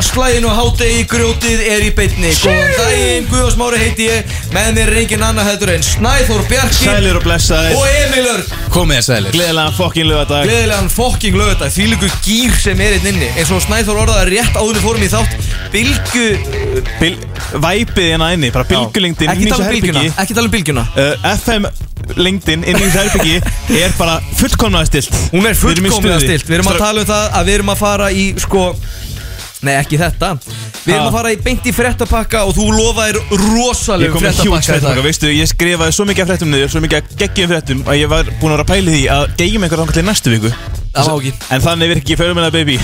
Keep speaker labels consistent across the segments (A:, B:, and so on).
A: slæginu hátegi grjótið er í beinni Góðan daginn, Guðjón Smári heiti ég Með mér er engin annað heldur en Snæþór Bjarki
B: Sælir og blessaðir
A: Og Emil Örn
C: Komið að sælir
B: Gleðilega fokkin lögadag
A: Gleðilegan fokking lögðað Þýliku gýr sem er einn inni Eins og Snæþór orðaði rétt áður við fórum í þátt Bilgu
B: Bil, Væpið hérna inni, bara bylgulengdin
A: Ekki
B: inn í
A: tala
B: þessu
A: um bylgjuna
B: herbyggi
A: Ekki tala um bylgjuna
B: uh, FM lengdin inn í þessu herbyggi er bara fullkomlega stilt
A: Hún er
B: Við erum í
A: fullkomlega
B: stuði.
A: stilt Við erum að
B: Strákar-
A: tala um það að við erum að fara í sko Nei ekki þetta Við erum
B: Ha.
A: að fara í beint í frettapakka og þú lofaðir
B: Ég
A: rosalegum
B: kom með hjúts
A: frettapakka í dag
B: fréttum, veistu, ég skrifaði svo mikið af fréttum niður, svo mikið af geggjum fréttum að ég var búinn að vera að pæli því að gegjum einhver þangar til næstu viku
A: Það má ekki
B: En þannig virki ég fyrir minna baby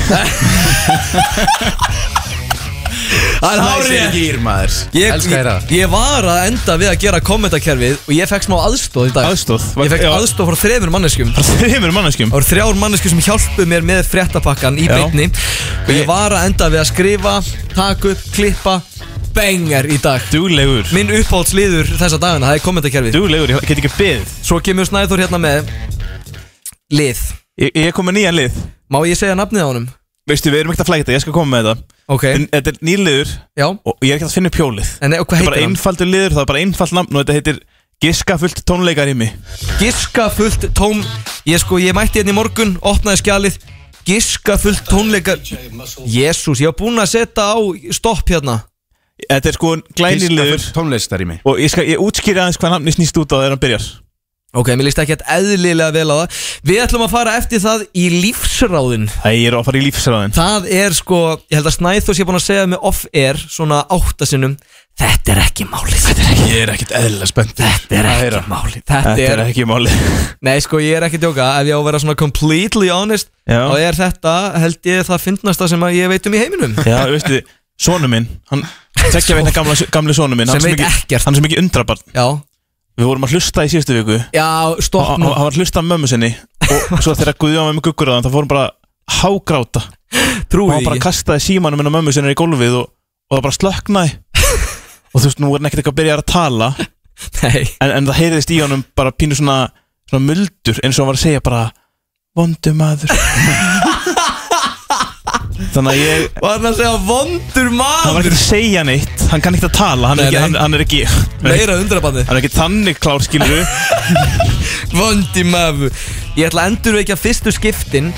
A: Það er hárið
C: gýr maður
A: Ég,
C: Elskar þér
A: ég,
C: það
A: ég var að enda við að gera kommentakerfið og ég fekk smá aðstóð í dag
B: Aðstoð?
A: Ég fekk
B: Já.
A: aðstóð frá þremur manneskum Það
B: Þeimur manneskjum
A: voru þrjár mannesku sem hjálpuð mér með fréttapakkan í
B: Já.
A: beinni og ég var að enda við að skrifa, taka upp, klippa, bengar í dag
B: Duglegur
A: Minn uppáhaldsliður þessa dagana, það er kommentakerfið
B: Duglegur, ég get ekki beðið
A: Svo kemur Snæður hérna með lið
B: Ég, ég kom með nýjan lið
A: Má ég segja nafnið á honum?
B: Veistu, við erum ekkert að flækta, ég skal koma með þetta
A: Ok,
B: En þetta er nýr liður
A: já
B: og ég er ekkert að finna upp hjólið
A: En og hvað
B: Þetta er bara
A: heitir hann?
B: einfaldur liður, það er bara einfald nafn og þetta heitir Giska fullt tónleikarými
A: Giska fullt tóm Ég sko, ég mætti hérna í morgun, opnaði skjalið Giska fullt tónleika Jésús, ég var búinn að setja á stopp hérna
B: Þetta er sko glænir liður
C: Tónlistar í mig
B: og ég, skal, ég útskýri aðeins hvað nafni snýst út á þegar hann byrjar
A: Ok, mér líst ekki eitthvað eðlilega vel á það Við ætlum að fara eftir það í lífsráðin
B: Æ, ég er að fara í lífsræðin
A: Það er sko, ég held að Snæður sé búinn að segja mig off-air Svona áttasinnum Þetta er ekki málið Þetta er ekki,
C: Ég er ekkert eðlilega spennt
A: þetta er
C: Að
A: ekki
C: heyra.
A: málið Þetta,
B: Þetta
A: er
B: er ekki máli
A: Nei, sko, ég er ekki að djóka Ef ég á að vera svona completely honest
B: Já.
A: Þá er þetta, held ég, það fyndnasta sem að ég veit um í heiminum
B: Já, veistu, sonu minn hann, Tekja veitna gamla, gamli sonu minn hann
A: Sem veit
B: er svo mikið-
A: ekkert.
B: Hann er sem ekki undrabarn
A: Já,
B: Við vorum að hlusta í síðustu viku
A: já,
B: og
A: stopp
B: hann
A: nú
B: hann var að hlusta á mömmu sinni og svo þegar Guðjón var með guggur á hann þá fórum bara að hágráta og
A: Trúið
B: hann bara
A: ekki
B: kastaði símanum inn á mömmu sinni í gólfið og, og það bara slöknaði og þú veist, nú er hann ekkert eitthvað að byrja að tala en,
A: Nei,
B: en það heyriðist í honum bara pínu svona, svona muldur eins og hann var að segja bara vondu maður þannig að ég
A: var hann að segja vondur
B: hann var
A: maður
B: ekkert að segja neitt hann kann ekkert að tala hann
A: Nei,
B: er ekki,
A: nei.
B: hann, hann er ekki hann
A: Meira undrabandi
B: er ekki þannig klár skilur
A: Vondi maður Ég ætla að endurvekja fyrstu skiptin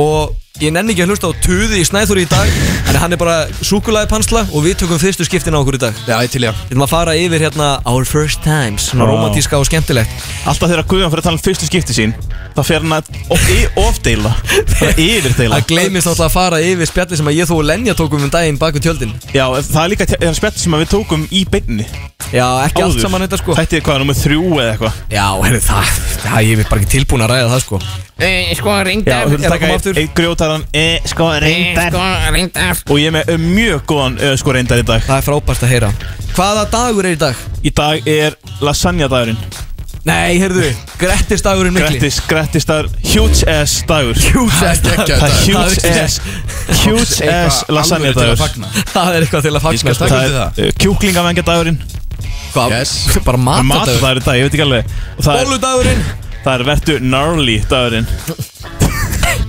A: Og ég nenni ekki að hlusta á tuði í Snæður í dag En hann er bara súkulaði pansla Og við tökum fyrstu skiptin á okkur í dag
C: Já, ég til ég
A: Við ætlum að fara yfir hérna Our first times Svona
B: Vá.
A: romantíska og skemmtilegt
B: Alltaf þegar Guðjón fyrir að tala um fyrstu skipti sín þá fer hann að of- í- ofdeila bara yfirdeila
A: Það gleymist náttúrulega að fara yfir spjalli sem að ég þó og Lenja tókum um daginn bak við tjöldin
B: Já, það er líka te- þegar spjall sem að við tókum í beinni
A: Já, ekki allt saman þetta sko
B: Þetta er hvað, nummið þrjú eða eitthvað
A: Já, herri, það, það, ég er bara ekki tilbúin að ræða það sko
D: Eh, sko,
B: Já,
D: reyndar
B: þú
A: er að
B: vil taka
A: koma aftur.
B: eitt eit grjótaran e, sko
D: Eh,
B: reyndar
D: sko, reyndar
B: Og ég er með eh, mjög góðan e, sko reyndar í dag
A: Það er frábært að heyra Hvaða dagur er í dag?
B: Í dag er lasagna dagurinn
A: Nei, heyrðu, Grettisdagurinn mikli
B: Grettis, Grettis dagur, huge ass dagur
A: Huge ass dagur.
B: Það er
A: Það er
B: huge
A: ekki-
B: ass, huge ass lasagna dagur
A: Það er eitthvað til að fagna
C: skal
A: sko.
C: taka-
B: Það er eh, kjúklingavengja dagurinn
A: Hvað?
C: Yes.
A: Bara matadagur
B: Matadagur í dag, ég veit ekki alveg Og það er,
A: Bóludagurinn
B: það er vertu gnarly dagurinn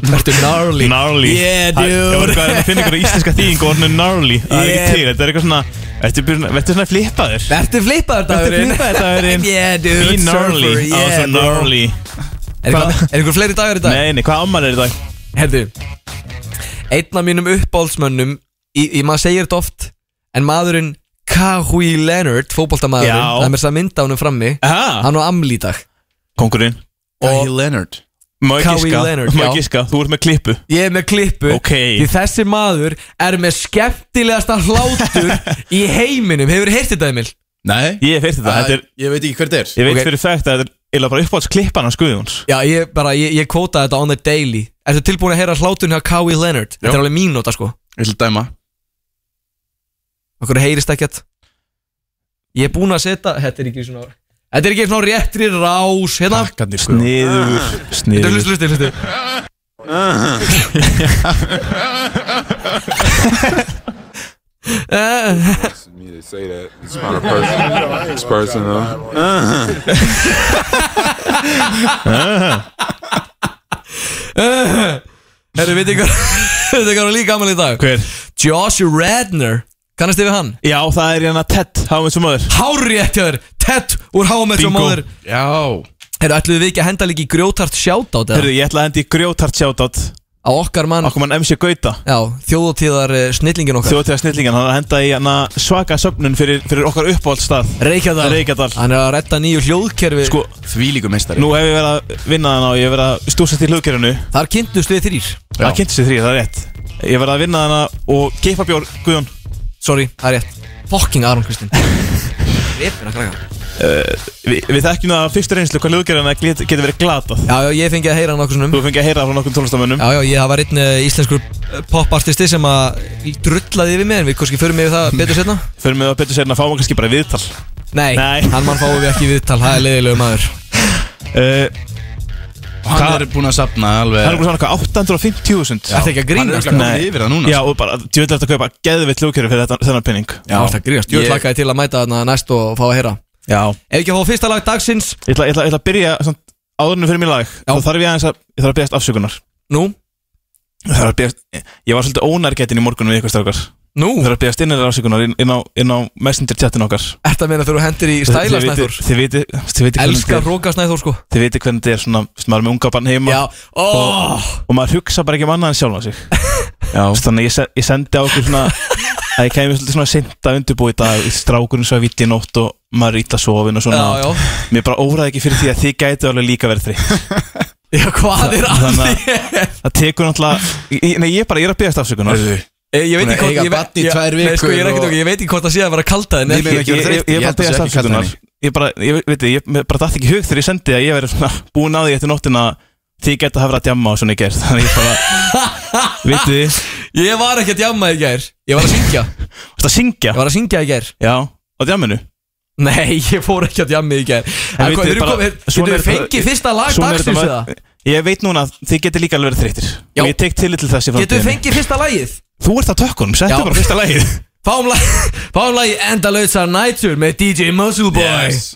A: Vertu gnarly
B: Gnarly
A: Yeah,
B: Það- Ég voru
A: dude
B: hvað er að hérna finna ykkur íslenska þýðing og orðinu gnarly Það er
A: Yeah.
B: ekki til, þetta er eitthvað svona Þetta er byrjun- þetta er svona flippaður
A: Vertu flipaður
B: Þetta er
A: dagurinn
B: flippaður dagurinn
A: Yeah, dude
B: Be gnarly
A: Surfer,
B: Það var
A: yeah,
B: svo
A: dude.
B: gnarly
A: Er eitthvað- er einhver fleiri dagur í dag?
B: Nei, nei, hvað ámar er í dag?
A: Herðu Einn af mínum uppáhaldsmönnum í, í maður segir þetta oft En maðurinn Kahui Leonard Fótboltamaðurinn
B: Já.
A: Það er mér þess að mynda honum frammi
B: Aha,
A: Hann á amli í dag
B: kongurinn
C: Guy Leonard
B: Má ég
A: Kawhi
B: giska,
A: Leonard,
B: má
A: já.
B: ég giska, þú ert með klippu
A: Ég er með klippu
B: Ok.
A: Því þessi maður er með skemmtilegasta hlátur Í heiminum Hefur þið heyrt þetta Emil?
C: Nei
B: Ég hef heyrt þetta, þetta er
C: Ég veit ekki hver þetta er
B: Ég veit
A: Ok.
B: fyrir fægt að þetta er eða bara uppáhalds klippan hans Guðjóns
A: Já, ég bara, ég, ég kvótaði þetta on the daily Ertu tilbúin að heyra hláturinn hjá Kawi Leonard? Þetta er alveg mínúta sko
C: Ég vil dæma
A: Okkur heyrist ekkert Ég er búin að setja Þetta er ekki svona Þetta er ekki svona réttri rás Hérna
C: Takkandir Guðjón
B: Sniður,
A: Ah. Þetta er
B: sniður
A: hlustu, hlustu, hlustu Eh,
E: me to say that. It's not a person. It's personal.
A: Herru, veit ykkur Veit ykkur líka gaman í dag
B: Hver?
A: Josh Redner Kannast þið við hann?
B: Já, það er hérna Ted, hafa eins og maður
A: Hári ekki þér Ted úr Háamett og
B: Bingo.
A: móður
C: Já
A: Herru, ætluðu við ekki að henda líka í grjótart shoutout eða?
B: Hörru, ég ætla að hendi í grjótart sjátátt
A: Á okkar mann
B: Okkur mann MC Gauta
A: Já, þjóðutíðar uh, snillingin okkar
B: Þjóðtíða snillingan, hann er að henda í hana svaka söfnun fyrir, fyrir okkar uppáhaldstað
A: Reykjadal
B: Reykjadal.
A: Hann er að redda nýju hljóðkerfi
B: Sko,
C: Því líku meistari
B: nú hef ég verið að vinna hana og ég hef verið að stúsast í hlugkerinu
A: Þar kynntust við þrýr
B: Það kynnti sér þrýr, það er rétt Ég hef verið að vinna hana og geipa bjór, Guðjón
A: Sorry, það er rétt Fucking Aron Kristinn Ripin að krakka
B: Vi, Við þekkjum það af fyrstu reynslu hvað hlugkerina get, getur verið glatað
A: Já, já, ég fengi að heyra hann okkur sinnum
B: Þú fengið að heyra frá nokkur tónlistamönnum
A: Já, já, ég það var einn eh, íslenskur eh, popartisti sem að drullaði yfir mig en við kannski förum yfir það betur setna
B: Fyrir mig að betur sérna að fá maður kannski bara viðtal
A: Nei,
B: Nei.
A: hann mann fáum við ekki í viðtal, það er leiðilegu maður
B: uh,
C: Hann
B: Hva-
C: er búinn að sapna alveg
B: Það er búin svona eitthvað 850.000
A: Ertu ekki að
C: Hann er
A: grínast?
C: örugglega komin
B: Nei.
C: yfir það núna
B: Já, og bara, djöðlega þetta kaupa geðvitt hlugkerfi fyrir þetta, þennan penning
A: Já, það er grínast, ég
C: Ég-
A: hlakkaði til að mæta þarna næst og fá að heyra
B: Já
A: Ef ekki að fá fyrsta lag dagsins,
B: Ég ætla, ég ætla, ég ætla að byrja samt, áðurinn fyrir mér lag
A: Já.
B: Já. þá þarf ég aðeins að, ég þarf að beðast afsökunar
A: nú,
B: Ég þarf að beðast, ég var svolítið ónærgætin í morgunum við ykkur strákar Ég
A: nú
B: þarf að beðast innilega afsökunar inn, inn, á, inn á messenger chatin okkar
A: Þetta meina þegar þú hendir í stæla
B: Þið-
A: Snæþór
B: Þið viti, þið viti hvernig
A: Elskar
B: þetta er-
A: róka Snæþór sko
B: þið viti hvernig þetta er svona, veist, maður er með unga bann heima
A: Já, Oh. ó,
B: og maður hugsa bara ekki um annað en sjálfan sig
C: Já.
B: Þú veist, Þannig að ég, se- ég sendi á okkur svona að ég kemur svolítið svona sent að undirbúi í dag strákurinn svo að viti í nótt og maður er illa sofin og
A: já,
B: svona
A: já
B: Mér bara óraði ekki fyrir því að þið gætu alveg líka verið þreytt
A: Já, hvað er að
B: Þannig
A: því?
B: Það tekur náttúrulega Ég- Nei, ég er bara, ég er að beðast afsökunar
C: Heyrðu,
A: Ég, ég veit
C: Búin að
A: ekki hvort
C: eiga
A: ég veit-
C: barn í
A: ég-
C: tvær
A: Nei, sko,
C: vikur
A: ég er ekkert
C: og-
A: okkur Ég veit ekki hvort það sé að vera kalda en
C: Ég-
A: ekki
C: ekki verið
B: Ég
C: þreytt.
B: ég- ég
C: Ég held að sé
B: er bara að beðast
C: ekki kalt
B: afsökunar
C: henni.
B: Ég bara, ég veit þið, ég mér bara dætt ekki í hug þegar ég sendi að ég verið svona búin að því eftir nóttina Þið gætu að hafa verið að djamma og svona ég gerð Þannig ég bara, veit þið,
A: Ég var ekki að djamma í gær Ég var að syngja Ég
B: varst að syngja
A: var að syngja í gær
B: Já, á djamminu
A: Nei, ég fór ekki að djamma í gær En
B: vitið
A: hvað,
B: þið
A: við erum
B: bara-
A: komið
B: svona
A: Getur
B: er
A: við
B: þetta-
A: fengið fyrsta lag
B: Svona er þetta
A: dagsins
B: bara-
A: eða?
B: Ég veit núna að þið geti líka alveg verið þreyttir
A: Já.
B: Og ég tek tillit til þess í
A: Getur við
B: framtíðinni.
A: fengið fyrsta lagið?
B: Þú ert á tökkunum,
A: Já.
B: settu bara fyrsta lagið
A: Fáum lag- Fáum lagið Endalösa Nætur með DJ Muscle Boy
C: Yes.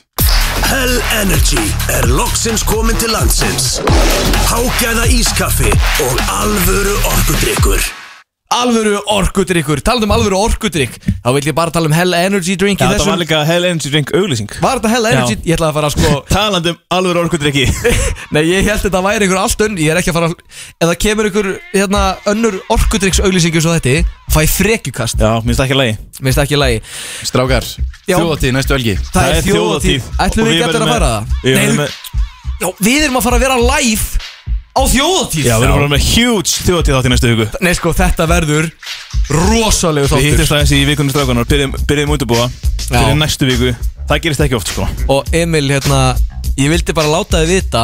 D: Hell Energy er loksins komin til landsins. Hágæða ískaffi og alvöru orkudrykkur.
A: Alvöru orkudrykkur Talandi um alvöru orkudrykk Þá vil ég bara tala um Hell Energy Drink í
B: Já, Það
A: þessum
B: var líka Hell Energy Drink auglýsing
A: Var þetta Hell Energy? Ég ætlaði að fara að sko
B: Talandi um alveg orkudrykki
A: Nei, ég held þetta væri einhver allt önn Ég er ekki að fara að Ef það kemur einhver hérna, önnur orkudrykks auglýsingu svo þetta Fæ frekjukast
B: Já, minnst ekki að lagi
A: Mér finnst ekki í lagi
C: Strákar,
A: Já.
C: þjóðatíð næstu helgi
A: Það er þjóðatíð Ætlum
B: Og
A: við ekki
B: verðum
A: eftir að
B: með-
A: fara það?
B: Við
A: Nei,
B: verðum
A: þú-
B: með-
A: já, við erum að fara að vera live Á þjóðatíð
B: Já, við erum bara með huge þjóðatíð þátt í næstu hugu
A: Nei, sko, þetta verður Rosalegu
B: Við
A: þáttur
B: hittum aðeins í vikunum strákunar Byrjum, byrjum útubúa Fyrir næstu viku Það gerist ekki oft sko
A: Og Emil, hérna Ég vildi bara láta þið vita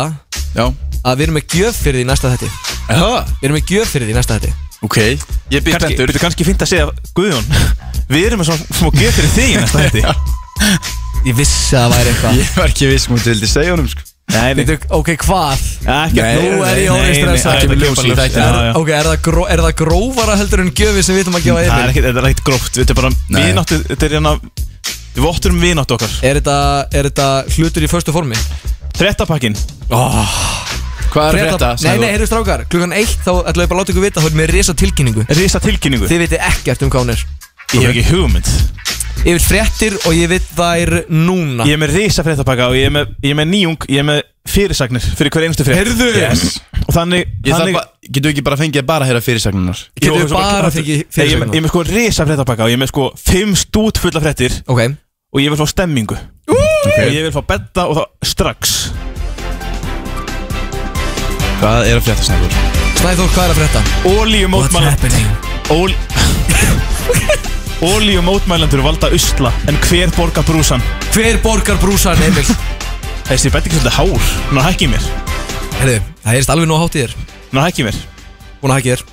C: Já,
A: Að við erum með gjöf fyrir því næsta þetta
C: er það?
A: Við erum með gjöf fyrir því næsta þetta
C: Ok, ég býr
B: Kanski,
C: spenntur
B: byrju, kannski fint að segja Guðjón Við erum með svona smá gjöf fyrir þig í næsta hætti
A: Ég vissi að það væri eitthvað
C: Ég var ekki viss um mútið vildi segja honum sko
B: Nei, nei,
A: Veitu, ok, hvað?
B: ekki
C: Nei,
A: Nú er ég orðin stressað.
C: Kemur ljós í þættinum.
A: Ok, er það, gró, er það grófara heldur en gjöfi sem við ætlum að gefa
B: Það er
A: Emil?
B: ekkert, þetta er ekkert gróft Þetta er bara
C: Nei.
B: vináttu Þetta er hérna Við votturum vináttu okkar
A: Er þetta, er þetta hlutur í förstu formi?
B: Frettapakkin
C: Hvað er þetta?
A: Nei, nei, heyrðu strákar, klukkan eitt þá ætlum ég bara að láta ykkur vita þá erum við risa tilkynningu
B: Risa tilkynningu
A: Þið vitið ekkert um hvað hún er
B: Ég hef ekki hugmynd
A: Ég vil fréttir og ég veit þær núna
B: Ég er með risa fréttapakka og ég er með, ég er með nýjung Ég er með fyrirsagnir fyrir hver einustu frétt
A: Heyrðu
C: Yes.
B: Og þannig,
C: Ég þarf
B: þannig
C: bara, getur ekki bara fengið að bara heyra fyrirsagnunar
A: Getum við
B: Jú,
A: bara fengið
B: Nei, Ég er með- ég er með sko risa fréttapakka og ég er með sko Fimm stút fulla fréttir
A: Ok,
B: og ég vil fá stemmingu Og ég vil fá betta og þá strax
C: Hvað er að frétta snakkur?
A: Snæþór, hvað er að frétta?
B: Ólíu Ólíu mótmælendur valda usla En hver borgar brúsan?
A: Hver borgar brúsan, Emil?
B: Þessi bett ekki svolítið hár Ná hækki mér
A: Herðu, það heyrist alveg nú hátt í þér
B: Ná hækki mér
A: Búin að hækja þér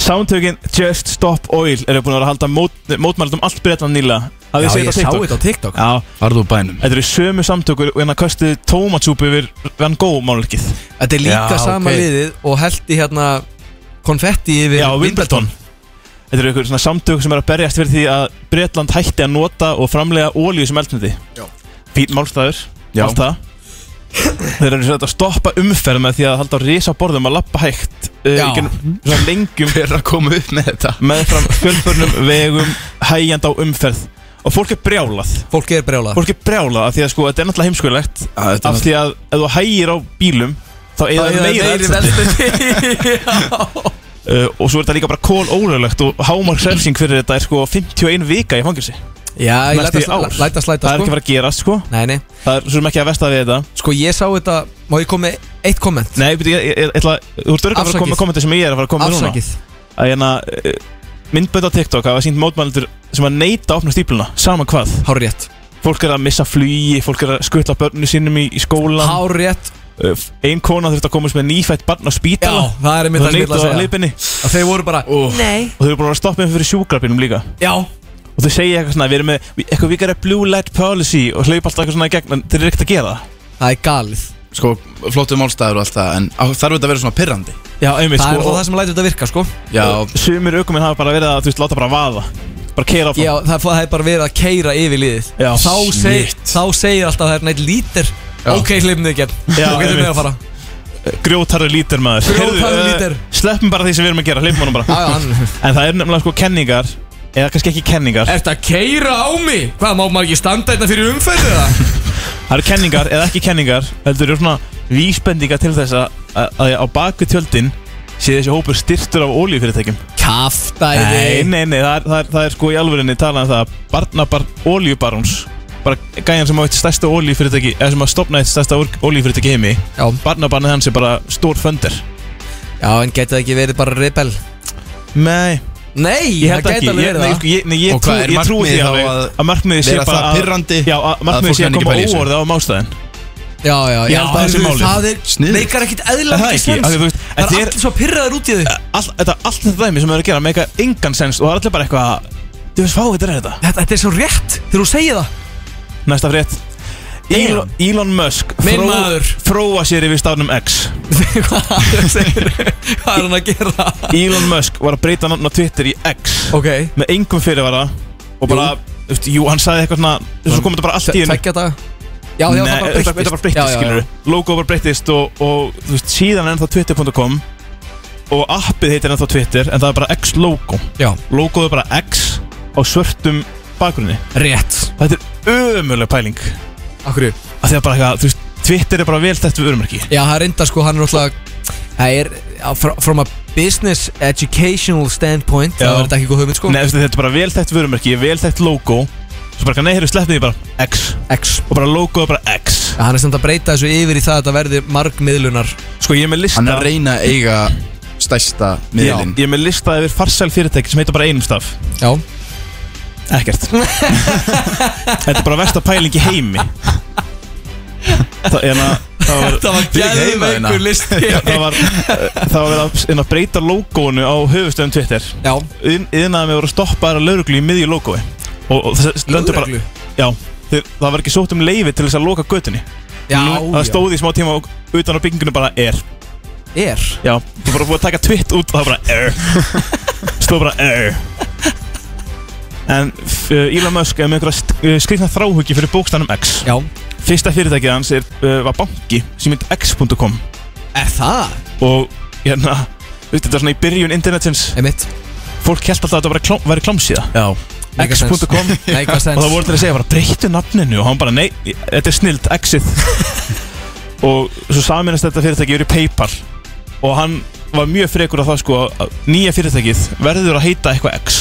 B: Samtökin Just Stop Oil eru búin að vera að halda mót, mótmælendum allt breytan nýla Hafið þið
A: Já,
B: séð
A: ég
B: þetta á
A: sá
B: TikTok?
A: þetta á TikTok
B: Já,
C: Farðu úr bænum
B: þetta eru sömu samtökur og hérna köstuðu tómatsúpu yfir Van Gogh málkið
A: Þetta er líka
C: Já,
A: sama
C: ok.
A: liðið og heldi hérna konfetti yfir
B: Já, Wimbledon Þetta eru ykkur svona samtök sem eru að berjast fyrir því að Bretland hætti að nota og framlega ólíu sem eldnöti Fýt málstæður,
C: Já.
B: allt það Þeir eru svolítið að stoppa umferð með því að halda á risa borðum að lappa hægt uh,
C: Já.
B: genn, Svona lengjum
C: Hver er að koma upp með þetta?
B: með fram fjölbörnum vegum hægjand á umferð Og fólk er brjálað
A: Fólk er brjála
B: Fólk er brjálað af því að sko, þetta er náttúrulega heimskulegt
C: Já, þetta er
B: Af því að ef þú hægir á bílum Þá eða
C: eyða
B: meira,
C: meiri
B: eldsneyti. uh, Og svo er þetta líka bara kól ólöglegt Og hámarksrefsing fyrir þetta er sko 51 vika í fangelsi
A: Já, ég
B: Næstu
A: læta,
B: í ár.
A: læta, læta
B: Það
A: slæta
B: er ekki
A: sko.
B: að fara að gerast sko
A: Nei, nei
B: Það er svo sem ekki að vesta við þetta
A: Sko ég sá þetta Má ég koma með eitt komment?
B: Nei, beti, ég, ég, ég, ætla, þú ert örgulega að fara að
A: Afsakið.
B: koma með kommenti sem ég er að fara að koma með núna
A: Afsakið
B: að hérna eh, myndbönd á TikTok hafa sínt mótmælendur sem að neyta að opna stípluna, sama hvað
A: Hár rétt
B: fólk er að missa flugi, fólk er að skutla börnum sínum í, í skólan
A: Hár rétt
B: Eh, ein kona þurfti að komast með nýfætt barn á
A: Já,
B: spítala
A: það er einmitt
B: það
A: það sem ég
B: neyta
A: ætla að
B: að
A: segja
B: leipinni
A: Að þeir voru bara Nei
B: og þau eru búin að stoppa með fyrir sjúkrabinum líka
A: Já
B: og þau segja eitthvað svona, við erum með eitthvað við gerum blue light policy og hlaupa alltaf eitthvað svona í gegn en þeir eru ekkert að gera það
A: Það er galið
C: Sko, flottu málstæður og allt það En á- þarf þetta að vera svona pirrandi
B: Já, einmitt,
A: Það er
B: sko,
A: það sem lætur þetta virka sko
C: Já,
B: og sumir aukuminn hafa bara verið að, þú veist, láta bara vaða bara keira áfram
A: Já, það er, það er bara verið að keira yfir liðið
B: Já.
A: þá, seg,
B: Shit.
A: þá segir alltaf að það er neitt lítir
C: Já.
A: Ok, hlifnið ekki
B: Já,
A: Ok, þau
B: einmitt.
A: með að fara
B: grjótarður lítir maður
A: Grjótharður
B: Heyrðu, eh,
A: lítir.
B: sleppum bara því sem við erum að gera, hleypum honum bara
A: Já, já, hann-
B: En það er nefnilega sko kenningar Eða kannski ekki kenningar
A: Ertu að keira á mig? Hvað, má maður ekki standa þetta fyrir umferðu það?
B: Það eru kenningar eða ekki kenningar Heldur eru svona vísbendingar til þess að, að, að á baku tjöldin sé þessi hópur styrtur af ólíufyrirtækjum Nei,
A: Kaftæði
B: nei, nei, það er, það er, það er sko í alvörinni talað um það að Barnabarn ólíubarons Bara gæjan sem á eitt stærsta ólíufyrirtæki Eða sem að stopna eitt stærsta ólíufyrirtæki í heimi
A: Já,
B: Barnabarnið hans er bara stór föndir
A: já, en getið það ekki verið bara rebel?
B: Nei,
A: Nei,
B: ég held
A: það
B: ekki
A: gæti alveg
B: ég,
A: verið
B: nei,
A: það
B: sko, ég, nei, ég,
C: Og
B: trú,
C: hvað er
B: ég trúi því
C: markmiðið þá
B: alveg
C: að
B: að markmiðið sé
C: vera
B: bara
C: það
B: að-
C: pirrandi
B: Já, að
C: fólk
B: markmiðið sé að
C: nenni ekki
B: koma
C: pæla í þessu?
B: óorða á mástæðin
A: Já, já, já,
B: Ég held að það sé
A: alveg,
B: málið.
A: Það er
C: Sniðugt.
A: meikar ekkit eðla
B: Er það
A: mikið
B: ekki? Af
A: sens
B: því þú veist,
A: Það
B: þetta
A: er
B: er-
A: allir svo pyrraður út í því
B: all, þetta, allt þetta dæmi sem þau eru að gera með eitthvað engan sens og það er allir bara eitthvað að Þú veist, fáið þetta er þetta
A: Þetta þetta er svo rétt þegar þú segir það
B: Næsta frétt Elon, Elon Musk
A: Minn maður.
B: Fróa sér yfir stafnum X
A: Hvað er segir- hvað er hann að gera?
B: Elon Musk var að breyta nafn á Twitter í X
A: Ok
B: Með engum fyrirvara Og bara, þú veist, jú, hann sagði eitthvað svona Svo kom þetta bara allt í hennu
A: Tveggja dag Já, já, það bara breyttist
B: þetta bara breyttist, skilur Logo bara breyttist og, og þú veist, síðan er ennþá twitter.com Og appið heitir ennþá Twitter En það er bara X logo
A: Já,
B: Logoð er bara X á svörtum bakgrunni
A: rétt
B: Þetta er ömuleg pæling
A: Akkur Já,
B: að því að bara eitthvað, þú veist, Twitter er bara vel þetta vörumarki
A: það er enda sko, hann er náttúrulega Það er, á- fr- from a business educational standpoint
B: Já.
A: Það var þetta ekki góð hugmynd sko
B: Nei, þú veist, þetta er bara vel þetta vörumarki, vel þetta logo Svo bara, eitthvað, nei, heyrðu, sleppið því bara X
A: X
B: Og bara logoðu bara X
A: Já, Hann er samt að breyta þessu yfir í það að þetta verði margmiðlunar
B: Sko, ég er með lista
C: hann er að reyna að eiga stærsta
B: Já,
C: miðlinn
B: Ég er með lista yfir farsæl fyrirtæki sem heitir bara einum staf
A: Já
B: Ekkert Þetta er bara versta pæling í heimi Það er að Það var
A: Það var
C: geðveikur
A: listi
B: Það var, það var verið að, hérna, breyta logónu á höfustöðum Twitter
A: Já,
B: Yðnaðum við voru að stoppa aðra lauruglu í miðju logói Og, og það stendur bara
A: lögreglu.
B: Já, þeir, það var ekki sótt um leifi til þess að loka götunni
A: Já,
B: Það stóð í smá tíma og utan á byggingunni bara er
A: já Er
B: Já, þú bara búið að taka tvitt út og það bara er Stóð bara er En uh, Elon Musk er með einhverja st- uh, skrifna þráhugi fyrir bókstænum X
A: Já
B: Fyrsta fyrirtækið hans er, uh, var banki sem heit x.com
A: Er það?
B: Og hérna, veistu þetta var svona í byrjun internetins
A: Emitt
B: Fólk held alltaf að þetta væri klám- væri klámsíða
C: Já,
B: X.com
A: Nei, hvað
B: og það
A: sens
B: voru til að segja bara breyttu nafninu og hann bara nei, þetta er snild, exit og svo saminast þetta fyrirtæki yfir í Paypal og hann var mjög frekur á það sko að nýja fyrirtækið verður að heita eitthvað X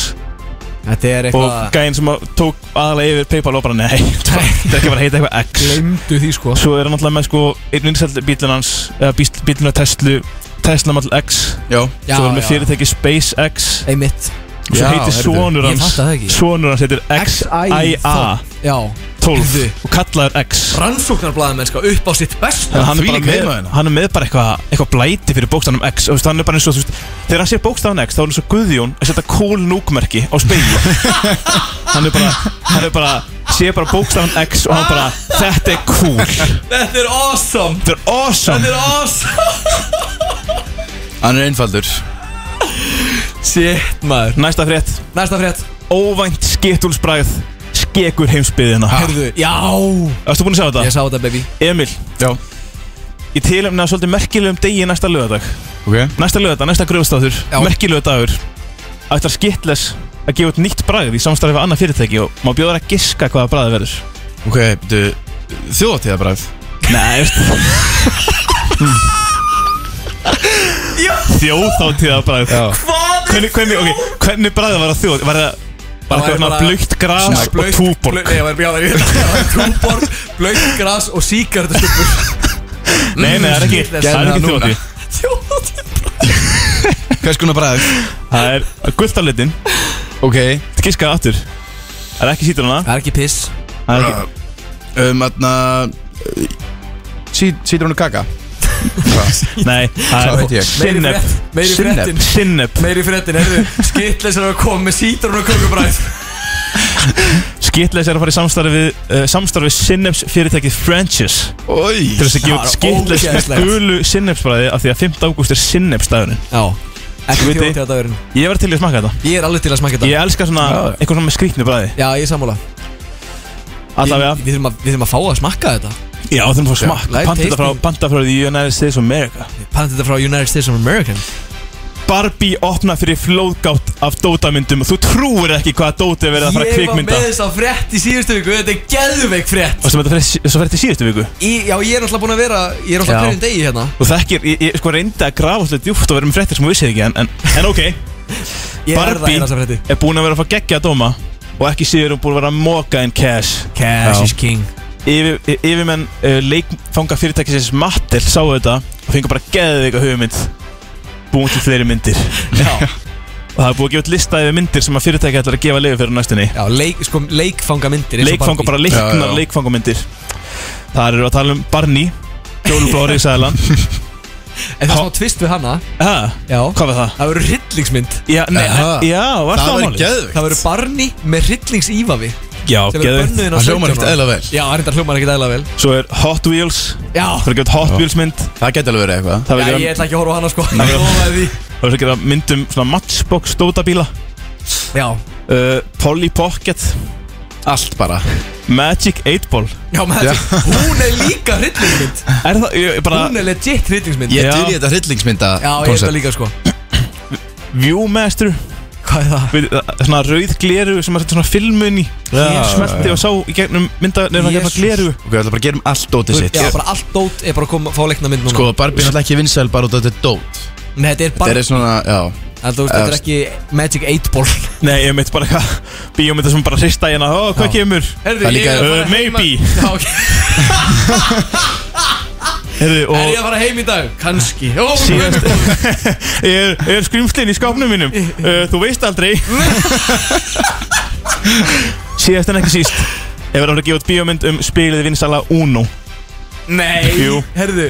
A: Þetta er
B: og
A: eitthvað
B: gæinn sem að tók aðalega yfir Paypal og bara nei, þetta er ekki að fara að heita eitthvað X
A: Glemdu því sko
B: svo er hann alltaf með sko einn vinsælt bílun hans eða bíl- bílun af Tesla Tesla Model X
C: já,
A: Já,
B: svo er hann með
A: já.
B: fyrirtæki SpaceX
A: Emitt
B: og svo
C: Já,
B: heitir
C: heyrðu.
B: sonur
A: Ég
B: hans
A: fatta það ekki.
B: sonur hans heitir XIA
A: XIA. Já
B: 12
A: Heyrðu.
B: og kallaður X
A: Rannsóknarblæðamennska upp á sitt best
B: En hann er, bara
C: Þvílík
B: með,
C: viðmaður.
B: hann er með bara eitthvað eitthvað blæti fyrir bókstafnum X og þú veist, hann er bara eins og þú veist þegar hann sé bókstafnum X þá er hann eins og Guðjón að setja cool núkmerki á spegju hann er bara hann er bara sé bara bókstafnum X og hann bara þetta er cool þetta
A: Þetta er awesome
B: er awesome
A: er awesome
C: hann er einfaldur
A: Shit maður
B: næsta frétt
A: Næsta frétt
B: óvænt skitúlsbræð skekur heimsbyðina
A: Herðu Já
B: Erstu búin að sjá þetta?
A: Ég sá þetta baby
B: Emil
C: Já,
B: Ég tilefna svolítið merkilegum degi næsta lögadag
C: Ok
B: Næsta lögadag, næsta gröfstáður Merkilegur dagur Ætlar skittless að gefa út nýtt bragð í samstarfi við annað fyrirtæki og má bjóða þær að giska hvaða bragði verður
C: Ok, du Þjóðatíðabræð
B: Nei, veist Þjóðháttíða bræð Hvernig, hvernig, ok, hvernig bræð var það þjóð? Var það, var
A: Það
B: það
A: væri
B: svona
A: bara-
B: blöytt gras
A: Svona
B: og
A: blautt- eh,
B: túborg?
A: blautt- Nei, það var bjáðar í þetta Túborg, blöytt gras og síkartustuppur
B: Nei, nei, það er ekki,
A: Skittless.
B: það er ekki
A: Gerðu það
B: þjóðhátíð
C: Hvers konar bræð?
B: Það er gullt á litin,
C: Ok
B: giskaði aftur Það er ekki sítruna
A: Það er ekki piss
B: Það er ekki,
C: Um, aðna Sýtur hún kaka
B: nei,
C: Hvað
B: það
C: veit
B: er
C: ég?
A: Meiri
B: sinneb
A: frétt- Meiri
C: Sinnep.
A: fréttin
B: Sinneb,
A: Meiri fréttin, heyrðu Skittless er að koma með sítrun og kökubræð
B: skitleis er að fara í samstarfi við, uh, samstarfi sinnebs fyrirtækið French's
C: Oj
B: til þess að gefa
A: Það var
B: skitleis með
A: ógeðslegt.
B: gulu sinnebsbræði af því að 5. ágúst er sinnebsdagurinn
A: Já Ekki
B: Viti.
A: þjóðtíða dagurinn
B: Ég var til í að smakka þetta
A: Ég er alveg til að smakka þetta
B: Ég elska svona eitthvað svona með skrýtnu bræði
A: Já, ég er sammála
B: Allavega
A: Ég- Við þurfum að- við þurfum að fá að smakka þetta
B: Já, þurfum að fá smakk
A: live
B: Panta þetta frá,
A: tasting.
B: panta frá The United States of America
A: Panta þetta frá United States of America
B: Barbie opna fyrir flóðgátt af dótamyndum og þú trúir ekki hvaða dóti er verið að fara að
A: Ég var
B: kvikmynda
A: með þess að frétt í síðustu viku Þetta er geðveik frétt
B: Og sem þetta fyrir, svo fyrir til síðustu viku
A: Í- Já, ég er alltaf búin að vera Ég er alltaf
B: Já.
A: hverjum degi hérna
B: Og þekkir, ég, ég sko reyndi að grafa svolítið djúft og vera með fréttir sem þú vissið ekki en, en, en ok,
A: Ég er það
B: Barbie
A: í þessa frétti
B: er búin að vera að fá geggja að dóma og ekki síður er hún búin að vera að moka inn cash
A: Cash
B: Já.
A: is king
B: Yfir, Yfirmenn uh, leikfanga fyrirtækisins Mattel sáu þetta og fengur bara geðveika hugmynd búin til fleiri myndir
A: Já.
B: og það er búið að gefa út lista yfir myndir sem að fyrirtæki ætlar að gefa leiði fyrir á næstunni
A: Já, leik, sko, leikfangamyndir eins og
B: leikfanga,
A: Barbie.
B: bara leiknar
C: Já, já.
B: leikfangamyndir þar eru að tala um Barney Jólublári í Sæðalan
A: En það er smá tvist við hana
B: hvað
A: Já
B: var það?
A: Það verður hryllingsmynd
B: Já, nei,
C: Aha.
B: já var það,
C: Það
B: það
C: var
B: málið?
C: geðvikt
A: Það verður barni með hryllingseívafi
B: Já,
A: sem verður
B: geðveikt.
A: bönnuðin á 17
C: Það hljómar ekkert
A: ára.
C: eðla vel
A: Já, það er þetta hljómar ekkert eðla vel
B: Svo er Hot Wheels
A: Já
B: Það er að gefa út Hot Wheels mynd
C: Það geti alveg verið eitthvað
B: Það
A: Já,
B: verður
A: ég
B: að gera-
A: ætla ekki að horfa á hana sko
B: Nei.
A: Ég lofaði því
B: það verður að gera mynd um svona Matchbox dótabíla
A: Já
B: uh, Polly Pocket
C: Allt bara
B: Magic 8 Ball
A: Já, maður þetta Hún er líka hryllingsmynd
B: Er það, ég, ég bara,
A: Hún er legit hryllingsmynd
C: Ég
B: Já.
C: dýr í þetta hryllingsmynda
A: Já, ég hef það líka sko
B: Viewmaster
A: Hvað er það?
B: við, það- Svona rauð gleru sem er svona filmun í
C: Já.
B: Smerti og sá í gegnum mynda Nefnum að gefa
A: Jesus.
B: gleru
C: Ok, við ætlum bara að gerum allt dótið sitt
A: Já, bara allt dót er bara að koma, fá leikna mynd núna
C: Sko, Barbie er náttúrulega ekki vinsæl bara út af þetta er dót
A: Nei, þetta er
C: Þetta
A: bara
C: er svona, já
A: Þetta þú veist, þetta er ekki Magic 8 ball
B: Nei, ég meit bara eitthvað Bíómynda sem bara hrista í hana Ó, hvað kemur?
A: Herðu,
C: Það er líka-
A: ég að fara
B: Uh,
A: heim að-
B: maybe.
A: Já, ok
B: Herðu,
A: Er ég
B: og
A: að fara heim í dag? Kanski Ó,
B: síðast er, er skrýmslinn í skápnum mínum uh, Þú veist aldrei Síðast en ekki síst Ef það voru að gefa út bíómynd um spilið vinsala Uno
A: Nei
B: Jú.
A: Herðu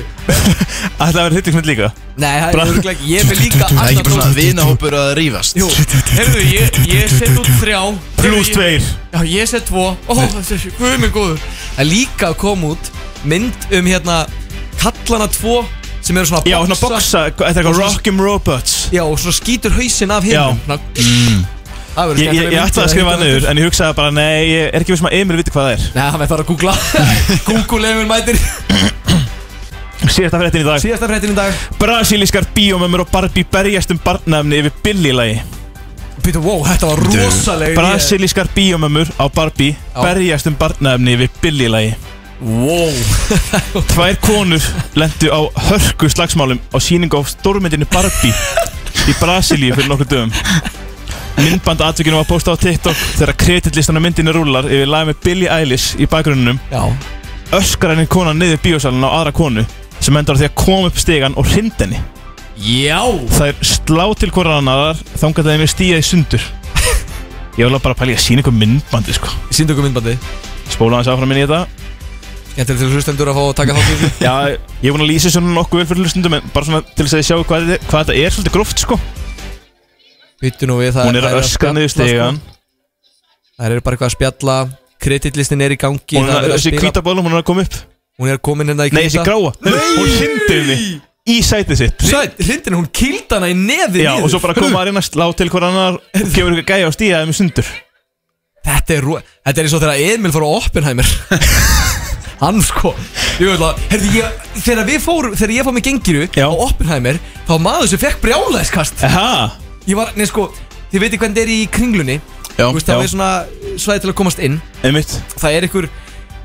B: Ætlaði að vera hittingsmynd líka
A: Nei, það er
B: Bara-
A: örugglega ekki Ég er með líka
C: Það er ekki
A: alltaf
C: bara svona vinahópur að rífast
A: Jú, herðu, ég, ég set út þrjá Heyrðu,
B: Plus
A: ég-
B: tveir
A: Já, ég set tvo Ó, guð minn góður Það er líka að koma út mynd um hérna Kallana tvo sem eru svona
B: Já, svona boxa, þetta er eitthvað Rock'em Robots
A: Já, og svona skýtur hausinn af hinum
B: Já. Mm.
A: Svona- Það verður
B: Ég, ég,
A: skemmtileg
B: ég
A: mynd
B: ætlaði að skrifa
A: hitta
B: það niður en ég hugsaði bara Nei, ég er ekki viss um að Emil viti hvað það
A: Nei, hann verður bara að googla Google Emil mætir
B: er Síðasta fréttin í dag
A: Síðasta fréttin í dag
B: Brasilískar bíómömmur og Barbie berjast um barnafni yfir Billy-lagi
A: Pítur, wow, þetta var rosaleg
B: Brasilískar bíómömmur á Barbie
A: Já.
B: berjast um barnafni yfir Billy-lagi
A: Wow
B: Tvær konur lendu á hörku slagsmálum á síningu á stórmyndinu Barbie í Brasilíu fyrir nokkur dögum Myndband atvikinu var postað á TikTok þegar kreditlistan á myndinu rúlar yfir lag með Billie Eilish í bakgrunnum
A: Já,
B: öskar henni konan niður bíósalinn á aðra konu sem endar á því að koma upp stegan og hrind henni
A: Já.
B: Það er slá til hvoran annaðar þangat að þeim er stíða í sundur Ég vil bara pæla í að sína ykkur myndbandi sko
A: Sýndu okkur myndbandi
B: Spóla hans áfram inn í þetta
A: Skemmtileg til hlustendur að fá að taka þátt í því
B: Já, ég er búin að lýsa svona nokkuð vel fyrir hlustundum en bara svona til þess að ég sjá hvað, þetta- hvað þetta er svolítið gróft sko
A: Býttu nú við það
B: Hún er
A: það
B: að öskra niður
A: spjalla,
B: stegan
A: sko. Það eru bara eitthvað að spjalla Kreditlistin er í gangi
B: Hún
A: það
B: er
A: verið
B: að
A: að
B: þessi
A: spila-
B: hvíta bólum, hún er að koma upp
A: Hún er komin hérna í
B: Nei, þessi gráa Hún hrindi henni í sætið sitt
A: Sæt, hrindin, hún kýldi hana í nefið
B: Já,
A: niður.
B: og svo bara koma að reyna að slá til hvoran annar gefur ykkur gæja og stíða þeim í sundur
A: Þetta er, ro- þetta er eins og þegar Emil fór á Oppenheimer Hann sko Ég veit það Herði ég Þegar við fórum Þegar ég fór með gengiru
B: Já.
A: Á Oppenheimer Þá var maður sem fekk brjálæðiskast
B: Aha,
A: Ég var Nei sko Þið veitir hvernig þetta er í kringlunni
C: Já,
A: Þú veist það
B: já.
A: er svona Svæði til að komast inn
B: einmitt
A: Það er ykkur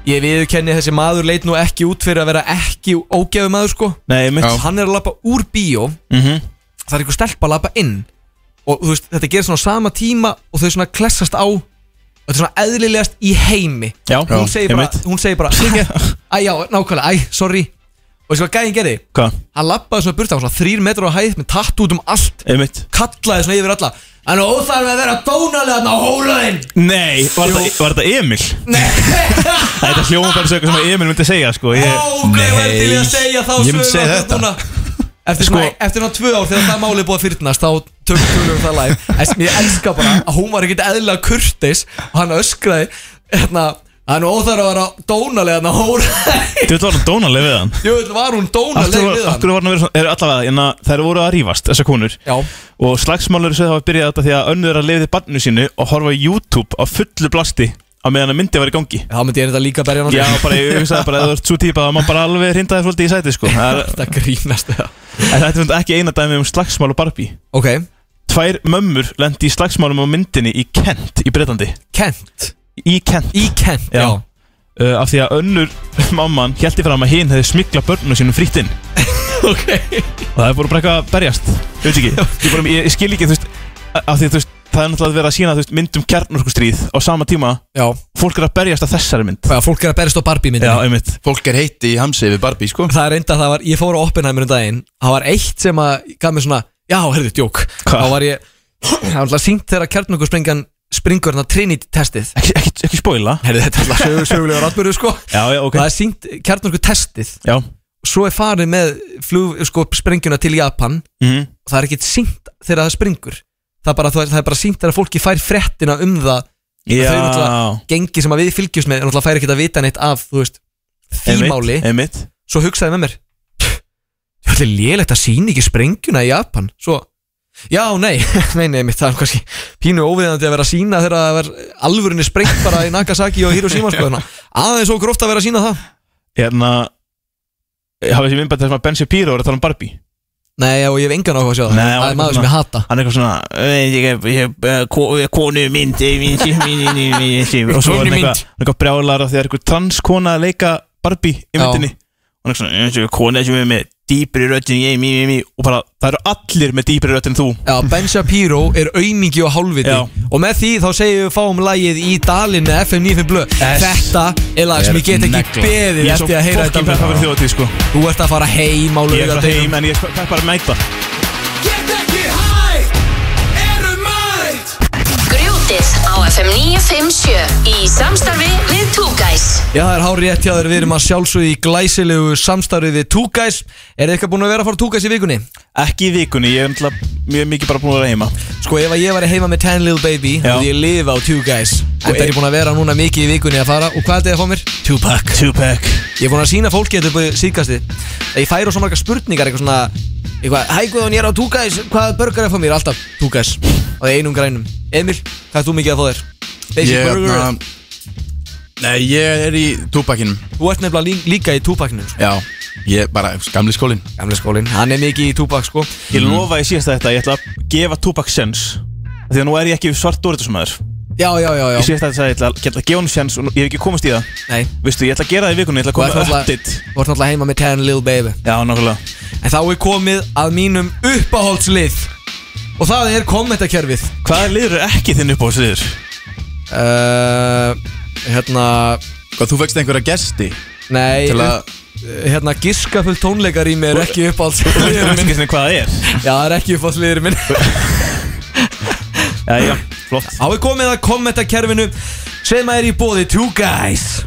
A: Ég viðurkenni þessi maður leit nú ekki út fyrir að vera ekki ógæfu maður sko
B: Nei, einmitt
C: Já.
A: Hann er að lappa úr bíó
B: Mhm.
A: Það er ykkur stelpa að lappa inn Og þú veist þetta gerir svona á sama tíma Og þau svona klessast á Þetta er svona eðlilegast í heimi
B: Já,
A: Hún segir bara,
B: einmitt.
A: hún segir bara Æ já, nákvæmlega, æ, sorry Og þessi hvað gæðin gerði
B: Hvað?
A: Hann lappaði svona burt á svona þrýr metrar á hæð Með tatt út um allt
B: Einmitt
A: Kallaði svona yfir alla Hann er óþarf að vera dónalega þarna á hólaðinn
B: Nei, var þetta, var þetta Emil? Nei Þetta hljóma bara svo eitthvað sem að Emil myndi segja sko ég,
A: Ok, verður til í að
C: Nei,
A: segja þá
C: ég myndi
A: sögu
C: segja
A: okkar
C: þetta.
A: núna. Eftir, sko, eftir ná tvö ár þegar það máli er búið að fyrtnast þá tökum tölum um það live en sem ég elska bara að hún var ekkert eðlilega kurtis og hann öskraði hérna, hann óþar að vera hérna, dónalega hann að hóra
B: Þú veit var hann dónaleg við hann
A: jöfnvel var hún
B: Akkur
A: dónalega við hann
B: var, af hverju var hann að vera svona Er allavega, en þær voru að rífast Þessar konur
A: já,
B: Og slagsmálur sem hafa byrjað þetta Því að önnur er að leiði barnu sínu Og horfa á YouTube á fullu blasti Á meðan að myndi var í gangi
A: þá myndi ég þetta líka berja hann
B: Já, bara ég hugsaði bara að þú ert svo típa að maður bara alveg hrindaði fólki í sæti sko Það er-
A: þetta grínast það
B: En þetta er samt ekki eina dæmi um slagsmál og Barbie
A: ok,
B: Tvær mömmur lendi í slagsmálum á myndinni í Kent í Breitlandi
A: Kent
B: Í Kent
A: í Kent, já,
B: Já. uh, Af því að önnur mamman heldi fram að hinn hefði smikla börnum sínum frítt inn
A: ok
B: Og það er bara eitthvað að berjast Ég veit ekki Ég, bara, ég, ég skil ekki þú veist Af því að þú veist Það er náttúrulega verið að sína þú veist myndum kjarnorkustríð Á sama tíma
A: já,
B: Fólk er að berjast af þessari mynd
A: hvað, fólk er að berjast á Barbie myndinni
B: Já, einmitt
C: Fólk er heiti í hamsi við Barbie, sko
A: það er reynda að það var, ég fór á Oppenheimer um daginn það var eitt sem að gaf mér svona já, herðu, djók
B: Hva?
A: þá var ég, það var alltaf sínt þegar kjarnokkurspringan springur hérna Trinity testið
B: Ekki, ekki, ekki spoila
A: herðu, þetta er alltaf sögu, sögulega rátbyrðu sko
B: Já, já, ok
A: það er sínt kjarnokkur testið
B: Já
A: svo er farið með flug, sko, springuna til Japan
B: Mhm.
A: og það er ekkit sínt þegar það springur það er bara, það er bara sínt þegar fólki fær frettina um það
B: Já
A: þau náttúrulega gengi sem að við fylgjumst með er náttúrulega fær ekkit að vita neitt af, þú veist,
B: Einmitt,
A: þýmáli
B: Einmitt
A: svo hugsaði með mér Það er lélegt að sína ekki sprengjuna í Japan Svo, já, nei Nei, nei, mitt, það er kannski pínu óviðandi að vera að sína þegar það er alvörinni sprengt bara í Nagasaki og Hiroshima sko, þannig að Aðeins og gróft að vera að sína það
B: Hérna Hafið þessi myndbætt þessum að Ben Shapiro er að tala um Barbie
A: Nei, og ég hef engan áhuga að sjá það
B: Nei,
A: Það
B: og-
A: er maður sem ég hata
B: hann er eitthvað svona "Eh, ég er- ég er eh, konu mynd eh, mín, sí, mín, mín, mín, mín, sí." og svo
A: Konu
B: er hann
A: mynd.
B: eitthvað hann er eitthvað brjálar af því að það er eitthvað transkona að leika Barbie í
A: Já.
B: myndinni og hann er svona "Ég er kona sem er með dýpri röddin ég, mí, mí, mí og bara það eru allir með dýpri röddin þú
A: Já, Ben Shapiro er aumingi og hálfviti
B: Já.
A: Og með því þá segjum við fáum lagið í dalinn með FM 95 blö Þetta er lag sem ég get ekki
C: negla.
A: beðið
B: ég er svo
A: eftir að heyra
B: fokkin peppa
A: þetta
B: fyrir þjóðatíð sko
A: Þú ert að fara heim á
B: ég er
A: laugardeginum.
B: eitthvað heim en ég er peppar að mæta
F: Grjótið á FM 957 í samstarfi við Two Guys.
A: Já, það er hár rétt hjá þér, við erum að sjálfsögðu í glæsilegu samstarfið við 2Guys Er þið eitthvað búin að vera að fara 2Guys í vikunni?
B: ekki í vikunni ég er náttúrulega mjög mikið bara búin að vera heima
A: Sko, ef að ég væri heima með 10 Little Baby þá
B: Já.
A: Því ég lifa á 2Guys En það er ég búin að vera núna mikið í vikunni að fara Og hvað er þetta að fá mér?
B: Tupac Tupac
A: Ég er búin að sína fólki þetta upp á síðkasti að Ég færi á svo marga spurningar, eitthvað svona Eitthvað, hæ Guðan, ég er á 2Guys, hvað burger er að fá mér? Alltaf 2Guys, á einum grænum Emil, hvað er þú mikið að fá þér? Basic
C: Ég,
A: burger,
G: hérna-
C: na, nei, ég er í túbakkinum
A: þú ert nefnilega lí- líka í 2-pakkinu sko.
C: Já, ég bara, gamli skólinn
A: Gamle skólinn, hann er mikið í 2 sko
B: ég lofa ég síðast þetta ég ætla að gefa Tupac sens því að nú er ég ekki svart dóritusmaður
A: Já, já, já, já,
B: Ég síðast að þetta sagði, ég ætla að- ég ætla að gefa hún sjans og nú- ég hef ekki komast í það
A: nei
B: Vistu, ég ætla að gera það í vikunni, ég ætla að
A: Þú ert
B: koma með
A: náttúrulega,
B: update
A: þú ert náttúrulega heima með 10 Little Baby
B: Já, nákvæmlega
A: En þá er komið að mínum uppáhaldslið Og það er kommentakerfið
B: Hvaða liður er ekki þinn uppáhaldsliður?
A: uh, Hérna
C: Hvað, þú fegst einhverja gesti
A: Nei
C: til að
A: Hérna giskafull tónleikar í mig er ekki
B: Þú
A: uppáhaldsliður
B: veist
A: minn
B: ekki svona hvað það er
A: Já, það er ekki uppáhaldsliður minn
B: Já, já, flott
A: Þá er komið að kommentakerfinu sem er í bóði Two Guys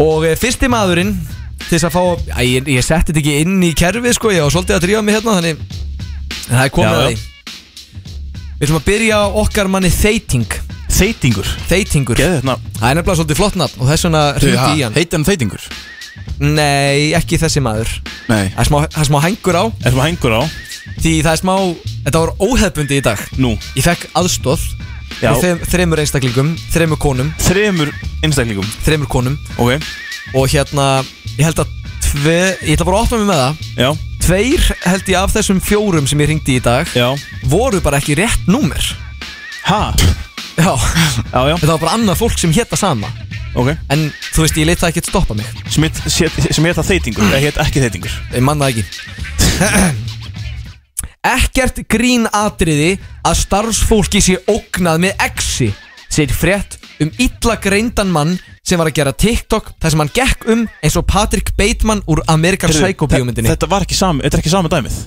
A: Og eh, fyrsti maðurinn til þess að fá Æ, ég, ég setti þetta ekki inn í kerfið sko Ég var svolítið að drífa mig hérna Þannig en það er komið
B: Já,
A: að
B: já.
A: því Við ætlum að byrja á okkar manni Þeiting
B: Þeitingur
A: Þeitingur
B: Geðu hérna, þetta
A: Það er nefnilega svolítið flott nafn og þess vegna hringdi í hann
C: Heitir hann þeitingur?
A: Nei, ekki þessi maður
C: Nei
A: Það er smá, það er smá hengur á
B: Er það hengur á?
A: Því það er smá, þetta var óhefbundi í dag
B: Nú
A: Ég fekk aðstóð
B: Já
A: Þeim, Þremur einstaklingum, þremur konum
B: Þremur einstaklingum
A: Þremur konum
B: Ok
A: Og hérna, ég held að tve, Ég ætla bara að opna mig með það
B: Já,
A: Tveir held ég af þessum fjórum sem ég ringdi í dag
B: já
A: Voru bara ekki rétt númer
B: Ha?
A: Já,
B: Já, já,
A: þetta var bara annað fólk sem hétta sama
B: ok
A: En þú veist, ég leitt það ekki að stoppa mig
B: Sem hét- sé- sem heita þeitingur, eða heita ekki þeitingur
A: Ég manna það ekki Ekkert grín atriði að starfsfólki sé ógnað með exi segir frétt um illa greindan mann sem var að gera TikTok þar sem hann gekk um eins og Patrick Bateman úr Amerikan
B: Heyrðu,
A: Psycho bíómyndinni
B: þe- Þetta var ekki sami, þetta er ekki sama dæmið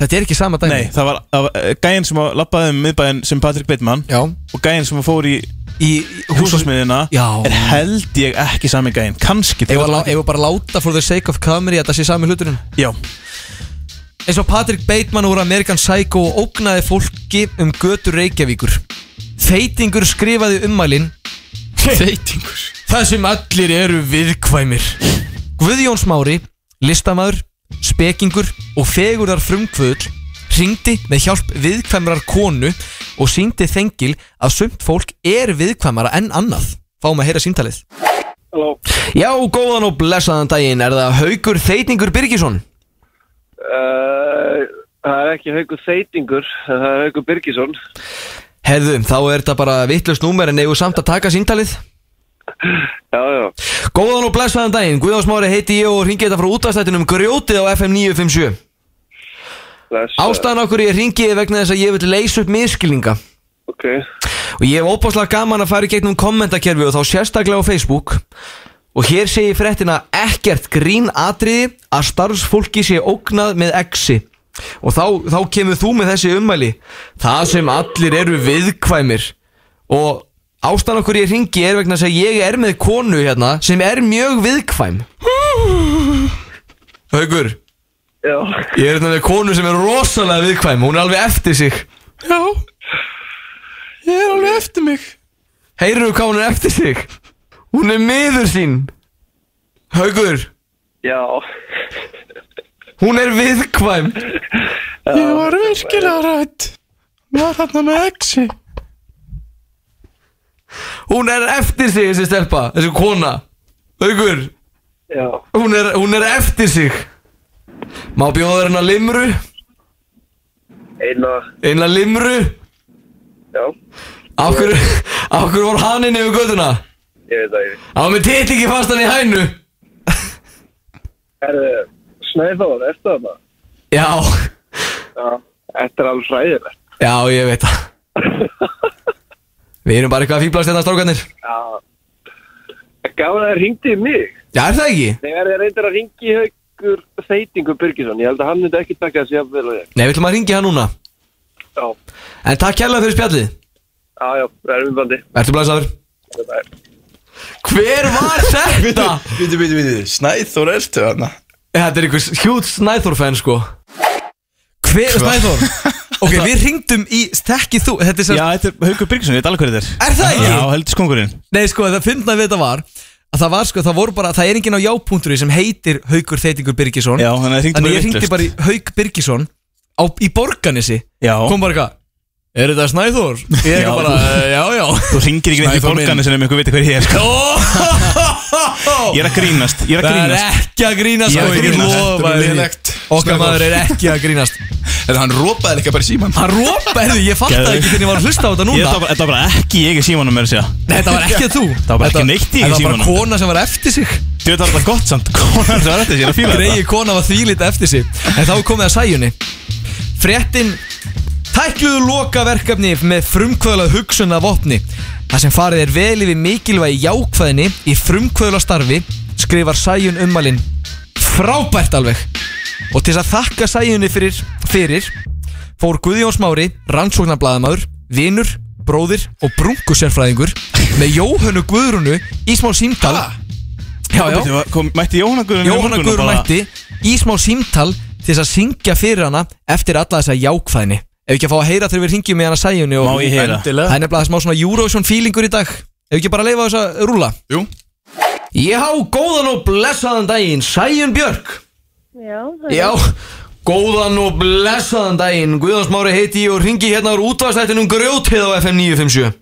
A: Þetta er ekki sama dæmi
B: Nei, það var, það var eh, gæinn sem var- labbaði um miðbæinn sem Patrick Bateman
A: Já,
B: og gæinn sem fór í
A: í
B: húsasmiðina
A: Já.
B: er held ég ekki sami gæinn Kanski
A: Ef við bara láta for the sake of comedy að það sé sami hluturinn
B: Já,
A: Eins og Patrick Bateman úr Amerikan Psycho og ógnaði fólki um götur Reykjavíkur Þeitingur skrifaði ummælin
C: Þeitingur
A: Það sem allir eru viðkvæmir Guðjón Smári, listamaður, spekingur og fegurðar frumkvöðl ringdi með hjálp viðkvæmrar konu og síndi þengil að sumt fólk er viðkvæmara en annað Fáum að heyra síntalið
H: Halló,
A: Já, góðan og blessaðan daginn Er það Haukur Þeitingur Birgisson?
H: uh, það er ekki Haukur Þeitingur, það er Haukur Birgisson.
A: Herðum, þá er þetta bara vittlust númer en eigum samt að taka síntalið
H: Já, já,
A: Góðan og blessaðan daginn Guðjón Smári heiti ég og ringi þetta frá útastættinum Grjótið á FM 957
H: bless. eh.
A: Ástæðan okkur ég ringi er vegna þess að ég vil leysa upp miskilninga
H: Ok,
A: og ég hef óbáslega gaman að fara í gegnum kommentakerfi og þá sérstaklega á Facebook og hér segi ég fréttina ekkert grín atriði að starfsfólki sé ógnað með exi og þá, þá kemur þú með þessi ummæli það sem allir eru viðkvæmir og ástæðan okkur ég ringi er vegna þess að ég er með konu hérna sem er mjög viðkvæm Haugur,
H: já,
A: ég er hérna með konu sem er rosalega viðkvæm, hún er alveg eftir sig
C: Já Ég er alveg eftir mig
A: Heyrðu hvað hún er eftir sig Hún er miður sín Haugur
H: já,
A: Hún er viðkvæm
C: Ég var virkilega rætt Var þarna með exi
A: Hún er eftir sig þessi stelpa Þessi kona Haugur
H: já.
A: Hún er, hún er eftir sig Má bjóða hérna limru
H: Einna,
A: Einna limru
H: já,
A: Af hverju Af hverju var hann inn yfir göduna
H: ég veit það ekki.
A: Á með titt ekki fastan í hænu
H: Herðu, Snæþór, ertu þarna?
A: Já
H: Já. Þetta er alveg hræðilegt.
A: Já ég veit það Við erum bara eitthvað að fýblast hérna strákarnir
H: Já. Gáði það ringdi í mig.
A: Já er það ekki?
H: Þegar þið reyndir að ringi í Haukur Þeitingur Birgisson, ég held að hann myndi ekki taka þessi jafnvel og ég.
A: Nei við ætlum að ringi hann núna
H: Já,
A: En takk kærlega fyrir spjallið
H: já, já, það er umbandi.
A: Ertu blæsaður?
H: Bye.
A: Hver var þetta? Eh,
C: Víti, víti, víti Snæþór ertu þarna
A: þetta er einhvers hjút Snæþór fenn sko Hver Snæþór? ok, við ringdum í Þekkið þú? Þetta er sem
B: já þetta er Haukur Birgisson, ég veit alveg hverju þetta er
A: Er það ekki?
B: Já, heldur skongurinn
A: Nei sko, það fyndna við þetta var að það var sko, það voru bara, það er enginn á já.ri sem heitir Haukur Þeitingur Birgisson
B: Já, þannig að það hringdi
A: Þannig
B: bara
A: ég hringdi
B: vitlaust.
A: bara í Hauk Birgisson á, í Borganesi
B: Já.
A: Kom bara eitthvað Er þetta Snæþór? Ég er
B: Já.
A: eitthvað bara, "Eh, já, já
B: Þú ringir ekki neitt í
C: Snæþór minn.
B: borgarni sem einhver veit hver ég er sko.
A: Ó!
B: Ég er að grínast, ég er að
A: Það er
B: grínast
A: ekki að grínast
B: Ég er
A: sko,
B: að
A: ég
B: grínast.
A: lofa
C: Þetta er
A: því.
C: lélegt.
A: Okkar
C: Snæþór.
A: maður er ekki að grínast
C: En hann rópaði líka bara í síman
A: Hann rópaði, ég fatt það
B: Geðveik.
A: ekki þegar ég var að hlusta á þetta
B: Ég-
A: núna
B: Þetta var bara- þetta var bara ekki ég í símanum með þess að
A: Nei, þetta var ekki að þú Þetta
B: var bara ekki neitt í
A: Þetta var bara
B: símanum.
A: kona sem var eftir sig
B: Þú veit það var þetta gott samt Konan sem var þetta, ég er að fíla þetta
A: Greiði kona var þvílít eftir sig En þá er komið að sæjunni Fréttin Tækluðu lokaverkefni með frumkvöðlað hugsun af opni Það sem farið er vel yfir mikilvægi jákvæðinni í frumkvöðla starfi skrifar sæjun ummalinn Frábært alveg Og til þess að þakka sæjunni fyrir, fyrir fór Guðjón Smári, rannsóknarblæðamaður, vinur, bróðir og brunkusérfræðingur með Jóhönnu Guðrúnu í smá símtal Já, já,
B: Bíddu, kom- Mætti Jóhanna Guðrun
A: Jóhanna Guðrún mætti í smá símtal til þess að syngja fyrir hana eftir alla þessa jákvæðni Ef ekki að fá að heyra þegar við ringjum í hana sæjunni og
B: Má ég heyra?
A: Það er nefnilega smá svona Eurovision feelingur í dag Ef ekki bara að leifa þess að rúla
C: Jú
A: Já, góðan og blessaðan daginn, Sæjun Björk
I: Já,
A: Já, góðan og blessaðan daginn Guðans Mári heiti ég og ringi hérna úr útvarstættinum grjótið á FM 957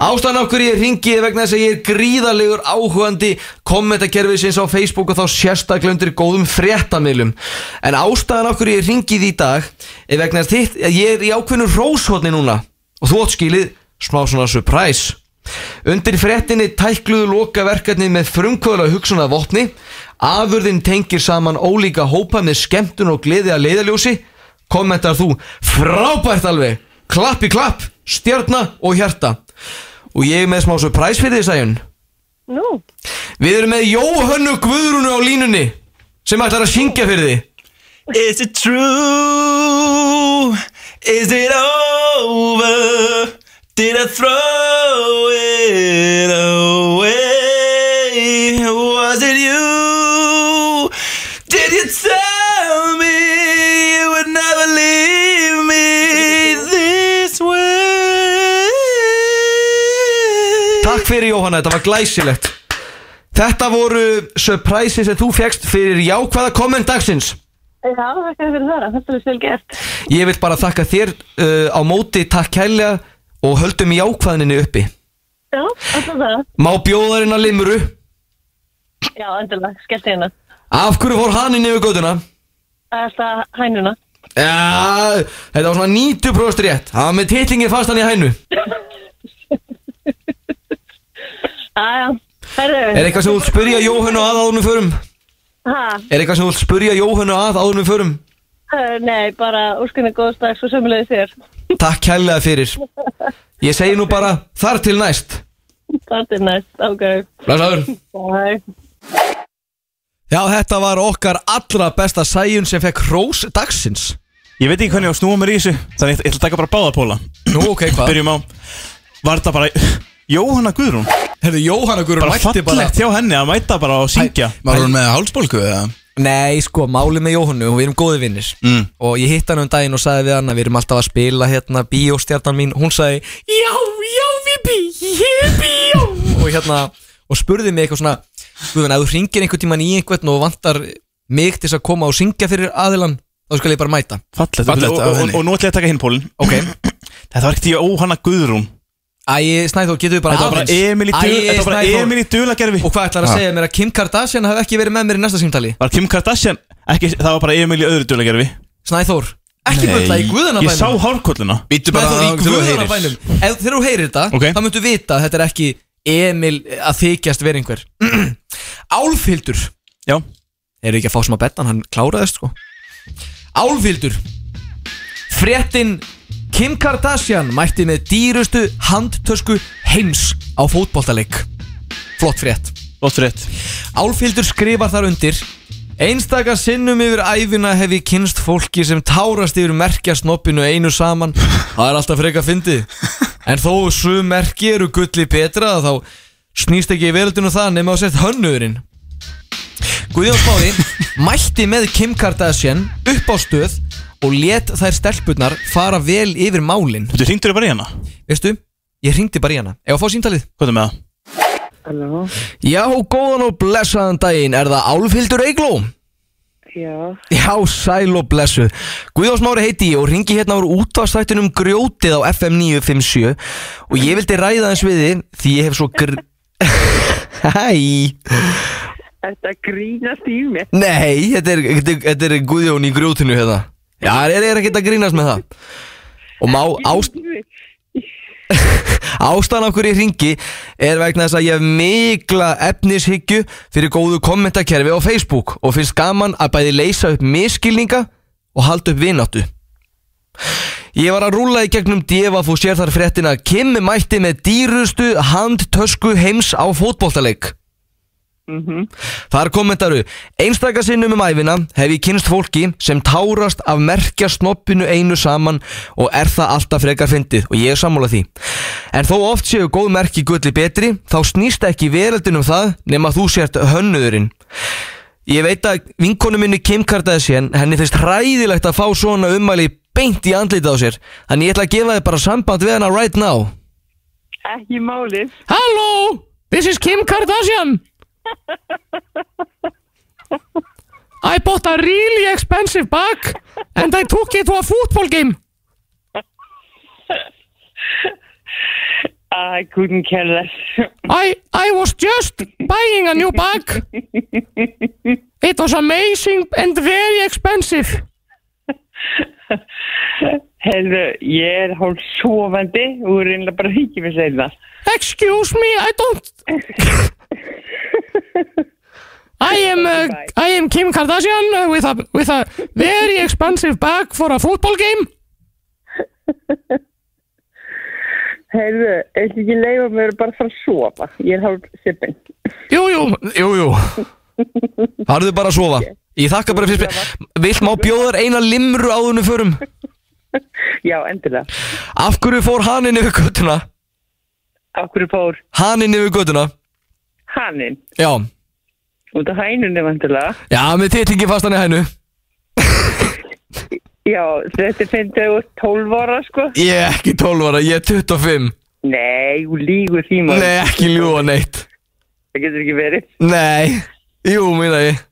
A: Ástæðan af hverju ég ringi er vegna þess að ég er gríðalegur áhugandi kommentakerfi sinns á Facebook og þá sérstaklega undir góðum fréttamilum. En ástæðan af hverju ég ringi því í dag er vegna þess þitt, að ég er í ákveðnu róshotni núna og þú átt skilið smá svona surprise. Undir fréttinni tækluðu loka verkefnið með frumkvöðla hugsunar vopni, afurðin tengir saman ólíka hópa með skemmtun og gleði að leiðaljósi, kommentar þú frábært alveg, klapp í klapp, stjarna og hjarta. Og ég er með smá surprise fyrir því sæjun.
I: Nú,
A: Við erum með Jóhönnu Guðrúnu á línunni sem ætlar að syngja fyrir því.
C: Is it true? Is it over? Did I throw it away? Was it you? Did you tell me you would never leave me this way?
A: Takk fyrir Jóhanna, þetta var glæsilegt Þetta voru surprises sem þú fegst fyrir jákvæða komment dagsins
I: já, það kannski fyrir það, þetta er vel gert.
A: Ég vil bara þakka þér uh, á móti takk kærlega og höldum jákvæðninni uppi
I: Já, alltaf það.
A: Má bjóðarinn að limru
I: Já, endilega, skellt hérna.
A: Af hverju fór hann inn yfir göduna?
I: Alltaf hænuna.
A: Ja, þetta var svona 90% rétt Það var með titlingin fastan í hænu
I: Æja, herru.
A: Er eitthvað sem þú vilt spyrja Jóhannu að áðunum förum?
I: Ha,
A: Er eitthvað sem þú vilt spyrja Jóhannu að áðunum förum?
I: uh, nei, bara úrskunni góðstags og sömulegði þér.
A: Takk kærlega fyrir Ég segi nú bara þar til næst
I: Það er næst, ok.
A: Blæsaður
I: Bye.
A: Já, þetta var okkar allra besta sæjun sem fekk hrós dagsins
B: Ég veit ekki hvernig ég á að snúa mér í þessu Þannig ég ætla- ég ætla að taka bara báðapóla
A: Nú, ok, hvað?
B: Byrjum á Var þetta bara Jóhanna Guðrún
G: Herðu, Jóhanna Guðrún
B: Bara
G: mætti bara
B: fallegt hjá henni að mæta bara og syngja
G: Var hún með hálsbólgu eða?
A: Nei, sko, málið með Jóhannu, við erum góði vinnir
G: Mm.
A: Og ég hitt hann um daginn og sagði við hann að við erum alltaf að spila hérna bíóstjarnan mín Hún sagði, já, já, við bí, ég bíó Og hérna, og spurði mig eitthvað svona Guðan, ef þú hringir einhvern tíman í einhvern og vantar mig til þess að koma og syngja fyrir aðilan Þá skal ég bara mæta
B: Fallegt
G: Fallegt
B: og,
G: af
B: og, og,
G: henni.
B: og nú ætla ég að taka hinn pólinn
A: Ok
B: Þetta var ekkert Jóhanna Guðrún
A: Æ, Snæþór, getur við bara
B: Þetta var bara
A: aðeins?
B: Emil í
A: Æ,
B: dul- þetta var bara
A: Snæþór.
B: Emil í dulagerfi
A: Og hvað ætlar að
G: Ha.
A: segja mér að Kim Kardashian hafi ekki verið með mér í næsta símtali?
B: Var Kim Kardashian ekki, Það var bara Emil í öðru dulagerfi
A: Snæþór, ekki byrla í guðanabænum
B: Ég sá hárkolluna
G: Býttu bara þangað
A: Snæþór, í
G: til þú heyrir.
A: guðanabænum Ef þegar þú heyrir þetta,
B: Ok.
A: þá myndu vita að þetta er ekki Emil að þykjast verið einhver Álfhildur
B: Já
A: Eru ekki að fá sem að betna, hann kláraðist sko Álfhildur Fréttin Kim Kardashian mætti með dýrustu handtösku heims á fótboltaleik Flott frétt
B: Lótt rétt
A: Álfhildur skrifar þar undir Einstaka sinnum yfir æfina hef ég kynst fólki sem tárast yfir merkjasnoppinu einu saman Það er alltaf freka fyndið En þó sum merki eru gulli betra þá snýst ekki í veröldinu það nema að sett hönnurinn Guðjón Smáði mætti með Kim Kardashian upp á stöð og let þær stelpurnar fara vel yfir málin
B: Þú hringdur bara í hana
A: Veistu, ég hringdi bara í hana Ef að fá síntalið
B: Hvað er með það?
J: Halló,
A: Já, góðan og blessaðan daginn Er það Álfhildur Eigló?
J: já,
A: Já, sæl og blessu Guðjón Smári heiti ég og ringi hérna úr útvarstættunum grjótið á FM 957 og ég vildi ræða eins við þið því ég hef svo gr... Hæ
J: þetta grínast í mig.
A: Nei, þetta er, þetta er, þetta er Guðjón í grjótinu hérna Já, það er, er ekkert að grínast með það Og má ást, ástæðan af hverju ég ringi er vegna þess að ég hef mikla efnishyggju fyrir góðu kommentakerfi á Facebook og finnst gaman að bæði leysa upp miskilninga og halda upp vináttu Ég var að rúla í gegnum divaf og sér þar fréttina Kim mætti með dýrustu handtösku heims á fótboltaleik Þar kommentaru Einstaka sinnum um æfina hef ég kynst fólki sem tárast af merkja snoppinu einu saman og er það alltaf frekar fyndið og ég er sammála því En þó oft séu góð merki gulli betri þá snýst ekki veröldin um það nema þú sért hönnuðurinn Ég veit að vinkonu minni Kim Kardashian henni finnst hræðilegt að fá svona ummæli beint í andlitið á sér Þannig ég ætla að gefa þið bara samband við hana right now
J: Ekki málið.
A: Hello, this is Kim Kardashian. I bought a really expensive bag and I took it to a football game.
J: I couldn't care less.
K: I, I was just buying a new bag. It was amazing and very expensive.
J: Herðu, ég er hálf sofandi og er einlega bara híkjum að segja það.
K: Excuse me, I don't... I am, uh, I am Kim Kardashian uh, with a, with a very expensive bag for a football game.
J: Herðu, eitthvað ekki leifa mér að bara fara að sofa. Ég er hálf sippin.
A: Jú, jú, jú, jú Farðu bara að sofa Ég þakka bara fyrir spil Vilt má bjóðar eina limru áðunum förum
J: Já, endilega
A: Af hverju fór haninn yfir göttuna?
J: Af hverju fór?
A: Haninn yfir göttuna
J: Hanninn,
A: Já,
J: út af hænunni vantilega.
A: já með titlingi fast hann í hænu
J: Já, þetta finnst þau 12 ára, sko.
A: Ég er ekki 12 ára, ég er 25
J: Nei, þú lígur því maður.
A: Nei, ekki ljúa neitt
J: Það getur ekki verið.
A: Nei, jú, minna ég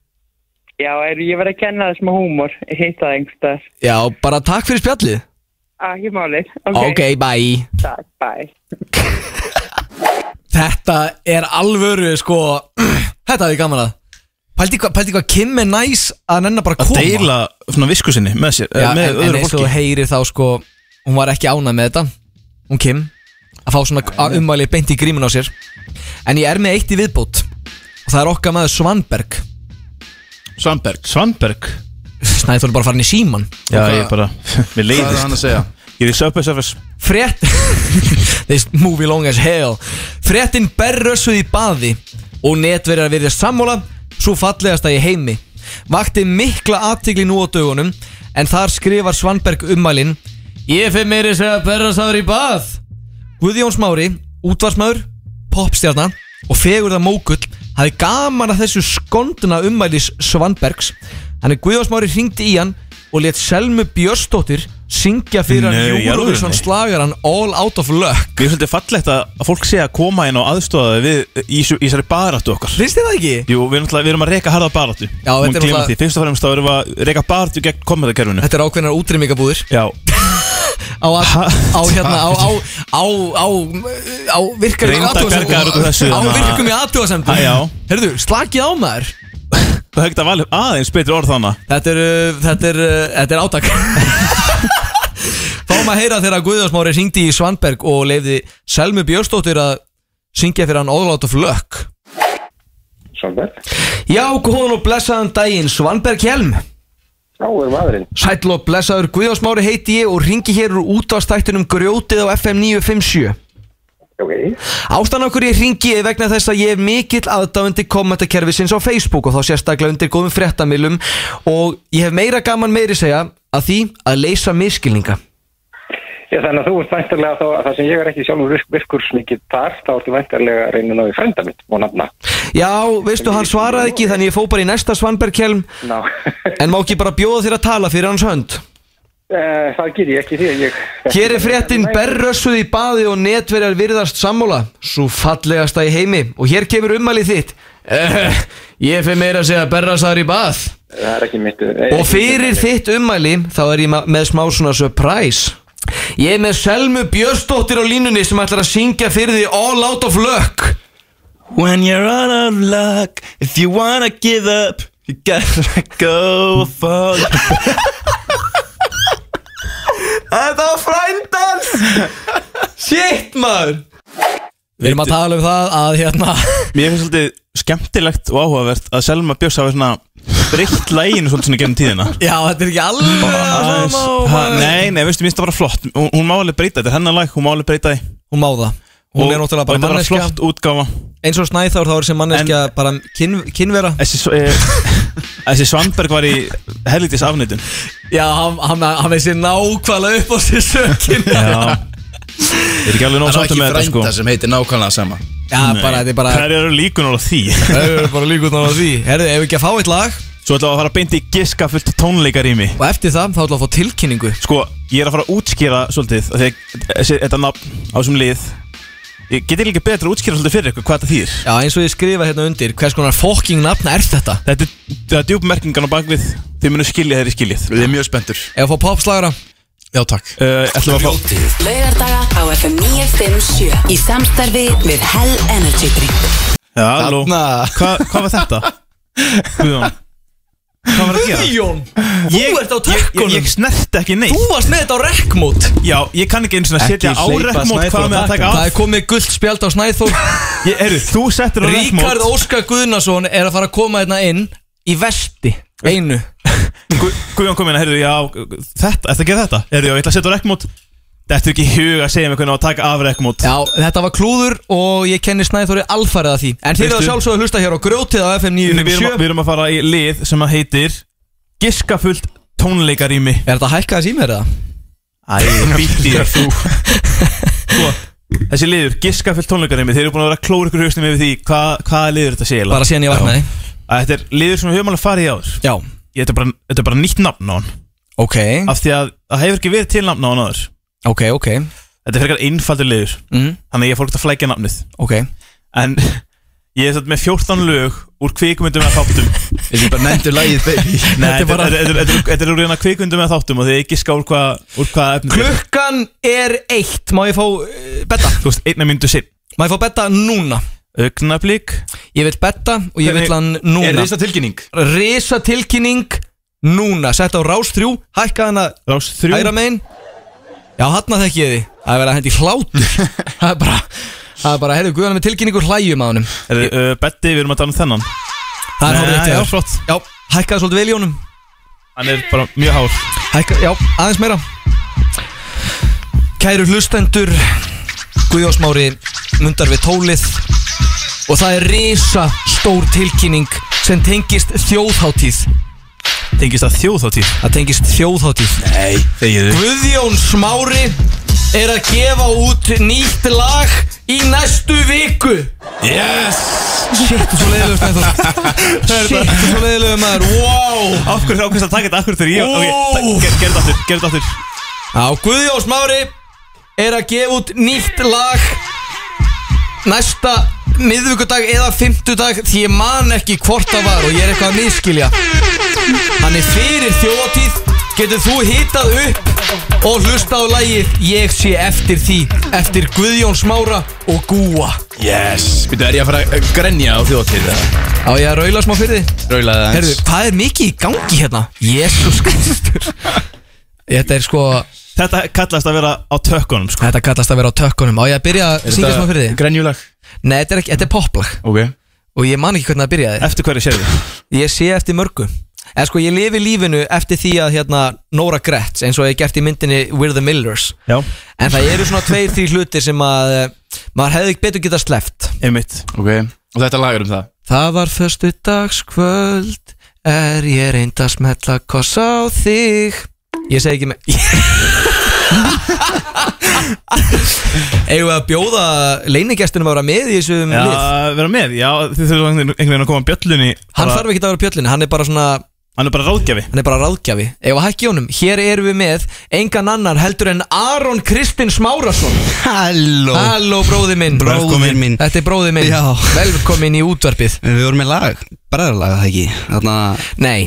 J: Já, er, ég var að kenna það smá húmor. Hitt það einhverstaðar.
A: Já, bara takk fyrir spjallið
J: Ah, ekki málið.
A: Ok, bye
J: Takk, bye.
A: Þetta er alvöru sko Þetta er gaman að Pældi hvað, pældi hvað Kim er næs að nennan bara koma
B: Deila svona visku sinni með sér
A: Já,
B: eh, með
A: en, en
B: öðru
A: eins og þú
B: fólki
A: heyrir þá sko Hún var ekki ánað með þetta Hún Kim Að fá svona að ummæli beint í grímun á sér En ég er með eitt í viðbót Og það er okkar maður Svanberg
B: Svanberg Svanberg
A: Snæði þú bara farin í síman
B: Já, ég bara Mér leiðist
G: Hvað er hann að segja?
B: Ég er í Subway Surface
A: Frétt This movie long as hell Fréttin berrössuð í baði Og netverjar verið sammála Svo fallegasta í heimi Vakti mikla aðtigli nú á dögunum En þar skrifar Svanberg ummælin Ég fyrir meiri segja berrössaður í bað Guðjón Smári, útvarsmaður Popstjarna Og fegurða mókull Hafi gaman að þessu skonduna ummælis Svanbergs Hann er Guðjón Smári hringdi í hann Og let Selmu Björsdóttir Syngja fyrir
B: Nei,
A: hann
B: í alvörunni?
A: Eurovision slagar hann all out of luck
B: Mér finnst þetta fallegt að að fólk sé að koma inn og aðstofa þau við í þessu- í þessari baráttu okkar
A: Finnst þið það ekki?
B: Jú, við, náttúrulega- við erum að reyka harða baráttu
A: þetta er náttúrulega-
B: náttúrulega Fyrst og fremst þá erum við að reyka baráttu gegn kommentarkerfinu
A: Þetta er ákveðnar útrýmingabúðir
B: Já,
A: á, að- á hérna á, á, á, á, á virkar í
B: Reyndu að
A: athugasemdum.
B: bjarga þér út úr þessu,
A: á
B: þannig að-
A: virkum í aðtúasemdum
B: Æ, já.
A: Herðu, slakið á maður
B: það hefði að valja aðeins betri orð þannig
A: Þetta er, uh, þetta er, uh, þetta er átak Fáum að heyra þegar Guðjóðsmári syngdi í Svanberg og leiði Selmu Björstóttir að syngja fyrir hann All Out of Luck
L: Svanberg
A: Já, góðan og blessaðan daginn Svanberg Hjelm
L: Já, er maðurinn
A: Sæll og blessaður Guðjóðsmári heiti ég og ringi hér úr útastættunum Grjótið á FM 957
L: Ok
A: Ástæðan okkur ég ringi er vegna þess að ég er mikill aðdáðandi kommentakerfisins á Facebook og þá sérstaklega undir góðum fréttamilum og ég hef meira gaman meiri segja að því að leysa miskilninga.
L: Já, þannig að þú ert væntarlega þá að það sem ég er ekki sjálfur virk, virkur mikið þar, þá ertu væntarlega að reyna að ná í frænda mitt og nafna.
A: Já, veistu, hann svaraði ekki þannig ég fó bara í næsta Svanbergkelm
L: Ná,
A: en má ekki bara bjóða þér að tala fyrir hans hönd.
L: eh, það ger ég ekki því að ég...
A: Hér er fréttin berrössuð í baði og netverjar virðast sammála Svo fallegasta í heimi Og hér kemur ummælið þitt Eh, Ég fyrir meira að segja berrasar í bað
L: Það er ekki mitt...
J: eh,
A: Og fyrir þitt ummæli þá er ég ma- með smá svona surprise Ég er með Selmu Björsdóttir á línunni sem ætlar að syngja fyrir því All Out of Luck
C: When you're out of luck, if you wanna give up, you gotta go
B: Oh,
C: for
A: Þetta var frændans Shit maður Við erum að tala um það að hérna
B: Mér finnst svolítið skemmtilegt og áhugavert að Selma Björns hafi svona breytt læginu svolítið svona gerum tíðina
A: Já, þetta er ekki alveg að
B: Aðeins-
A: sama og
B: ha,
A: maður-
B: Nei, nei, veistu, mér finnst það bara flott Hún, hún má alveg breyta, þetta er hennar læg, hún má alveg breyta því
A: Hún má það Hún er náttúrulega bara
B: og þetta er
A: manneskja.
B: flott útgáfa
A: Eins og Snæþór þá er sem manneskja bara kyn, kynvera
B: Þessi, svo- eh, þessi Svanberg var í helgdís afnýtun
A: Já, hann, hann, hann veist nákvæmlega upp á sér sökin
B: Já Ég er ekki alveg nóg
G: Það er
B: sáttum
G: ekki
B: með þetta sko
G: frænda sem heitir nákvæmlega sama
A: Já, bara, þetta er bara
B: Það eru líkun á því
A: Það eru bara líkutnáð á því Herðu, ef við ekki að fá eitt lag
B: Svo ætlum við að fara að beinti í giska fullt tónleikarými
A: Og eftir það þá ætlum við að fá tilkynningu
B: Sko, ég er að fara að útskýra svolítið af því að þessi- Þetta nafn á þessum lið Ég geti líka betra að útskýra svolítið fyrir ykkur hvað þetta þýr
A: Já, eins og ég skrifa hérna undir Hvers konar fokking nafna er þetta?
B: Þetta er, þetta er djúpmerkingan á bakvið Þið munu skilja þeirri skiljið
G: Við erum mjög spenntur
A: Ef að fá popslagara
B: Já, takk uh, Ætlum við að fá
M: Laugardaga á FM 957 Í samstarfi við Hell Energy Drink
B: Já, halló Hva, Hvað var þetta? Guðjón Hvað var að gera?
A: Guðjón, þú ert á
B: Ég,
A: tökkunum
B: ég snerti ekki neitt
A: Þú varst með þetta á rekkmót
B: Já, ég kann ekki einu svona setja á rekkmót Hvað með að taka
A: Það
B: af
A: er komið gullt spjald á Snæþór
B: Eru, þú settir á rekkmót
A: Ríkard Óskar Guðnason er að fara að koma hérna inn Í vesti, einu
B: Gu- Guðjón kom inn að, heyrðu, já, þetta, eftir að gera þetta Heyrðu, já, ég ætla að setja á rekkmót Þetta er ekki í hug að segja mér hvernig á að taka af rekkmót
A: Já, þetta var klúður og ég kenni Snæþóri alfarið að því En þið eru að
B: Veistu-
A: sjálfsögðu að hlusta hér á grjótið á FM
B: Við erum,
A: 957
B: við erum að fara í lið sem að heitir Giskafullt tónleikarými
A: Er þetta hækkaðis í mér eða?
B: Æ, býtti ég þú Sko, Þessi liður, giskafullt tónleikarými Þeir eru búin að vera að klóra ykkur hausnum yfir því Hva, Hvaða liður þetta sé eiginlega?
A: Bara síðan ég vaknaði.
B: Já. Að Þetta er liður sem við höfum alveg farið í áður
A: Já
B: Þetta er bara, þetta er bara nýtt nafn á hann
A: Ok
B: Af því að það hefur ekki verið til nafn á hann áður
A: Ok, ok
B: Þetta er frekar einfaldur liður
A: mm.
B: Þannig að ég fólk að flækja nafnið
A: Ok
B: En ég er satt með 14 lög úr kvikmyndum eða þáttum
G: Þetta er bara nefndur lagið, baby
B: Nei, þetta er bara Þetta er- þetta er- þetta er úr hérna kvikmyndum eða þáttum og þið ekki skál hvað úr hvað efnið er.
A: Klukkan er eitt, má ég fá uh, betta?
B: Þú veist, einna myndu sinn
A: Má ég fá betta núna?
B: Augnablík
A: Ég vil betta og ég vil
G: Hvernig-
A: hann núna
G: Er risa tilkynning?
A: Risa tilkynning núna Sett á rás 3, hækka hana
B: Rás 3
A: Hægra megin Já, hann að þekki ég því Það er verið að hendi hlátur Það er bara Það er bara, heyrðu, guðan með tilkynningur hlægjum á honum
B: Er, uh, Betti, við erum að tala um þennan
A: Það er
B: Nei,
A: hárið
B: já,
A: eitt
B: flott.
A: Já, hækkaði svolítið vel í honum
B: Hann er bara mjög hár
A: Hækka, já, aðeins meira Kæru hlustendur Guðjósmári mundar við tólið Og það er risa stór tilkynning sem tengist þjóðháttíð
B: Tengist það þjóðháttíð
A: Það tengist þjóðháttíð
G: Nei, þegiðu
A: Guðjón Smári er að gefa út nýtt lag í næstu viku
G: Yes
A: Shit, þú er svo leiðilegur Steinþór Shit, þú er svo leiðilegur maður Wow
B: Af hverju ákveðst að taka þetta, af hverju þegar ég
A: Ó.
B: Ok, ta- ger- Gerðu þetta aftur, gerðu þetta aftur
A: Já, Guðjón Smári er að gefa út nýtt lag næsta miðvíkudag eða fymtudag því ég man ekki hvort það var og ég er eitthvað að miskilja Hann er fyrir þjóðatíð getur þú hitað upp og hlusta á lagið Ég sé eftir því eftir Guðjón Smára og Gúa
G: Yes Býtu, er ég að fara að grenja á þjóðatíð eða?
A: Á ég að raula smá fyrir þið?
G: Raulaði það
A: Herðu,
G: eins
A: hvað er mikið í gangi hérna? Jésús Kristur Þetta er sko
B: Þetta kallast að vera á tökkunum sko.
A: Þetta kallast að vera á tökkunum Á ég að byrja að
G: Er
A: syngja
G: þetta
A: smá fyrir þig?
G: Grenjulag
A: Nei, þetta er, ekki, þetta er poplag
G: Ok
A: Og ég man ekki hvernig það byrjaði
B: Eftir hverju sérðu
A: Ég sé eftir mörgu En sko, ég lifi lífinu eftir því að hérna Nora Gretz Eins og ég gert í myndinni We're the Millers
B: Já
A: En það eru svona tveir, þrý hlutir sem að eh, Maður hefði ekki betur getað sleppt
B: Einmitt
G: Ok Og þetta lagur um það
A: Það var förstu dagskvöld Er ég reynd að smetla koss á þig Ég segi ekki með Eigum við að bjóða leinigestunum að vera með í þessum
B: Já,
A: lið
B: vera með, já, þið þurfum einhvern veginn að koma bjöllunni
A: Hann þarf ekki að vera pjöllin, hann er bara svona
B: Hann er bara ráðgjafi
A: Hann er bara ráðgjafi Ef að hækki honum, hér erum við með Engan annar heldur en Aron Kristinn Smárasson
N: Halló
A: Halló bróði minn
N: Bróðir minn
A: Þetta er bróði minn
N: Já.
A: Velkomin í útvarpið
N: Við vorum með lag, bræðarlag það ekki Þarna
A: Nei,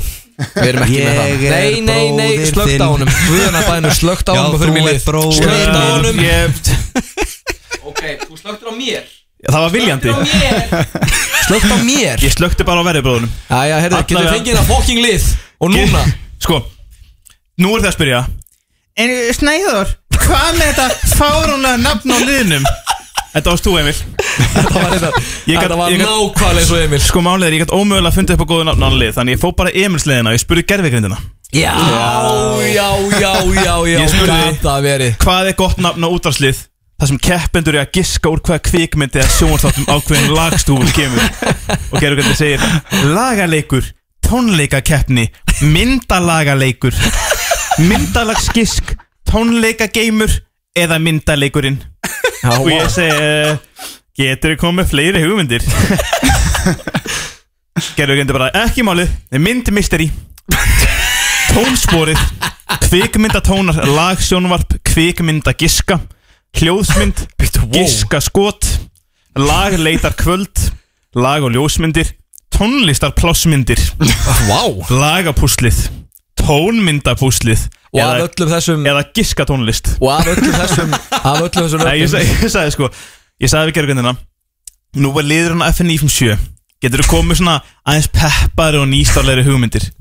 A: við erum ekki með það
N: Ég er
A: Nei, nei, nei,
N: bróðir
A: slögt á
N: þinn.
A: honum Guðan að bæðinu slögt á
N: Já,
A: honum og fyrir
N: þú
A: mig lið
N: ert bróðir
A: Slögt á
N: minn.
A: honum
B: Ég,
A: Ok, þú slögtur á mér
B: Það var viljandi
A: Slögt á mér
B: Ég slökti bara á verðibróðunum
A: Æja, herðu,
B: Alla
A: getur
B: vega.
A: fengið það fokking lið Og núna
B: Sko, nú er það að spyrja En Snæður, hvað með þetta fáránlega nafn á liðnum? Þetta varst þú Emil
A: Þetta var þetta
B: Ég gat-
A: Þetta var
B: ég gat-
A: nákvæmlega eins og Emil
B: Sko málið er, ég gæti ómögulega að funda upp á góðu nafn á hann lið Þannig ég fó bara Emils liðina og ég spurði gerfigrindina
A: Já, já, já, já, já
B: Ég spurði-
A: gat það verið
B: Hvað er gott nafn á útvarslið? Það sem keppendur er að giska úr hvaða kvikmyndi eða sjónvarstáttum ákveðin lagstúfur kemur Og gerfigrindin segir Lagaleikur, tónleikakeppni, myndalagaleikur Myndalagsgisk, tónleikageimur eða myndaleikurinn
A: Já,
B: Og ég
A: vá.
B: segi uh, Getur þið komið með fleiri hugmyndir? Gerður gendur bara Ekki málið, þið mynd mystery Tónsporið Kvikmyndatónar, lagsjónvarp Kvikmynda giska Hljóðsmynd, giska skot Lagleitar kvöld Lag og ljósmyndir Tónlistar plássmyndir
A: Vá
B: Lagapúslið tónmyndapúslið
A: Og af öllum þessum
B: Eða giska tónlist
A: Og af öllum þessum Af öllum þessum
B: Nei, ég, sag, ég sagði sko Ég sagði við gerðugöndina Nú er liðurinn á FNI 57 Getur þú komið svona aðeins peppari og nýstarlegri hugmyndir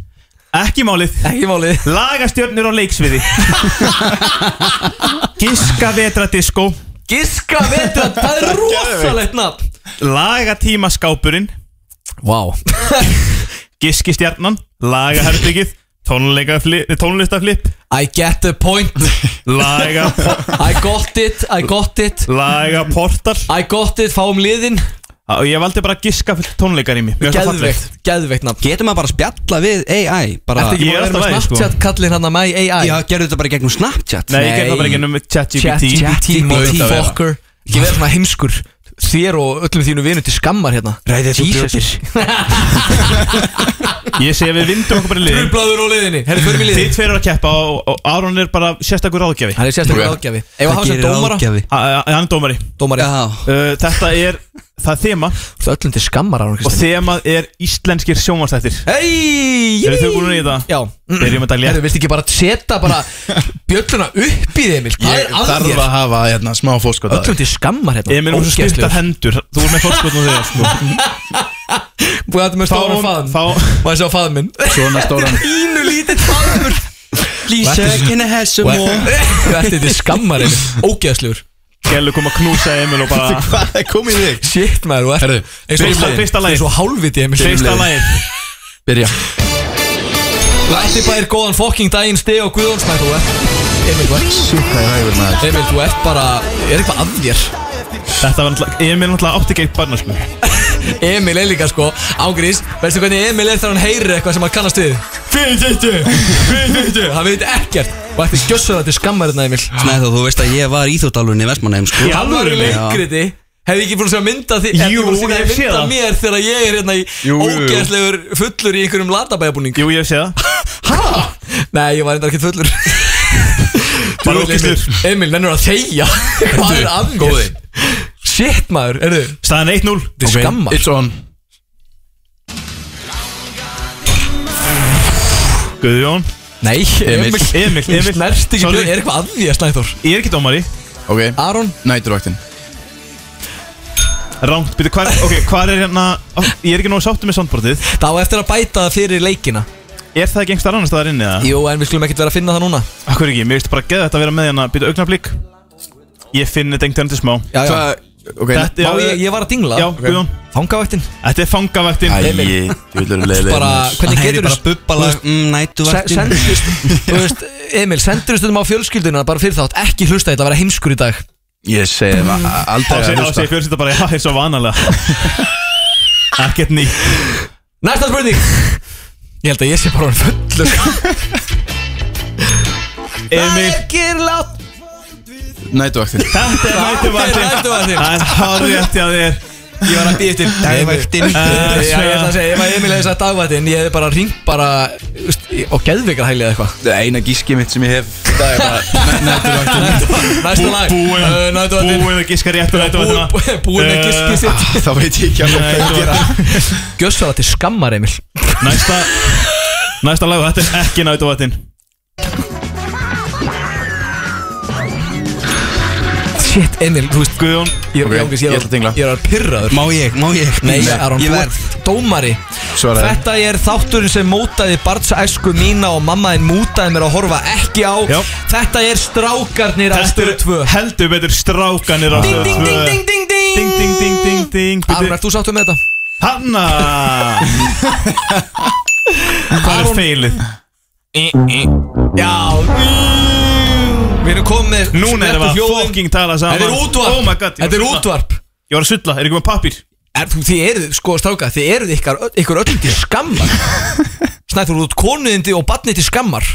B: Ekki málið
A: Ekki málið
B: Lagastjörnir á leiksviði Giska vetradiskó
A: Giska vetra, það er rosalegt nafn
B: Lagatíma skápurinn
A: Vá wow.
B: Giskistjarnan Lagaherbyggið Tónlistaflip
A: I get the point
B: Laga
A: I got it, I got it
B: Laga portal Ah,
A: I got it, fáum liðin
B: Og ég valdi bara að giska fyrir tónleikar í mig
A: Geðveikt, geðveikt nafn
N: Getur maður bara að spjalla við AI bara
B: Ertu ekki búin að vera með
A: Snapchat kallinn hann að my AI
N: Já, gerðu þetta bara í gegnum Snapchat
B: sko. Nei, ég gerði það bara ekki ennum ChatGPT
A: ChatGPT,
B: Auðvitað vera.
A: fucker Ekki vera svona heimskur Þér og öllum þínu vinur til skammar hérna
N: Ræðið þú
A: Jesus.
N: bjóðir
B: Ég segi að við vindum okkur bara í liðin
A: Trublaður á liðinni, herri, förum í
B: Þið
A: liðin
B: tveir eru að keppa og, og Aron er bara sérstakur ráðgjafi
A: Hann er sérstaklega ágjafi Ef að hafa sem dómara
N: ágjafi
B: A- a- Hann er dómari
A: Dómari,
N: Já,
B: uh, Þetta er, það er þema
A: þú ert öllum til skammar á hann
B: Og þemað er íslenskir sjónvarsþættir
A: Hei
B: Eru þau búin í þetta?
A: Já
B: Byrjum þetta létt
A: Herri, viltu ekki bara setja bara bjölluna upp í þig, Emil Hvað
G: Ég
A: er að
G: þarf
A: þér?
G: að hafa hérna, smá fórskot að
A: Öllum til skammar hérna
B: Emil var svo
A: Ógeðslegur.
B: stuttar hendur Þú er með fórskotnum þegar sko.
A: Búið að þetta með stóra faðm
B: fá,
A: Má ég sjá faðm minn
G: þér. Svona stóran
A: Ínu lítið faðmur
N: Sökina hessum og
A: Þetta er skammar hérna Ógeðslegur
B: Gellu kom að knúsa Emil og bara
G: Hvað er komið í þig?
A: Shit maður, þú ert
G: Herru,
A: eins og-
B: fyrsta- fyrsta lagið.
A: Eins og hálfviti Emil
B: Fyrsta lagið
G: Byrja
A: Lætti bær góðan fokking daginn steg og guðjónsmæð Þú ert Emil, þú ert
G: Sjúkla í ræður maður
A: Emil, þú ert bara Er eitthvað að þér
B: Þetta var náttúrulega Emil náttúrulega átti ekki eitt barna sko.
A: Emil er líka sko Ágrís Veistu hvernig Emil er þegar hann heyrir eitthvað sem hann kannast við Fyrir þetta Fyrir þetta Hann veit ekkert Og þetta er gjössuð þetta er skammar hérna Emil
N: Snæðó, þú veist að ég var íþjóttálunni í Vestmannheim sko
B: Já.
A: Alvöru
B: alvöru?
A: leikriti Hefði ég ekki búin að sjá mynda því
B: Jú,
A: ég
B: ég
A: hef
B: hef séð
A: mynda
B: það.
A: mér þegar ég er hérna í
G: Jú, jú, jú.
A: ógeðslegur fullur í einhverjum latabæjabúning
B: Jú, ég hef séð það
A: Nei, ég var enda ekki fullur
B: Bara
A: Djöfull,
B: ógeðslegur.
A: Emil- Emil, nennur að þegja Hvað er að mér? Shit maður, er þau?
B: Staðan 1-0
A: Þetta er skammar
G: It's on
B: Guðjón
A: Nei, Emil
B: Emil, Emil.
A: Snerst ekki
B: Sorry.
A: blöð, er eitthvað að því að Snæþór
B: Ég er ekki dómari
G: Ok,
A: Aron,
G: næturvaktin
B: Rangt, byrju, hvar, ok, hvar er hérna ó, Ég er ekki nógu sáttu með soundboardið
A: þá á eftir að bæta það fyrir leikina
B: Er það ekki einhver annars staðar inni eða?
A: Jú, en við skulum ekkert vera að finna það núna
B: Akkur ekki, mér veist bara geða þetta að vera með hérna Byrju, augnablík Ég finn þetta einhvern til smá
A: Já, já
G: Hvað, ok
B: Þetta
A: Má ég, ég var að dingla
B: Já, Guðjón
A: Fangavættin
B: Þetta er fangavaktin
G: Æ, ég vil vera leiðið
A: Bara,
N: Það
A: hvernig
N: heyri
A: getur
N: bara bubbalag um
A: Se-
N: nætuvartin
A: sendurist, þú veist, Emil, sendurist um á fjölskylduna bara fyrir þátt, ekki hlusta þetta að vera heimskur í dag
G: Ég segi þeim a- a- aldrei
B: Þá
G: að
B: segir þá
G: hlusta
B: segir fjölsynda bara Já, það er svo vanalega Ekkert ný
A: Næsta spurning Ég held að ég sé bara orðinn fullur
B: Emil,
A: Ekkir látt
G: Næturvaktin
B: þetta er
A: Þetta er
B: nættuvaktinn
A: næturvaktinn.
B: Það er hárjætti að þér
A: Ég var að býja eftir
N: Dagvaktin.
A: Eh, Já, ég ætla að segja, ef að Emil hefði sagt dagvættin Ég hefði bara ringt bara þú veist, í- Og geðveikar hælið eða eitthvað
G: Það er eina gískið mitt sem ég hef Það er bara næ- næturvaktin
A: Næsta lag Eh,
B: Búin
A: Næturvaktinn.
B: Búin að giska rétt á nættuvattina
A: Bú- Búin með giskið sitt
G: Ah, Þá veit ég ekki alveg hvað ég gera
A: Gjössar það til skammar Emil
B: Næsta Næsta lag, þetta er ekki nættuvattin
A: Shit Emil, þú veist
B: Guðjón
A: Ég
G: Ok,
A: ég- ég-
G: ég ætla að dingla.
A: Ég er að pyrraður
N: Má ég, má ég
A: Nei, Aron,
N: ég
A: þú
N: verð
A: ert dómari
G: Svaraði
A: Þetta er þátturinn sem mótaði barnsæsku mína og mammaðin mútaði mér að horfa ekki á
B: Já.
A: Þetta er strákarnir á
B: Heldur,
A: stöðu 2
B: heldur betur strákanir á
A: Ding,
B: stöðu
A: ding,
B: tvö.
A: ding, ding, ding, ding
B: ding, ding, ding, ding, ding
A: Aron,
B: Bíddu,
A: ert þú sáttu með þetta?
B: Hanna Hvað er feilið?
A: Já Við erum komið með
B: Núna erum við að fucking tala saman
A: Þetta er útvarp
B: Oh my god ég var
A: Þetta er
B: að sulla.
A: útvarp
B: Ég var að sulla, er ekki með pappir?
A: er, þú, Þið eruð, sko stráka, þið eruð ykkar, ykkur öllum til skammar Snæður, þú ert konuðindi og barnið til skammar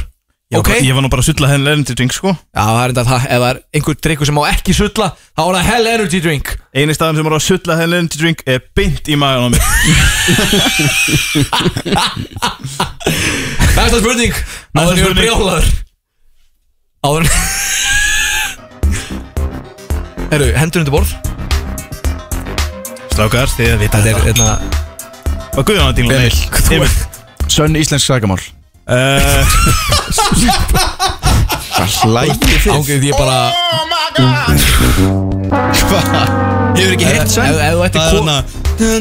B: Ég var
A: Ok?
B: bara- Ég var nú bara að sulla henni lærndi drink sko
A: Já, það er enda það, ef það er einhver drikkur sem má ekki sulla, þá er það hell energy drink
B: Einu staðan sem var að sulla henni lærndi drink er beint í magan á mig
A: Næsta spurning Áður en ég er
B: spurning.
A: brjálaður Áður en Herru, hendur undir borð
B: Strákar, þið að vita
A: Hérna, Þetta er einna
B: Hvað guðjón að dingla?
G: Emil.
B: Emil Eh, Emil
G: Sönn íslensk sagamál
B: Slæti fyrst Ángið ég bara
N: Hefur ekki heyrt sæn?
A: Ef- ef þú ættir kon- hérna- Emil,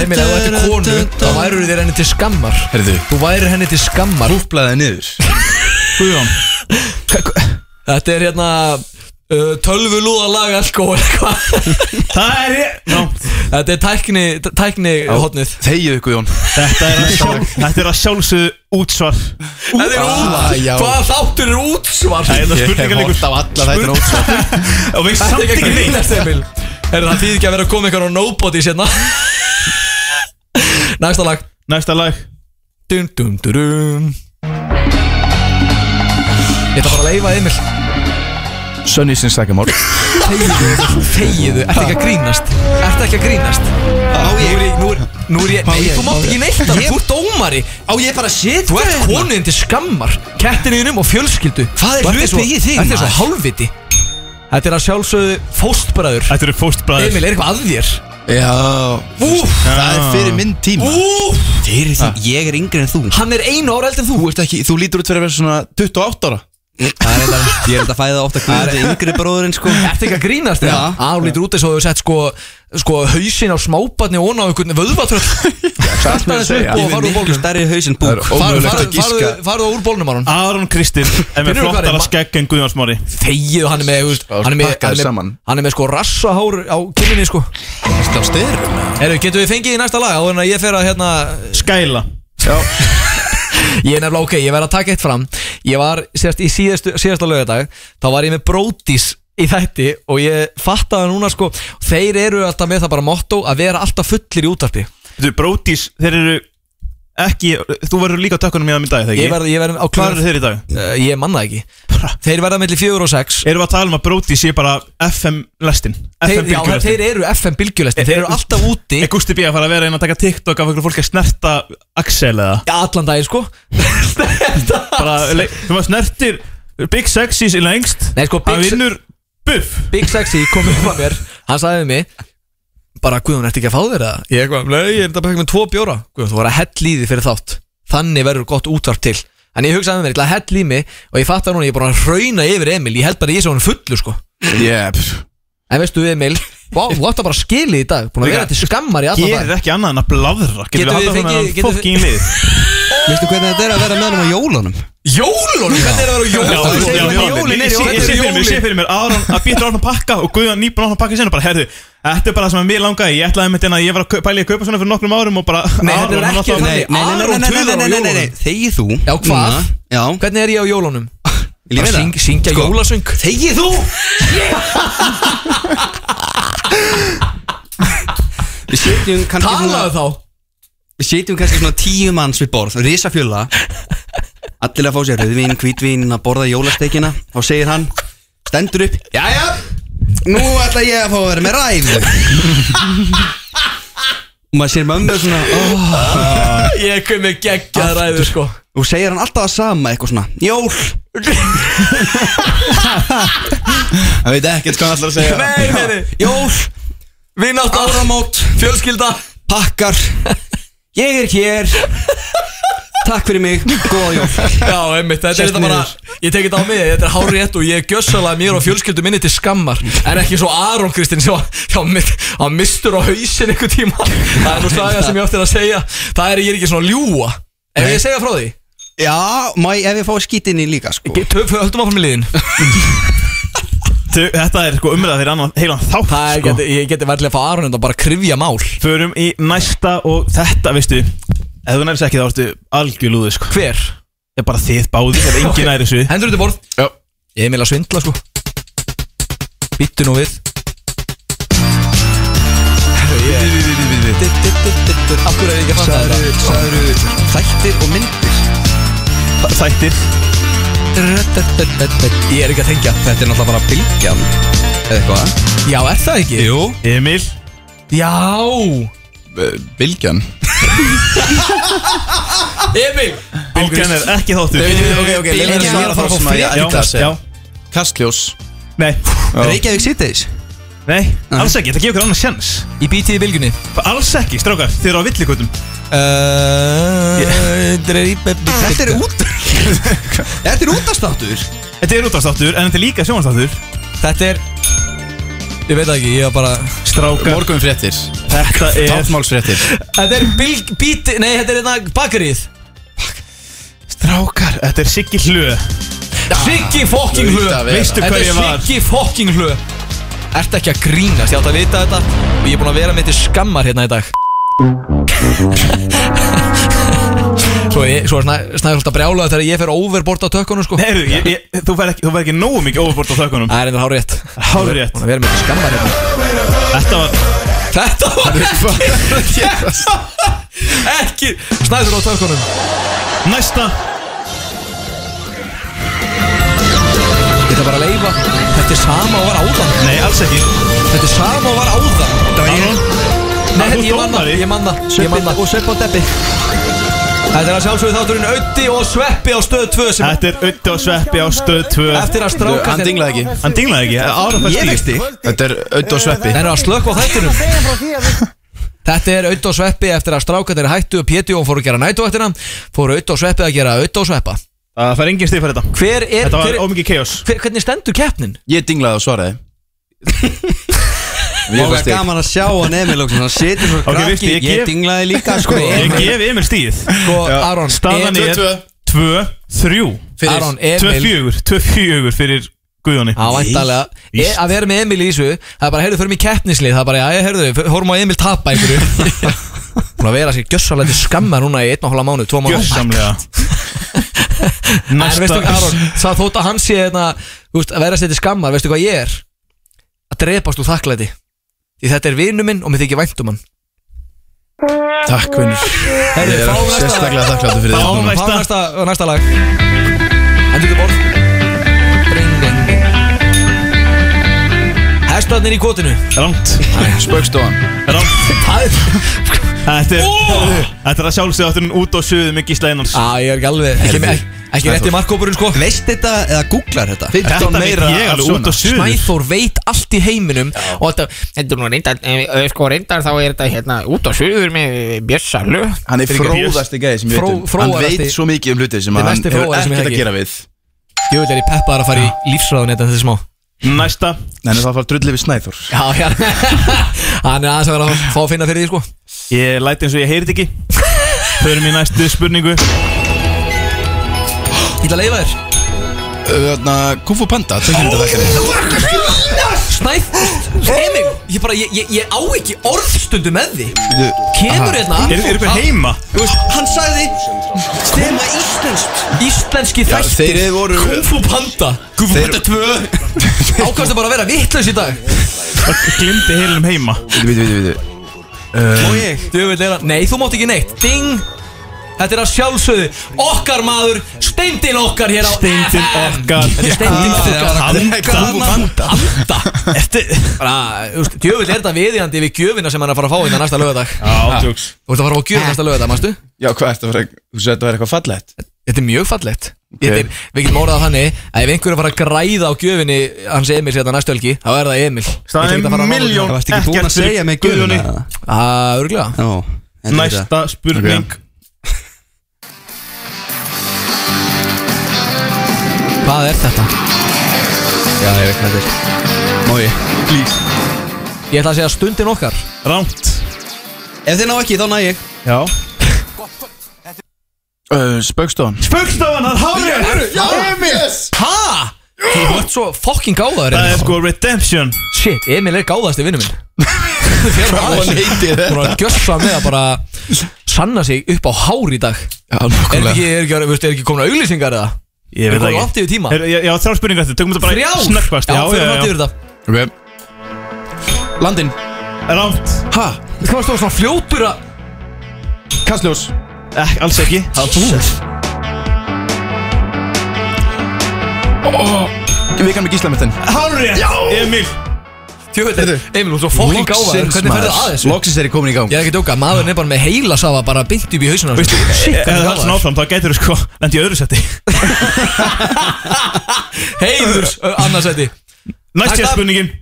A: Emil, ef þú ættir konu þá væru þér henni til skammar
G: Herðu.
A: Þú væri henni til skammar
G: Húplaðið niður
A: Guðjón Þetta er hérna uh, Tölvu lúða lag alko Það er ég no. Þetta er tækni, tækni hotnið
G: Þegið ykkur Jón
B: Þetta er að, sjálf, þetta er að sjálfsögðu útsvar
A: Þetta er
B: Ah,
A: út
B: já.
A: Hvaða þáttur er útsvar?
B: Það er það spurningarleikur
G: Hort á alla þættir
B: Spurning-
G: ótsvar
B: Og við
A: Þetta
B: samt
A: er ekki
B: ekki
A: að grínast
B: neitt
A: Emil Er það þýð ekki að vera að koma einhver á nobody sérna? Næsta lag
B: Næsta lag
A: Dum dum dum dum Ég ætla bara að leifa Emil
G: Sunny since like a mor
A: Þegiðu, þegiðu, ert ekki að grínast Ert ekki að grínast Á ég Nú er, nú er ég,
N: Má
A: nei,
N: ég-
A: þú mátt ekki neitt
N: Ég-
A: að Þú ert dómari
N: Á ég bara að sitja
A: Þú ert
N: hérna?
A: konuðin til skammar Kettinuðinum og fjölskyldu
N: Hvað er
A: Þú ert
N: hlutið
A: svo-
N: í þig,
A: Ert þér svo
N: maður?
A: hálfviti Þetta er að sjálfsögðu fóstbræður
B: Þetta eru fóstbræður
A: Emil, er eitthvað að þér?
G: Já
A: Úf,
G: Það er fyrir minn tíma
A: Úf,
N: Fyrir
A: Ah.
N: því, ég er yngri en þú
A: hann er einu ára eldur en þú
G: Þú ert ekki, þú lítur út fyrir að vera svona 28 ára
N: Það er þetta, ég er þetta að fæða ofta hvað þetta yngri bróðurinn sko
A: Ert ekki að grínast Já
N: Já.
A: Á, lítur út eins og hefur sett sko Sko hausin á smábarni og onna á einhvern vöðvatröll Starta
G: að
A: þessu
G: segja.
A: upp og
N: Ég er
A: farðu úr
N: miklu
A: bólnum
N: stærri hausinn búk
G: Það er
A: Farðu-
G: ómögulegt að
A: farðu-
G: gíska
A: farðu- Farðu úr bólnum Aron
B: Aron Kristinn er með
A: Finnurðu hvað er-
B: flottara skegg en Guðjón Smári
A: Þegið og hann er með þú veist, Hann er með,
G: pakkaðu
A: hann er með,
G: saman.
A: hann er með sko rassahár á kynninni sko
G: Ertu á styrum?
A: Herru, getum við fengið í næsta lag Áður en að ég fer að hérna
B: Skæla
A: Ég er nefnilega ok, ég verð að taka eitt fram Ég var sérst í síðastu, síðasta lögadag Þá var ég með brótis í þætti Og ég fattaði núna sko Þeir eru alltaf með það bara motto Að vera alltaf fullir í útarpi
B: Þú, Brótis, þeir eru ekki Þú verður líka á tökkunum í það í dag, þegar ekki?
A: Ég verð, ég verð á
B: Hvað
A: klár
B: eru þeir í dag?
A: Uh, ég manna ekki Þeir verða mellir 4 og 6
B: Erum við að tala um að Brótis sé bara FM-lestin
A: Þeir, já, þeir
B: FM-bylgjulestin
A: eru FM bylgjulestin Þeir eru alltaf úti
B: Er Gusti B að fara að vera einn að taka TikTok af einhverju fólki að snerta Axel eða?
A: Allan daginn sko
B: Bara, le- þú maður snertir Big Sexys í lengst
A: Nei sko
B: Hann
A: Big, Se-
B: vinnur buff
A: Big Sexy kom upp að mér Hann sagði við mig Bara Guðun, ertu ekki að fá þér það? Ég kom, nei, ég er þetta bara ekki með tvo bjóra Guðun, þú var að hell í því fyrir þátt Þannig verður gott útvarp til En ég hugsaði með mér, ég ætla að hell í mig Og ég fattar núna, ég er bara að hrauna yfir Emil Ég held bara að ég sé hann fullu sko
G: Yeah pff.
A: En veistu Emil, vá, þú átt að bara skilið í dag Búin að
B: Líka,
A: vera til skammar í allan dag
B: Gerir ekki annað en að bladra Getur
A: Getum
B: við
A: við
B: haldið
A: fengið-
B: þannig að
A: getum við-
B: fokkin lið
N: Veistu hvernig þetta er að vera með hann á jólunum?
A: Jólun, hvernig er að vera á
B: Já,
A: jólunum?
B: já,
A: Segðu
B: já,
A: mér,
B: jólin
A: jólin
B: er
A: eru-
B: í- Ég sé fyrir mér, ég sé fyrir mér Aron að býta Aron að pakka og Guðjón nýbúin að pakka sinna bara, herðu, þetta er bara það sem að mér langaði ég ætlaði mitt en að ég var að kau- pæla í að kaupa svona fyrir nokkrum árum og bara
A: Nei, þetta er
B: Aron, hann
A: ekki
B: alltaf-
A: þannig. Aron tuðar á jólunum.
N: Þegi þú
A: Já, hvað?
N: Núna. Já,
A: Hvernig er ég á jólunum?
N: vil ég
A: Að
N: veit
A: syng, syngja
N: Sko.
A: jólasöng
N: Þegi þú Við setjum kannski
A: Talaðu þá
N: Við setjum kannski svona tíu manns við borð Rísafjöla Allir að fá sér rauðvín, hvítvín Að borða jólasteikina Þá segir hann Stendur upp Jæja Nú ætla ég að fá að vera með ræðu Og maður sér mömmu svona oh.
A: Ég kom með geggjað ræður sko
N: Og segir hann alltaf að sama eitthvað svona Jól
G: Hann veit ekkert hvað hann ætlar að segja
A: Nei, Ah. nei, nei
N: Jól
A: Vinnátt
N: Áramót
A: Fjölskylda
N: Pakkar Ég er hér Takk fyrir mig Góða jól
A: Já, einmitt Þetta er
N: Sest
A: þetta bara Ég tek þetta á mig Þetta er hárið og ég er gjössalega mér og fjölskyldu minni til skammar En ekki svo Aron Kristinn sem var- Já, mitt Hann mistur á hausin einhver tíma Það er nú saga sem ég átti að segja Það er ég er ekki svona að ljúa Ef ég segja frá því
N: Já, má ég ef ég fá skítinni líka sko
A: Ge- töf- Höldum áfram í liðin
B: Þau- Þetta er sko umræða fyrir annan heilan þátt
A: Það er,
B: sko.
A: geti, ég geti verðilega að fá Aron þetta og bara krifja mál
B: Förum í næsta og þetta, veistu ef þú nærist ekki þá ertu algjörlúði sko.
A: Hver?
B: Það er bara þið báði, það er engin næri þessu
A: Hendur þetta borð
G: Já.
A: Ég er meila að svindla sko Býttu nú við Herru, ég Akkur er ég ekki að fatta þetta
N: Særu þættir og myndir
B: Þættir
A: Ég er ekki að tengja
N: Þetta er náttúrulega bara bylgjan Eða eitthvað
A: Já, er það ekki?
N: Jú
B: Emil
A: Já
G: Bilgjan
A: Emil
B: Bilgjan er ekki þáttur
A: Ok, ok, leið mér að
N: Ekki að
A: svara þá
N: fara
A: fá
N: sem að
A: frí
N: ég-
B: Já,
G: ætla að segja.
B: já
G: Kastljós
B: Nei,
N: Reykjavík City's
B: Nei, alls ekki, þetta gefur okkur annars sjans
A: Í bítið í bylgunni
B: Alls ekki, strákar, þið eru á villikutum
A: Eh, Þetta
N: er út Þetta er útastáttur
B: Þetta er útastáttur, en þetta er líka sjónastáttur
A: Þetta er Ég veit það ekki, ég var bara
B: Strákar
G: Morgunfréttir
B: Þetta er
G: Tákmálsfréttir
A: Þetta er bylg, bíti, nei þetta er hérna bakarið
B: Strákar, þetta er Siggi Hlö
A: Siggi fokking hlö
B: Hlauta að vera. Veistu hver ég
A: Þetta
B: var?
A: er Siggi fokking hlö Ertu ekki að grínast, ég átt að vita þetta Og ég er búinn að vera með til skammar hérna í dag Svo, ég, svo er snæ, snæðholt að brjála þegar ég fer overbort á tökkunum sko
B: Heyrðu, ég- ég- Þú verð ekki, þú verð ekki nógu mikið overbort á þökkunum
A: Það er einhver hárið rétt
B: Hárið rétt
A: Búinn að vera með til skammar hérna
B: Þetta var
A: Þetta var ekki Ekki Snæður á tökunum
B: Næsta
A: Ég ætla bara að leifa Þetta er sama og var áðan
B: Nei, alls ekki
A: Þetta er sama og var áðan Þetta var ég Nei,
B: Þú
A: ég man það,
B: dómari?
A: ég man það, ég man það Og svepp og deppi Þetta er að sjálfsögðu þátturinn Ötti og Sveppi á stöð 2 sem
B: Þetta er Utti og Sveppi á stöð 2
A: Eftir að strákarnir-
G: Hann dinglaði ekki.
B: Hann dinglaði ekki, ára fæst
A: Ég fékk stig.
G: Þetta er auð og sveppi
A: Það er að slökka á þættinum Þetta er Ötti og Sveppi eftir að strákarnir hættu og Péti og fóru að gera nætuvættina Fóru Ötti og Sveppi að gera Ötti og Sveppa
B: Það fær engin stig fyrir þetta
A: Hver er,
B: Þetta var
A: hver,
B: ómikið chaos
A: hver, hvernig stendur keppnin?
G: Ég dinglaði og svaraði
N: Ég var gaman að sjá hann Emil Lóksson Hann setur svo
B: Ok,
N: krakki
B: veistu, ég
N: Ég
B: gef-
N: dinglaði líka sko
B: Ég gefi Emil stíð
A: Sko, Aron,
B: Staðan
A: Emil-
B: er 2, 3
A: Fyrir- Aron, Emil-
B: 2, 4, 2, 4 fyrir Guðjóni
A: Já, væntalega e,
B: Ís.
A: Að vera með Emil í þessu Það er bara, heyrðu, förum í keppnislið Það er bara, já, heyrðu, horfum á Emil tapa einhverju Búin að vera sér gjössalega til skamma núna í einn og hálfa mánu, tvo mánu
B: Gjössamlega
A: En veistu,
B: Næsta
A: Aron, það þótt að hann sé hérna, þú veist, að vera sér til skamma Veistu hvað ég er? Að drepast úr þakklæti Því þetta er vinnu minn og mér þykir væntum hann
G: Takk vinnur
A: Heyrðu,
G: Ég er
A: fáum næsta
G: sérstaklega þakkláttur fyrir
B: Fáum
G: þetta
B: næsta.
A: Fáum næsta, næsta lag Endur til borð Dring, ding, ding Hestarnir í kotinu
B: Rámt
G: Spaukstofan
B: Rámt
A: Það er
B: Þetta er, þetta er að sjálfsögðu áttunum út á suðu með Gísla Einars
A: Já, ég er ekki alveg Ekki,
G: Heyrðu,
A: ekki, ekki rétti markkópurinn sko
N: Veist þetta eða googlar þetta
B: Þetta
A: 15
B: veit
A: meira
B: ég
A: af
B: alveg út á
A: svona
B: suðu
A: Snæþór veit allt í heiminum Og þetta
K: Þetta er nú reyndar, eh, eh, sko reyndar þá er þetta hérna út á suður með eh, Bjössa Löf
G: Hann er fróðasti gæði sem ég
A: Fró-
G: veit um Hann
A: fróðasti-
G: veit svo mikið um hluti sem
A: Þetta er
G: hann
A: mesti
G: hefur
A: fróðari sem
G: ekkert að
A: ég þekki.
G: gera við
A: Jöfnveld er ég peppaðar að fara í lífsræðun Þetta þessi smá
B: Næsta
G: Nei, en það fara drullið við Snæþór
A: Já, já Hann er aðeins að vera að fá að finna fyrir því sko
B: Ég læti eins og ég heyrði ekki Förum í næstu spurningu
A: Ég ætla að leifa þér
G: Þannig að hérna, Kung Fu Panda Tökkum þetta þekkinni
A: Snæð Emil Ég bara Ég, ég, ég á ekki orðstundu með því Kemur hérna
B: Eru er hver heima?
N: Þú veist, Hann sagði Stema íslenskt
A: Íslenski þættir
G: Þeir voru
A: Kung Fu Panda Kung Fu Panda 2 Ákvæmstu bara að vera vittlaus í dag
B: Glimti heilum heima
G: Vítu, vítu, vítu
A: Og ég Djöfull er hann Nei, þú mátt ekki neitt Ding Þetta er að sjálfsögðu Okkar maður Steindin okkar hér á
B: Steindin
A: FM.
B: okkar. Ah,
A: Þetta er steindin okkar
G: Kung Fu Panda
A: Anda Ertu Bara, þú veist, djöfull er þetta viðjandi Við gjöfina sem hann er að fara að fá hérna næsta lögadag Þú
B: Já, tjóks
A: ert að fara á gjöfina næsta lögadag, mannstu?
G: Já, hvað ertu að fara Þú sagði að það væri eitthvað fallegt
A: Þetta er mjög fallegt Þetta er, við getum orðað það þannig að ef einhver er að fara að græða á gjöfinni hans Emil hérna næstu helgi, þá er það Emil Ég ætla
B: Staðan
A: ekki að
B: er
A: fara að mála
B: miljón
A: það.
N: Varstu ekki búin að
B: fyrir
N: segja mig
B: Guðjóni.
N: guðuna
A: Ah, örugglega.
N: Næsta
B: Næsta spurning
A: Hvað er þetta?
N: Já, ég veit hvað þetta er Mói
A: Ég ætla að segja stundin okkar
B: Rámt
N: Ef þið ná ekki, þá næ ég
B: Já
G: Uh, Spaukstofan
B: Spaukstofan, það er hárið
A: Ha? Þú ert svo fucking gáðaður
B: Það er
A: Emil.
B: sko redemption
A: Shit, Emil er gáðasti vinnu minn Hún
G: heiti
A: er gjössan með að bara sanna sig upp á hár í dag
G: Já,
A: Er
G: nokkulega
A: ekki, er ekki, er ekki, er ekki komin að auglýsingar eða?
B: Ég veit
A: Við
B: það
A: komum
B: ekki
A: langt yfir tíma.
B: Heyrðu, ég- Já, þrjá spurningar eftir Tökum þetta bara
A: Þrjár?
B: snöggvast
A: Já, fyrir langt
B: já,
A: yfir
B: já
A: þetta
G: Ok. Landin
B: Rámt
G: Ha?
A: Þú varst þú svona fljótur að
G: Kastljós
B: Ek, Eh, Alls ekki Það er búið
G: Vikan með gíslamertin
B: Hárið Emil
A: Tjóðið, Emil, þú ert svo fucking gáðaður Hvernig ferðu að þessu?
G: Loksins er ég komin í gang
A: Ég er ekki að djóka, maðurinn er bara með heila safa bara beint upp í hausinu
B: Veistu, eh,
A: shit,
B: ef
A: hvernig
B: það er svona
A: gáðaður
B: áfram, þá gætur þú sko lendi í öðru seti
A: Heiður, eh, annarsæti
B: Næst ég
A: Takk.
B: spurningin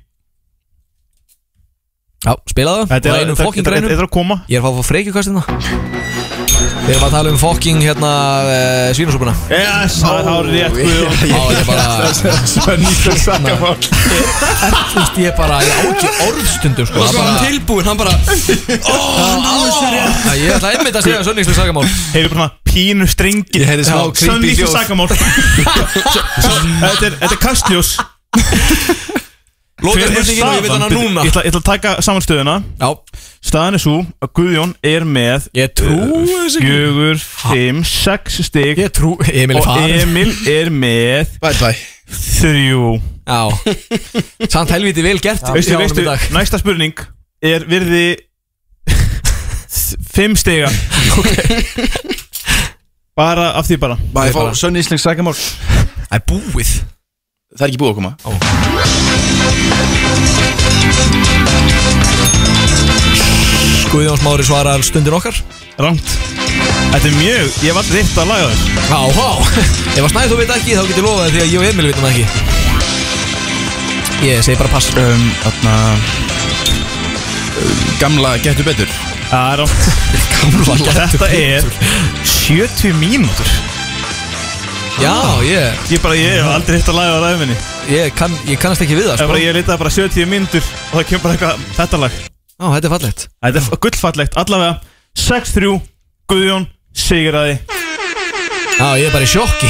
A: Já, spilaðu Og
B: Þetta er-
A: einum
B: þetta-
A: fokking
B: þetta-
A: greinum.
B: þetta er að koma.
A: Ég er að fá hérna. að fá freykjukastina Við erum að tala um fokking hérna uh, svínusúpuna
B: Yes, það er hárið rétt Guðjón
A: Já, ég er bara
B: Svenni fyrir sakamál
A: Þú veist, ég er bara, ég á ekki orðstundum sko
N: Og svo var
A: Það
N: hann
A: bara-
N: tilbúinn, hann bara Ó, náðu sér rétt
A: Æ, Ég ætla einmitt að segja sönningslega sagamál
B: Heyrðu bara svona pínu strengi Ég
A: smá creepy
B: Sönni fyrir
A: hljóð.
B: sakamál Þetta er- þetta er kastljós
A: Lokaðu
B: Hver er
A: spurningin og ég veit
B: staðan?
A: hana núna.
B: hérna, Ég ætla, ég ætla að taka samanstöðuna
A: Já
B: Staðan er svo að Guðjón er með uh,
A: Ég trúi þessu ekki.
B: Fjögur, fimm, sex stig
A: Ég trú, Emil er
B: Og
A: farin.
B: Emil er með Bæ, bæ Þrjú
A: Já Samt helviti vel gert hjá
B: Veistu,
A: honum í
B: veistu,
A: dag.
B: næsta spurning er virði Fimm stiga Bara af því bara
G: Má ég fá sönni íslensk sakamál Það
A: er búið
G: Það er ekki búið að koma
A: Ó. Guðjón Smári svarar stundin okkar
B: Rangt Þetta er mjög, ég var alltaf eitt að laga þess
A: Já, já Ef að snæði þú veit ekki þá getur lofað því að ég og Emil veitum það ekki Ég segi bara pass
G: um, Þarna um, Gamla getur betur
B: Það er rangt
A: Gamla
G: Getur
B: Þetta er
G: Betur.
B: 70 mínútur
A: Já, ég
B: Ég bara, ég hef aldrei hitt að laga á ræðminni
A: Ég, kann, ég kannast ekki við það
B: Það er
A: sko
B: bara, ég leitaði bara 70 mínútur og það kemur bara eitthvað, þetta lag
A: Já, þetta er fallegt
B: Þetta er gullfallegt, allavega 6-3, Guðjón, Sigurðaði
A: Já, ég er bara í sjokki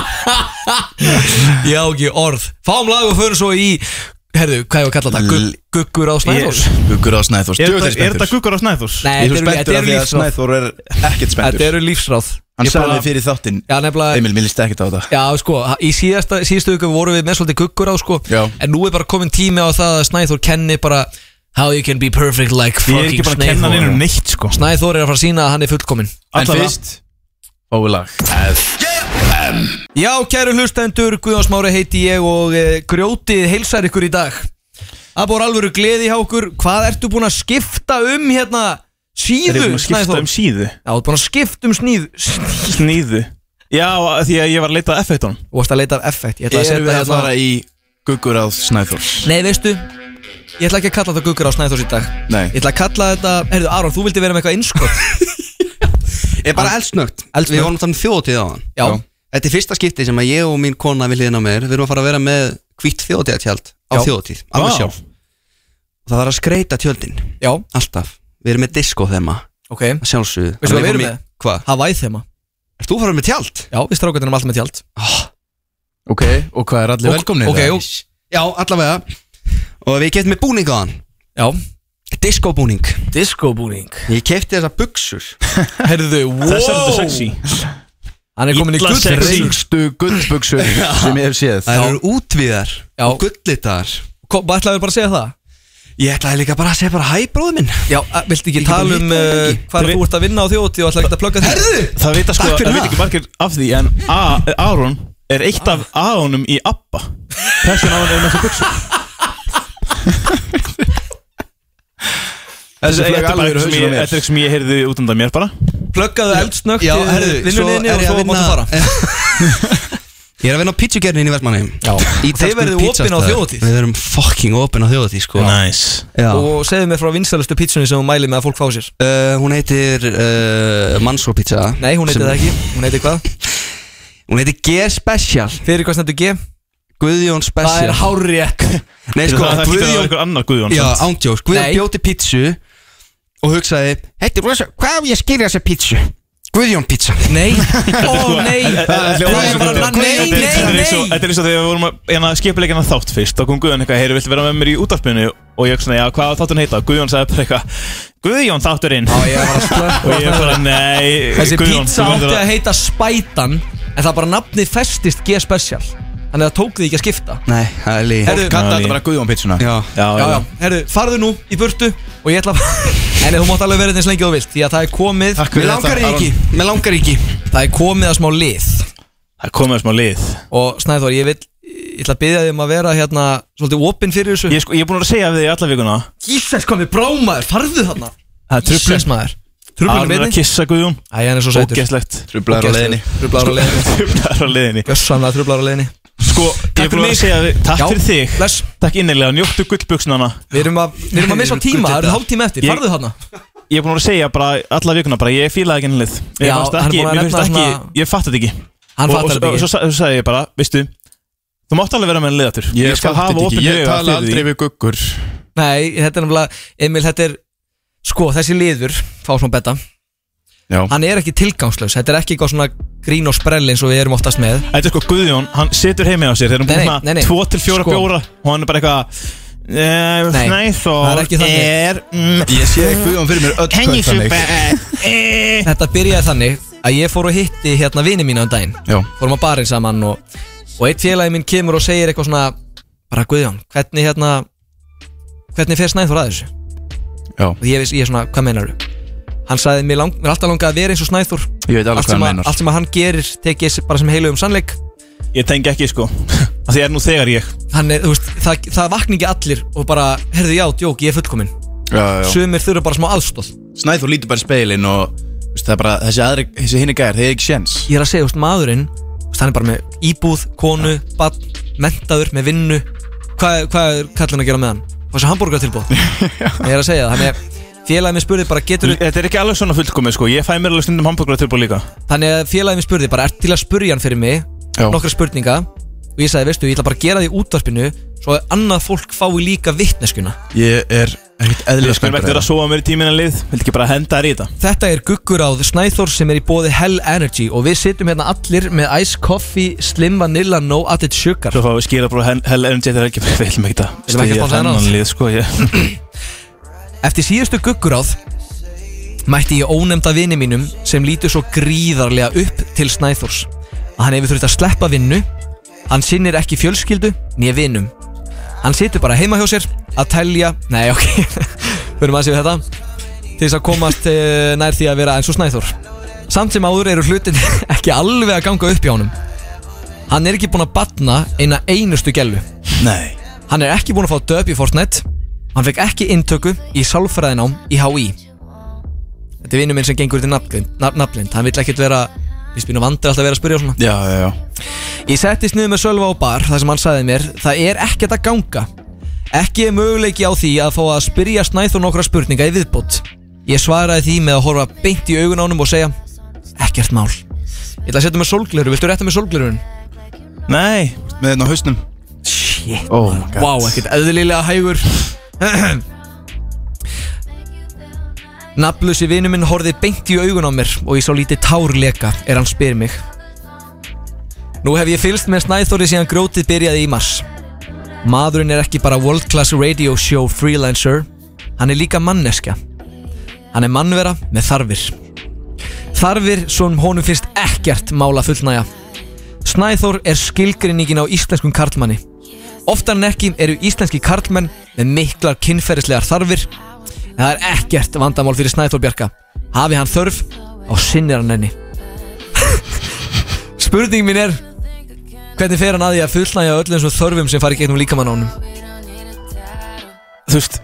A: Ég á ekki orð Fáum lag og förum svo í Herðu, hvað ég var að kalla þetta? Gu- Guggur á Snæðós
G: Guggur á Snæþórs
B: Er
G: Djöfull
B: þetta- er
G: spenntur.
B: þetta guggur á Snæðurs?
G: Ég
A: Nei,
G: er
A: þetta
G: svo
A: eru-
G: spenntur af því að Snæþór
A: þetta eru lífsráð.
G: er ekkert spenntur
A: Þetta eru lífsráð
G: Hann
A: Ég bara-
G: sagði fyrir þáttinn
A: Já, nefnilega
G: Emil, mér líst ekkert á þetta
A: Já, sko, í síðasta, síðastu viku vorum við með svolítið guggur á, sko Já. En nú er bara komin tími á það að Snæþór kenni bara How you can be perfect like
B: Ég er ekki
A: fucking
B: bara að kenna hann
A: Snæþór
B: einum neitt, sko
A: Snæþór er að fara að sína að hann er fullkominn
G: En fyrst Fáið lag FM
A: Já, kæru hlustendur, Guðjón Smári heiti ég og e, grjótið heilsar ykkur í dag Það búið alvöru gleði hjá okkur Hvað ertu búin að skipta um hérna
B: Er
A: síðu,
B: þetta að skipta um síðu?
A: Já, þú ert búin að skipta um sníð
B: Sníðu Já, af því að ég var að leita að F-heitunum
A: Þú varst að leita af effekt Ég ætla að
G: Erum við
A: setja
G: að fara
A: hérna
G: í Guggur á Snæþórs
A: Nei, veistu Ég ætla ekki að kalla þetta guggur á Snæþórs í dag
G: Nei
A: Ég ætla að kalla þetta, heyrðu Aron, þú vildi vera með eitthvað innskott
N: Ég er bara eldsnögt
A: Eldsnöggt.
N: Við vorum þannig þjóðtíð á hann
A: Já.
N: Þetta er fyrsta skipti sem að ég og mín kona við hliðina á mér Við erum að fara að vera með hvitt þjóðtíðatjald á
A: Já.
N: þjóðtíð Alveg
A: Vá.
N: sjálf Og það þarf að skreita tjöldin
A: Já
N: Alltaf Við erum með disco þema
A: Ok Veistu
N: Sjálfsögðu
A: hvað við erum með?
N: Hvað?
A: Hawaii þema
N: Ert þú farað með tjald?
A: Já, við strákarnir erum alltaf með tjald
G: Ok, og hvað er allir
N: Og-
G: velkomnir?
N: ok, og- Já, allavega Og við keftum með búning á hann
A: Já
N: Disco búning
A: Disco búning
N: Ég kefti þessa buksur
A: Heyrðu, wow
B: Þessar eru sexy.
A: Hann er komin í
G: Illa
A: gull
G: sexy. Reyngstu gullbuxur sem ég hef séð
N: Það eru útvíðar
A: Já
N: Og gullitaðar
A: Hvað ætlaðu bara að segja það?
N: Ég ætlaði líka bara að segja bara hæ bróður minn
A: Já, að- viltu
N: Ég
A: ekki
N: get bara
A: tala um
N: hitt hann
A: uh,
N: ekki.
A: hvað þú ert að vinna á þjóti og ætla ekki að plugga því
N: Herðu
B: Það vita sko,
N: Takk fyrir
B: það
N: það.
B: vita ekki margir af því En A- Aron er eitt af Aronum í Abba Þess vegna Aron er með þessu buksu Þetta
G: Þessi
B: er
G: flög
B: bara
G: alveg
B: eitthvað
G: eru
B: sem
G: hausinn á
B: ég-
G: mér.
B: þetta er eitthvað sem ég heyrði út undan mér bara
A: Pluggaðu eldsnögt
N: Já, herðu, svo
A: vinnunniðinni
N: er ég
A: og
N: að
A: svo máttu
N: vinna-
A: fara
N: Ég er að vinna á pítsugerninni í Vestmannheim
A: Já Þið verðið opinn á þjóðatíð
N: Við erum fucking opinn á þjóðatíð sko
B: Nice
N: Já.
A: Og segðu mér frá vinsælustu pítsunni sem hún mæli með að fólk fá sér
N: Uh, hún heitir uh, Mansó pizza
A: Nei, hún heitir
N: Sem-
A: það ekki Hún heitir hvað?
N: Hún heitir G-Special
A: Fyrir hvað stendur G?
N: Guðjón Special
A: Það er hárrétt
N: Nei sko,
B: Það hlýtur að vera
N: Guðjón
B: einhver annar Guðjón
N: Já,
B: samt.
N: ándjós Guðjón
A: Nei.
N: bjóti pítsu Og hugsaði Heitir rosa, hvað á ég að skýra þessa pítsu? Guðjón pizza
A: Nei Ó nei
B: Þetta er
A: Guðjón
B: hljómar
A: bara,
B: eins og-
A: nei, nei,
B: þetta er- þetta er eins og-
A: nei.
B: Þetta er eins og þegar við vorum að hérna, skipilegja hana þátt fyrst Þá kom Guðjón eitthvað, heyri, viltu vera með mér í útarpinu Og ég svona, já, hvað á þáttun heita? Guðjón sagði bara eitthvað Guðjón þátturinn
A: Já, ég var að slökka
B: Og ég bara, nei
A: Þessi
B: Guðjón,
A: pítsa
B: þú verður
A: átti að heita Spætan En það bara nafni festist G-special Þannig að það tók því ekki að skipta
N: Nei, það er líka
A: Herðu,
G: Kalla
B: Já,
G: þetta bara Guðjón Pitsuna
N: Já
B: Já,
A: já, já, herðu, farðu nú í burtu Og ég ætla að En þú mátt alveg verið eins lengi og þú vilt Því að það er komið
G: Takk
N: Mér
G: fyrir
N: langar
G: þetta,
N: í ekki Mér langar í ekki
A: Það er komið að smá lið
B: Það komið að smá lið
A: Og Snæþór, ég vil Ég ætla að byggja þig um að vera hérna Svolítið opinn fyrir þessu
B: Ég, sko, ég er búinn að segja við þig alla vikuna
A: Jesus, hvað með brámaður, farðu þarna
B: Það er
A: Jesus,
B: trublun
A: maður Trublar
B: Aron er að
A: beinni
B: kissa Guðjón
A: Æ, hann er svo sætur
B: Ógæslegt
G: Trublaður á leiðinni
B: Sko.
A: Trublar á leiðinni
B: Trublar á leiðinni
A: Gjössanlega trublar á leiðinni
B: Sko, ég er
A: fyrir
B: búin að
A: mig.
B: segja þig Takk
A: Já,
B: fyrir þig
A: bless.
B: Takk innilega, njóttu gullbuxnana
A: Við erum að, við erum að missa á tíma, það eru hálftíma eftir, farðu þarna
B: Ég er búin að segja bara alla vikuna bara, ég fílaði ekki innlið Ég
A: Já,
B: fannst
A: hann er
B: ekki,
A: búinn að
B: mér finnst
A: nefna
B: ekki,
A: svona-
B: ég fatt þetta ekki
A: Hann
B: Og-
A: fattar
B: og-
A: þetta ekki.
B: Og svo sa- svo sagði ég bara, veistu Þú mátt alveg vera með innlið aftur
G: Ég fatt þetta ekki,
B: opinn
G: ég
B: augu
G: tala
B: eftir
G: aldrei
B: því.
G: við guggur
A: Nei, þetta er nefnilega, Emil, þetta er Sko, þessi liður, fá svona betta
G: Já.
A: Hann er ekki tilgangslaus, þetta er ekki eitthvað svona grín og sprell eins og við erum oftast með
B: Þetta er sko Guðjón, hann situr heimi á sér Þeir eru
A: Nei,
B: búin
A: nei, nei,
B: svona
A: nei.
B: 2-4
A: Sko.
B: bjóra Og hann er bara eitthvað
A: Nei,
B: eh, Nei, þó
A: það er ekki þannig.
B: er, mm,
G: Ég sé Guðjón fyrir mér öll
B: Can you
G: kvöld þannig.
B: super- eh.
A: Þetta byrjaði þannig að ég fór og hitti hérna vini mína um daginn
G: Já.
A: Fórum á barinn saman og, og eitt félagi minn kemur og segir eitthvað svona Bara Guðjón, hvernig hérna Hvernig fer Snæþór að þessu?
G: Já.
A: Og ég, veist, ég er svona, hvað meinar þú? Hann sagði, mér, lang, mér er alltaf langað að vera eins og Snæþór
G: Ég veit alveg
A: Allt
G: hvað
A: sem
G: hann
A: að-
G: meinar.
A: Allt sem að hann gerir tekið þessi bara sem heilu um sannleik
B: Ég tengi ekki sko Það er nú þegar ég
A: Hann er, þú veist, það, það vakna ekki allir og bara, herðu já, djók, ég er fullkomin
G: Já, já, já.
A: Sumir þurfa bara smá aðstóð
G: Snæður lítur bara í speilin og veist, það er bara, þessi, aðri, þessi hinni gæjar, þeir er ekki sjens
A: Ég er að segja, þú veist, maðurinn þú veist, Hann er bara með íbúð, konu, barn Mentaður, með vinnu Hvað, hvað er kallin að gera með hann? Hvað sem hambúrgar tilbúð? ég er að segja það, þannig að félagið mér spurði bara getur
B: Þetta er ekki alveg svona fullkomið sko Ég fæ mér alveg stundum hambúrgra tilbúið líka
A: Þannig að félagið mér spurði bara, ert til að spurja hann fyrir mig
B: Já.
A: Nokkra spurninga Og ég sagði, veistu, ég ætla bara að gera því útvarpinu Svo að annað fólk fái líka vitneskuna
G: Ég er ekkert eðlilega
B: Ég skal
G: spenntur
B: verður að sofa mér í tímina lið Vildi ekki bara henda þær í þetta
A: Þetta er gugguráð Snæþór sem er í bóði Hell Energy og við sitjum hérna allir með Ice Coffee, Slim Vanilla, No Added Sugar
B: Svo fáum við skýra bara Hell Energy Þetta er ekki Við viljum ekki að
A: Viljum ekki
B: styðja
A: spá þennan?
B: þennan lið sko ég.
A: Eftir síðustu gugguráð mætti ég ónefnda vini mínum sem lítur svo gríðarlega upp til Snæþórs að hann hefur þurft að sleppa vinnu hann sinnir ekki fjölskyldu nýja vinum hann situr bara heima hjá sér að telja nei ok, hörum að séu þetta til þess að komast eh, nær því að vera eins og Snæþór samt sem áður eru hlutin ekki alveg að ganga upp hjá honum hann er ekki búinn að batna eina einustu gælu
G: Nei
A: Hann er ekki búinn að fá döp í Fortnite Hann fekk ekki inntöku í sálfræðinám í HÍ Þetta er vinnu minn sem gengur til nafnblind, naf- nafnblind. Hann vill ekkert vera Við spynum vandir alltaf að vera að spyrja svona
G: Já, já, já
A: Ég settist niður með Sölva á bar þar sem hann sagði mér Það er ekkert að ganga Ekki er möguleiki á því að fá að spyrja Snæþór nokkra spurninga í viðbót Ég svaraði því með að horfa beint í augun ánum og segja Ekkert mál Ég ætla að setja með sólgleru, viltu rétta með sólglerun?
B: Nei
G: Með þetta á hausnum
A: Shit
G: Oh my god
A: Vá, ekkert eðlilega hægur Naflusi vinur minn horfið beint í augun á mér og ég sá lítið tárleka er hann spyr mig Nú hef ég fylst með Snæþóri síðan grótið byrjaði í mars Maðurinn er ekki bara world class radio show freelancer Hann er líka manneska Hann er mannvera með þarfir Þarfir sem honum finnst ekkert mála fullnæja Snæþór er skilgrinningin á íslenskum karlmanni Oftar en ekki eru íslenski karlmenn með miklar kynferðislegar þarfir en það er ekkert vandamál fyrir Snæþór Bjarka hafi hann þörf á sinnir hann henni Spurning mín er hvernig fer hann að því að fullnægja öllum þessum þörfum sem fari gegnum líkamann á honum
B: Þú veist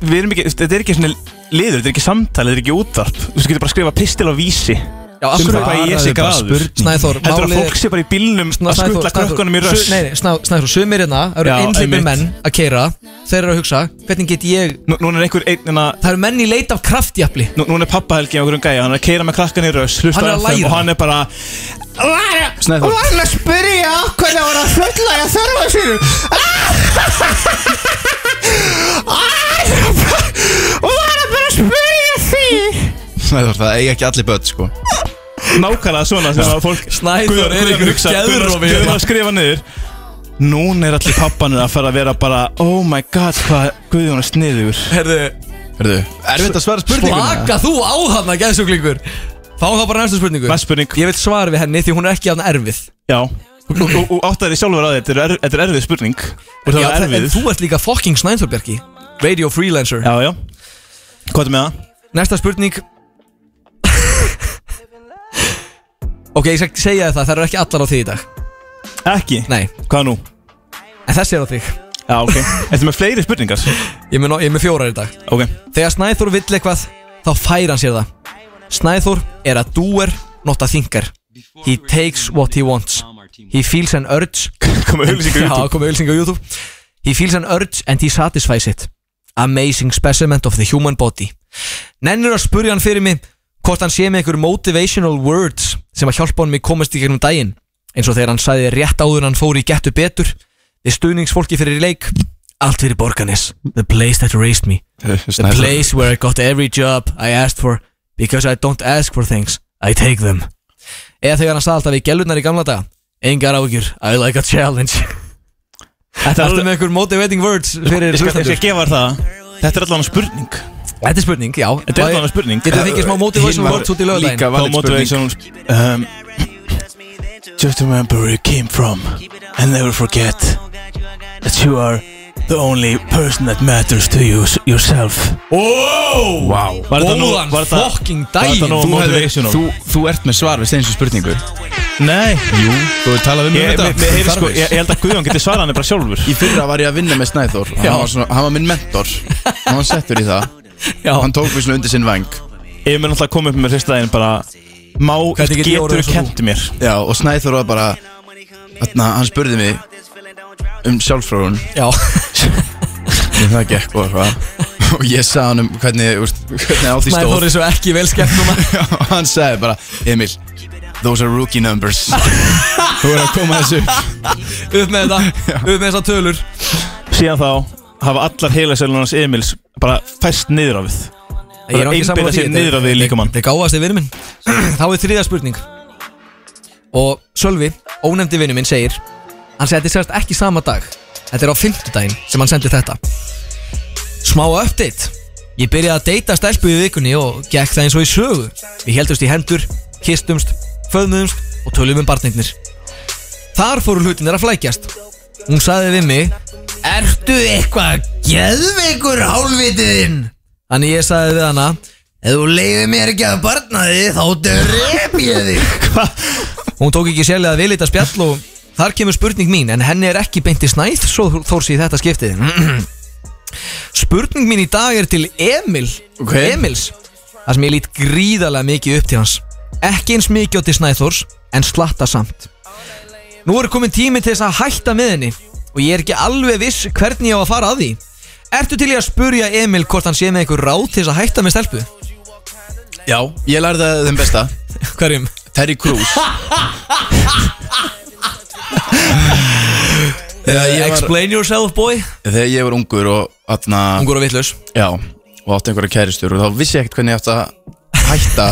B: Við erum ekki Þetta er ekki svona liður Þetta er ekki samtal Þetta er ekki útvarp Þú veist, getur bara að skrifa pistil á vísi Já,
A: af hverju-
B: hvað ég sé
A: Svaraðu bara
B: graður
A: spurningu. Snæþór,
B: Heldur að
A: málið-
B: fólk sé bara í bílnum
A: Svona,
B: Að skuttla
A: Snæþór-
B: krökkunum í
A: Snæþór-
B: röss
A: Su- Nei, nei, Snæ- Snæþór, sumir hérna það eru
B: Já,
A: einhleipir
B: einmitt.
A: menn að keira þeir eru að hugsa, hvernig get ég
B: Núna er einhver einn en að
A: það eru menn í leit af kraftjafli
B: Nú, núna er pappa Helgi á einhverjum gæja, hann er að keira með krakkan í röss hlusta
A: Hann er
B: á
A: að
B: FM
A: læra.
B: og hann er bara
G: Snæður
C: að spyrja hvernig það var að fulla að þörfa sínum og það er bara að spyrja því
G: Snæður, það eigi ekki allir börn, sko
B: nákvæmlega svona sem að fólk
A: Snæþór
B: Guðjón-
A: er
B: Guðjón
A: einhver
B: hugsar,
A: geðrofi
B: Guðjón- Guðjón
A: hérna.
B: að skrifa niður Núna er allir pappanir að fara að vera bara Oh my god, hvað Guðjón er sniður
A: Herðu,
G: Herðu, erfitt að svara spurninguna
A: Slaka þú á hann að geðsuglingur Fáum þá bara næstu spurningu
B: Næst spurning.
A: Ég vil svara við henni því hún er ekki aðna erfið
B: Já Og, og, og áttaði þið sjálfur að þér, þetta er, erf- þetta er erfið spurning Og það
A: Já,
B: er
A: þa- En
B: erfið
A: þú ert líka fucking Snæðurbergi Radio freelancer
B: Já, já Hvað er með það?
A: Næsta spurning Ok, ég skal segja þér það, það eru ekki allar á þig í dag
B: Ekki?
A: Nei,
B: Hvað nú?
A: en þessi er á þig
B: Já, ok Ertu með fleiri spurningar?
A: Ég er með, no- ég er með fjórar í dag
B: Ok
A: Þegar Snæþór vill eitthvað, þá fær hann sér það Snæþór er að doer, not a thinker He takes what he wants He feels an urge
B: Komið auglýsing á YouTube.
A: Já, komið auðlýsing á YouTube He feels an urge and he satisfies it Amazing specimen of the human body Nennir að spurja hann fyrir mig Hvort hann sé með einhver motivational words Sem að hjálpa hann mig komast í gegnum daginn Eins og þegar hann sagði rétt áður en hann fór í gettu betur Við stuðningsfólki fyrir leik Allt fyrir Borganes The place that raised me The place where I got every job I asked for Because I don't ask for things I take them Eða þegar hann sagði alltaf í gelurnar í gamla daga Engar ágjur, I like a challenge Þetta er alltaf með einhver motivating words fyrir
B: Ég skal- ég skal gefa þér
A: það Þetta er allan spurning Þetta er spurning, já
B: Þetta er allavega spurning
A: Getur þið ekki smá motivational words út í lögðaðin
B: Líka valid spurning um, Just remember where you came from And never forget That you are the only person that matters to you yourself
A: Wow,
G: wow.
B: Var þetta nóg- var þetta- var þetta nóg
G: Þú, hefði-
B: motivational?
G: þú, þú ert með svar við steinsu spurningu
B: Nei
G: Jú, þú hefur talað við mig
B: Ég-
G: um þetta
B: mér- mér heyrist sko,
G: Þarfis.
B: ég- ég held að Guðjón geti svarað hann bara sjálfur
G: Í fyrra var ég að vinna með Snæþór og
B: Já.
G: hann var, svona, hann var minn mentor Hann var settur í það
A: Já.
G: Hann tók við svona undir sinn vang
B: Ég mun alltaf að koma upp með fyrsta daginn bara Má,
G: get ég orðið
B: getur
G: eins og
B: kent mér
G: Já, og Snæþór var bara Þarna, hann spurði mig um sjálfsfróðun
A: Já
G: En það gekk og eitthvað Og ég sagði hann um hvernig, úst, hvernig á því
A: Maður
G: stóð
A: fór eins og ekki vel skemmt núna
G: Og hann sagði bara Emil, those are rookie numbers Þú er að koma þessu upp
A: Upp með þetta, upp með þessa tölur
B: Síðan þá hafa allar heilasælun hans Emils bara fæst niður á við
A: Ég er
B: Bara
A: ekki sammála
B: einbeita
A: því
B: sér niður á við líka mann
A: Þetta er gáðast í vinnu minn Þá er þriða spurning Og Sölvi, ónefndi vinnu minn, segir Hann seti sérst ekki sama dag Þetta er á fimmtudaginn sem hann sendi þetta Smá update Ég byrjaði að deyta stelpu í vikunni og gekk það eins og í sögu Við heldumst í hendur, kistumst, föðmuðumst og tölum um barnignir Þar fóru hlutinir að flækjast Hún sagði við mig Ertu eitthvað geðveikur hálfvitiðinn? Þannig ég sagði við hana Ef þú leiðir mér ekki að barna þig þá drep ég þig Hún tók ekki sérlega að vilita spjall og þar kemur spurning mín en henni er ekki beinti snæð svo þórs í þetta skiptið Spurning mín í dag er til Emil Emils Það sem ég lít gríðarlega mikið upp til hans Ekki eins mikið á til Snæþórs En slatta samt Nú er komin tími til þess að hætta með henni Og ég er ekki alveg viss hvernig ég á að fara að því Ertu til ég að spurja Emil hvort hann sé með einhver ráð til þess að hætta með stelpu?
G: Já, ég lærði það þeim besta
A: Hverjum?
G: Terry Crews Þegar ég var-
A: Eh, Explain yourself boy
G: Þegar ég var ungur og atna,
A: Ungur og vitlaus
G: Já, og átti einhverja kæristur og þá vissi ég ekkert hvernig ég átti að hætta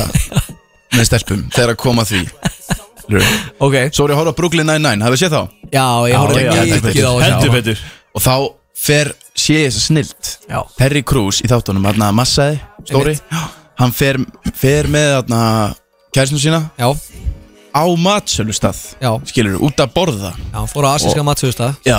G: með stelpum þegar að koma að því
A: Ok
G: Svo voru ég að horfa á Brooklyn Nine-Nine, hafið séð þá?
A: Já, ég horfði mikið á þessa. Heldur
B: betur
G: Og þá fer, sé ég þess að snilt
A: Já.
G: Terry Crews í þáttunum, hann að massaði, stóri Hann fer, fer með þarna kæristinu sína
A: Já
G: Á matsölustað
A: Já
G: Skilur, út að borða
A: Já, fór á asíska matsöðustað
G: Já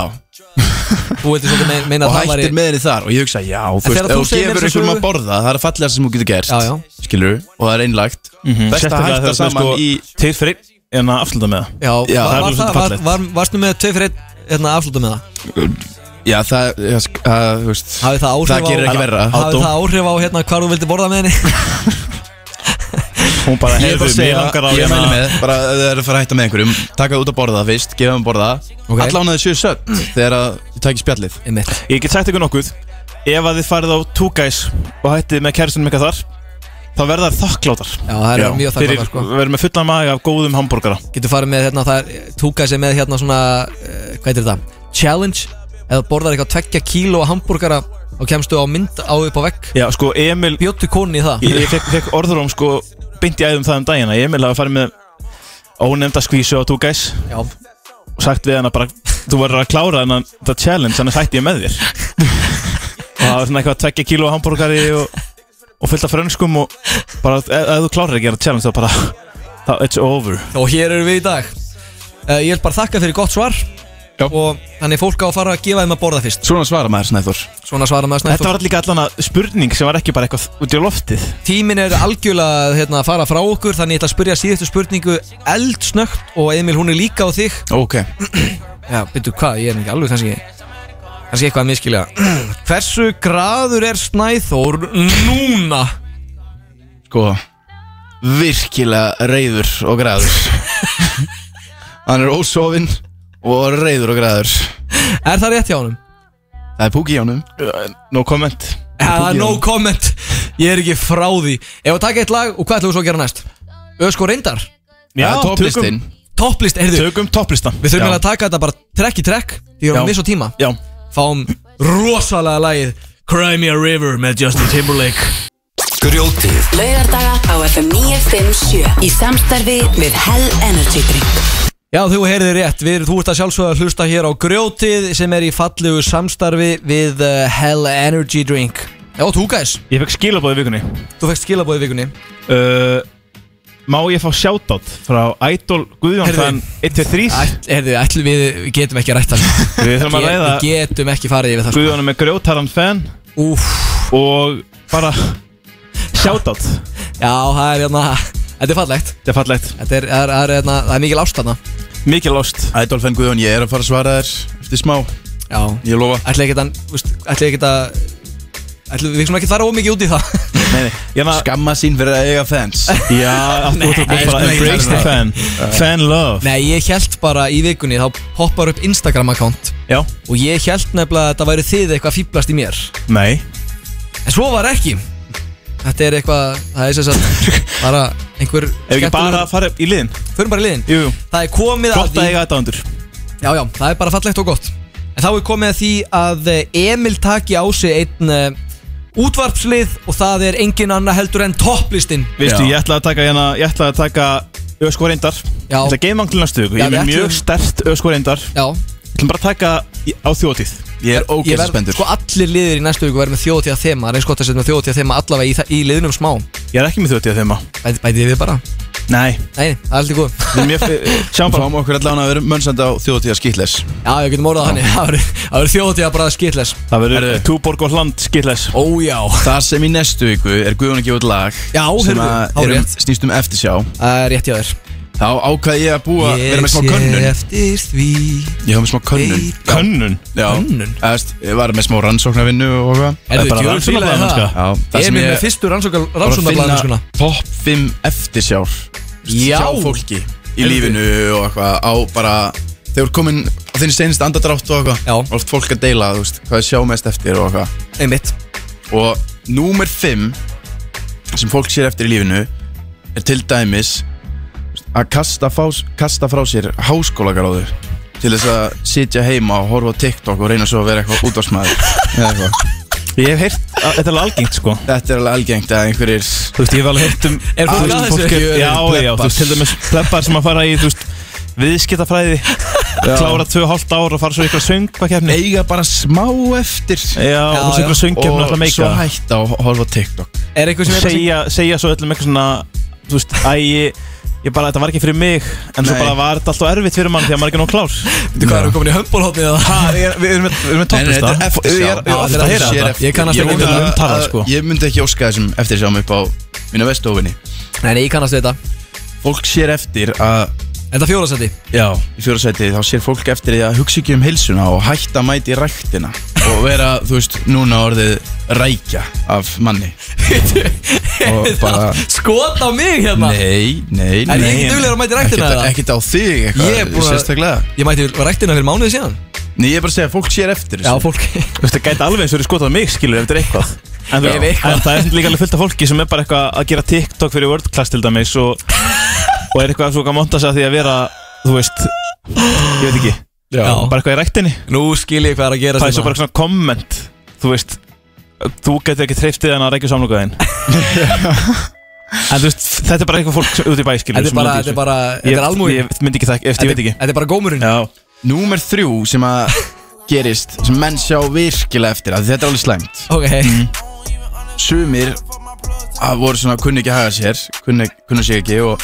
A: Þú veitir svolítið mein- meina
G: og
A: að það væri
G: hættir með henni þar og ég hugsa já,
A: En
G: þú veist,
A: þegar
G: ef
A: þú
G: þú
A: segir mér
G: gefur
A: þessa
G: einhverjum að
A: sögu-
G: borða það er að fallega sem þú getur gert
A: Já, Mhm. já.
G: skilur, og það er einlægt best að hætta saman
A: sko-
B: sko
G: í
B: Þeir fyrir en að afsluta með það
A: Já,
G: Já, það
A: var, var,
G: er
A: það,
G: svolítið
A: var,
G: fallegt.
A: var, varstu með tvei fyrir einn hérna, afslutum með það?
G: já, það, já, sk- að, þú veist
A: Hafið það áhrif á
G: gerir ekki verra
A: Hafið það áhrif á hérna hvað þú vildi borða með henni?
B: Hún bara
G: Ég er bara
B: hefur
G: að segja, ég mæli
B: hérna-
G: með, bara ef þið eru að fara að hætta með einhverjum Taka það út að borða það fyrst, gefa þeim að borða okay. Allána þið séu sött þegar að þið takir spjallið
A: Einmitt.
B: Ég get sagt ykkur nokkuð Ef að þið farið á Two Guys og hættið með kæristunum ykkar þar þá verða þær þakklátar
A: Já, það eru mjög þakklátar, sko.
B: Þeir verður með fullan maga af góðum hambúrgara
A: Getur farið með hérna, það er túka sem með hérna svona, uh, hvað heitir þetta? Challenge Eða borðar eitthvað tveggja kíló hambúrgara og kemstu á mynd á upp á vegg
B: Já, sko, Emil
A: Bjóttu konni í það
B: Ég, ég fekk, fekk orður um sko beint í æðum það um dagina Emil hafa farið með ónefnda skvísu á Two Guys
A: Já
B: og sagt við hana bara þú verður að klára þennan þetta challenge þannig hætti ég með þér og það var svona eitthvað tveggja kíló hambúrgari og, og fullt af frönskum og bara ef, ef þú klárar ekki þetta challenge þá bara þá it's over
A: Og hér eru við í dag uh, Ég vil bara þakka fyrir gott svar
G: Já.
A: Og þannig fólk á að fara að gefa þeim að borða fyrst
G: Svona svara maður Snæþór
A: Svona svara maður snætt
B: Þetta var líka allan að spurning sem var ekki bara eitthvað út í loftið
A: Tímin er algjörlega að hérna, fara frá okkur Þannig ég ætla að spyrja síðustu spurningu eldsnögt Og Emil, hún er líka á þig
G: Ok
A: Já, byrju, hvað? Ég er ekki alveg kannski Kannski eitthvað að miskilja Hversu graður er Snæþór núna?
G: Sko, virkilega reyður og græður Hann er ósofinn og reyður og græður
A: Er það rétt hjá honum?
G: Það er púki hjá honum No comment
A: Það er
G: Púki hjá
A: no
G: honum.
A: comment Ég er ekki frá því Ef að taka eitt lag og hvað ætlum við svo að gera næst? Ösk og reyndar
B: Já, Það er topplistin.
A: Topplist, heyrðu
B: Tökum topplistan
A: Við þurfum
B: Já.
A: eiginlega að taka þetta bara trekk í trekk Því
B: Já.
A: erum við svo tíma
B: Já
A: Fáum rosalega lagið Cry Me A River með Justin Timberlake Grjótið
M: Laugardaga á FM 957 Í samstarfi við Hell Energy Drink
A: Já, þú heyrðir rétt, við, þú ert að sjálfsögða að hlusta hér á grjótið sem er í fallegu samstarfi við uh, Hell Energy Drink Já, þú gæs
B: Ég fekk skilabóð í vikunni
A: Þú fekk skilabóð í vikunni
B: uh, Má ég fá shoutout frá Idol Guðjón
A: Heyrðu.
B: Þann 1-3
A: Heyrðu, ætlum við, við getum ekki að rætta það
B: Við þurfum að
A: Get-
B: ræða-
A: Við getum ekki farið yfir það sko.
B: Guðjón er með grjótaran fan
A: Úf
B: Og bara Shoutout
A: Já, það er hérna Þetta er fallegt
B: Þetta er fallegt
A: Þetta er, er, er, er, það er mikil ást þarna
B: Mikið lost
G: Ædol fenn Guðjón, ég er að fara að svara þér eftir smá
A: Já
G: Ég lofa
A: Ætli ekki að Ætli ekki að Ætli við sem ekki að fara ómikið út í það
G: Nei, nei, skamma sín fyrir að eiga fans
B: Já,
A: Nei, ég sko ekki
B: embrace the
A: það.
B: fan Fan love
A: Nei, ég held bara í vikunni Þá poppar upp Instagram account
B: Já
A: Og ég held nefnilega að það væri þið eitthvað fýblast í mér
B: Nei
A: En svo var ekki Þetta er eitthvað Það er sem sagt Bara einhver
B: Ef ekki bara að fara í liðin
A: Förum bara í liðin
B: Jú, jú
A: Það er komið að
B: Gott
A: því-
B: að eiga þetta undur
A: Já, já, það er bara fallegt og gott En þá er komið að því að eh, Emil taki á sig einn uh, útvarpslið og það er engin annar heldur en topplistinn
B: Veistu, ég ætla að taka hérna Ég ætla að taka Ösku reyndar
A: Já.
B: Þetta er geimangli næstu viku.
A: Já,
B: Ég er
A: við
B: með mjög
A: ætlum-
B: stert ösku reyndar
A: Já
B: Ég ætlum bara að taka í- á þjóðtíð
G: Ég er
A: Ég verð- Sko allir liðir í næstu viku verður með þjóðtíða þema Það er eins gott að setja með þjóðtíða þema allavega í, þa- í liðnum smá
B: Ég er ekki með þjóðtíða þema
A: Bæti, bæti við bara
B: Nei
A: Nei, það er alltaf góð
G: Mm. Sjáum bara Fáum okkur allan að vera mönnsandi á þjóðtíða skýtles
A: Já, ég getum orðað þannig Það verður- það verður þjóðtíða bara skitles
B: Það verður Túborg og Hland skilles
A: Ójá
G: Það sem í næstu viku er Guðjón að gefa út lag
A: Já,
G: Sem
A: heyrðu, þá
G: að er um,
A: rétt.
G: snýst um eftirsjá
A: Það er rétt hjá þér
G: Þá ákvað ég að búa
A: Ég
G: Verða með smá
A: sé
G: könnun
A: eftir því
G: Ég hafa með smá könnun
A: Veit-
B: Könnun?
G: Já Eða,
A: Könnun?
G: þú veist, Ég var með smá rannsóknarvinnu og hvað
A: Heyrðu, djöfull fílaði það.
G: Já, það sem
A: Emil með
G: ég
A: fyrstu rannsóknar-
G: var að finna
A: rannsóknarblaðamennskuna.
G: Topp 5 eftirsjár
A: Já.
G: Hjá fólki Í
A: Heyrðu.
G: lífinu og eitthvað Á bara Þeir voru komin á þinn steinist andadrátt og eitthvað
A: Já
G: Oft fólk að deila, þú veist, hvað er sjá mest eftir og eitthvað
A: Einmitt
G: Og númer 5 sem fólk sér eftir í lífinu er til dæmis að kasta, fás, kasta frá sér háskólagráðu til þess að sitja heima og horfa á TikTok og reyna svo að vera eitthvað útvarsmaður eða eitthvað
B: Ég hef heyrt að þetta er alveg algengt sko
G: Þetta er alveg algengt að einhverjir Þú
B: veist, ég hef alveg heyrt um
A: Er fólk að þessu?
B: Já, já, þú
G: Plebbar.
B: veist, til dæmis pleppar sem að fara í, þú veist, viðskiptafræði Klára tvö og hálft ár og fara svo ykkur að söngvakefni
G: Eiga bara smá eftir
B: Já, og svo ykkur að söngkefni alltaf
G: og
B: meika
G: svo hætta og horfa á TikTok
A: Er eitthvað sem
B: Og
A: er að
B: segja, segja svo öllum eitthvað svona Þú veist, æ, ég, ég bara, þetta var ekki fyrir mig En svo
G: Nei.
B: bara var þetta alltaf erfitt fyrir mann Því að maður er ekki nóg klár Þú
A: Hvað erum við komin í hömbólhóttni eða?
B: Ha, ég- við erum með- við erum með
G: Nei, nei,
B: topplista.
G: þetta er eftir
B: Ég
G: sjá
B: er- ég er ofta að heyra þetta.
G: Ég kannast ekki
B: við um tala, sko.
G: Ég myndi ekki óska þessum eftir sjáum upp á mína vestofinni
A: Nei, nei, ég kannast við þetta
G: Fólk sér eftir að
A: Þetta fjóðarsæti
G: Já, í fjórasæti þá sér fólk eftir því að hugsa ekki um heilsuna og hætta að mæti ræktina og vera, þú veist, núna orðið rækja af manni og bara
A: Skot á mig hérna
G: Nei, nei, nei
A: Er ég ekki duglegur að mæta í ræktina,
G: Ekkert-
A: eða?
G: Ekkert á þig eitthvað
A: Ég er búin að-
G: sérstaklega
A: Ég mætti ræktina fyrir mánuði síðan
G: Nei, ég er bara að segja að fólk sér eftir
A: Já, fólk
B: Þú veist, það gæti alveg eins og verið skotað á mig, skilur, ef þetta er eitthvað En, þú,
A: Ef eitthvað.
B: en það er líka alveg fullt af fólki sem er bara eitthvað að gera TikTok fyrir World Class til dæmis og, og er eitthvað svo að monta sig að því að vera, þú veist, ég veit ekki
G: Já.
B: Bara eitthvað í ræktinni
A: Nú skil ég hvað er að gera
B: Það er svo bara svona komment, þú veist, þú getur ekki treyftið hann að rækja samlokaðin En þú veist, þetta er bara eitthvað fólk sem- út í bæ, skilur
A: Þetta er
B: sem
A: bara- þetta
B: lendir í
A: er
B: þessu.
A: bara- þetta
B: Ég-
A: er almúginn.
B: Ég myndi ekki það, ég veit ekki
A: Þetta er bara gómurinn
B: Já
G: Númer þrjú sem að gerist sem menn sjá virkilega eftir að þetta er alveg slæmt
A: Ok mm.
G: Sumir að voru svona kunni ekki að haga sér kunni, kunni sér ekki og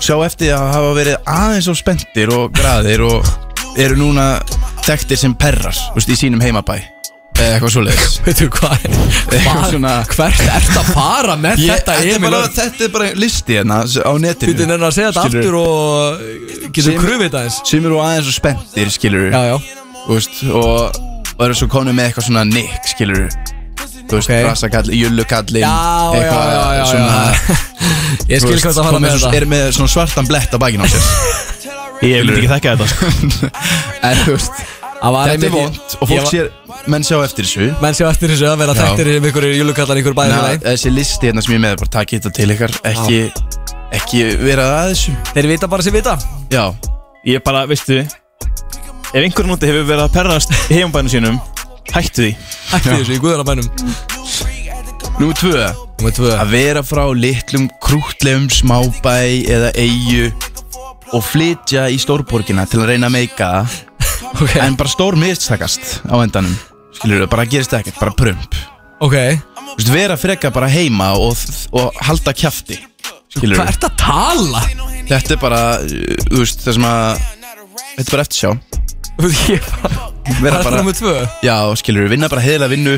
G: sjá eftir því að hafa verið aðeins of spenntir og graðir og eru núna þekktir sem perrar þú veist, í sínum heimabæ eða eitthvað svoleiðis
A: Veitu hvað
G: Eitthvað svona
A: Hvert ert að fara með
G: Ég-
A: þetta
G: þetta, er
A: Emil
G: bara,
A: Örn?
G: þetta er bara listi hérna á netinu
A: Bíddu, nennirðu að segja þetta aftur og, getur krufið þetta eins
G: Sem eru aðeins og spenntir, skilur
A: Já, já
G: veist, og, og eru svo komin með eitthvað svona nick, skilur Þú veist, okay. rasakall, jullukallin
A: Já, já, já, já, já. Ég skil hvað það fara með þetta.
G: Er með svona svartan blett á bakinn á sér
B: Ég vil ekki þekka þetta sko.
G: En þú veist Þetta er vond og fólk sér menn sjá eftir þessu
A: Menn sjá eftir þessu að vera
G: Já.
A: þekktir yfir ykkur júlukallar ykkur bæði
G: Ná, Þessi listi hérna sem ég er með er bara takk þetta til ykkar ekki, ekki vera að þessu
A: Þeir vita bara sem vita
G: Já
B: Ég bara, veistu Ef einhverjum úti hefur verið að perrast í heimabænum sínum Hættu því
A: Hættu þessu í guðanabænum
G: Númer tvö
A: Númer tvö
G: Að vera frá litlum krútlegum smábæ eða eigu og flytja í stórborgina til að reyna að meika það
A: okay.
G: en bara stór mistakast á endanum skilur bara gerist ekkert, bara prump
A: Ok
G: Þú veist, vera freka bara heima og, og halda kjafti skilur
A: Hvað ertu að tala?
G: Þetta er bara, uh, þú veist, það sem að þetta er bara eftir sjá
A: Ég bara
G: Vera
A: Hvað er
G: bara-
A: númer tvö?
G: Já, skilur vinna bara heiðilega vinnu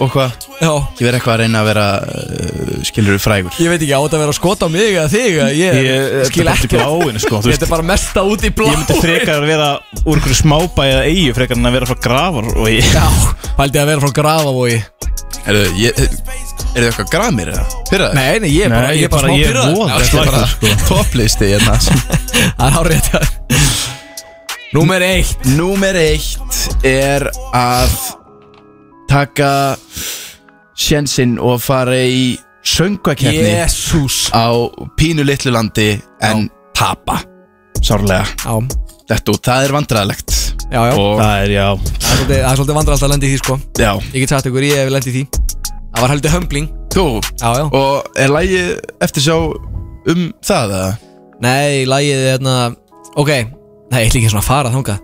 G: og hvað
A: Já
G: Ekki vera eitthvað að reyna að vera, uh, skilur frægur
A: Ég veit ekki á þetta að vera að skota á mig eða þig eða Ég,
B: Ég- eh,
A: skil
B: þetta er bara út í
A: ekki
B: bláinu, sko, þú veist.
A: Þetta er bara mesta út í blá
B: Ég myndi frekar að vera úr einhverju smábæ eða eigu frekar en að vera frá grafar og ég
A: Já, pældi að vera frá grafavogi
G: Er þið eitthvað gramir eða? Pyrraður?
A: Nei, sko. nei, ég er bara, ég er bara, smá pirraður. Já,
G: Þetta er bara topplisti hérna
A: Það er árið þetta Númer eitt
G: Númer eitt er að taka sjensinn og fara í söngvakeppni
A: Jesús
G: á pínu litlu landi en tapa sárlega
A: Já
G: Þetta út, það er vandræðalegt
A: Já, já
G: Og-
B: Það er, já
A: Það er svolítið, það er svolítið vandralt að lendi því sko
G: Já
A: Ég get sagt ykkur, ég hef lendi því Það var heldur hömbling
G: Þú?
A: Já, já
G: Og er lægið eftir sjá um það eða?
A: Nei, lægið er hérna Ok, nei, ég ætla ekki svona að fara þanga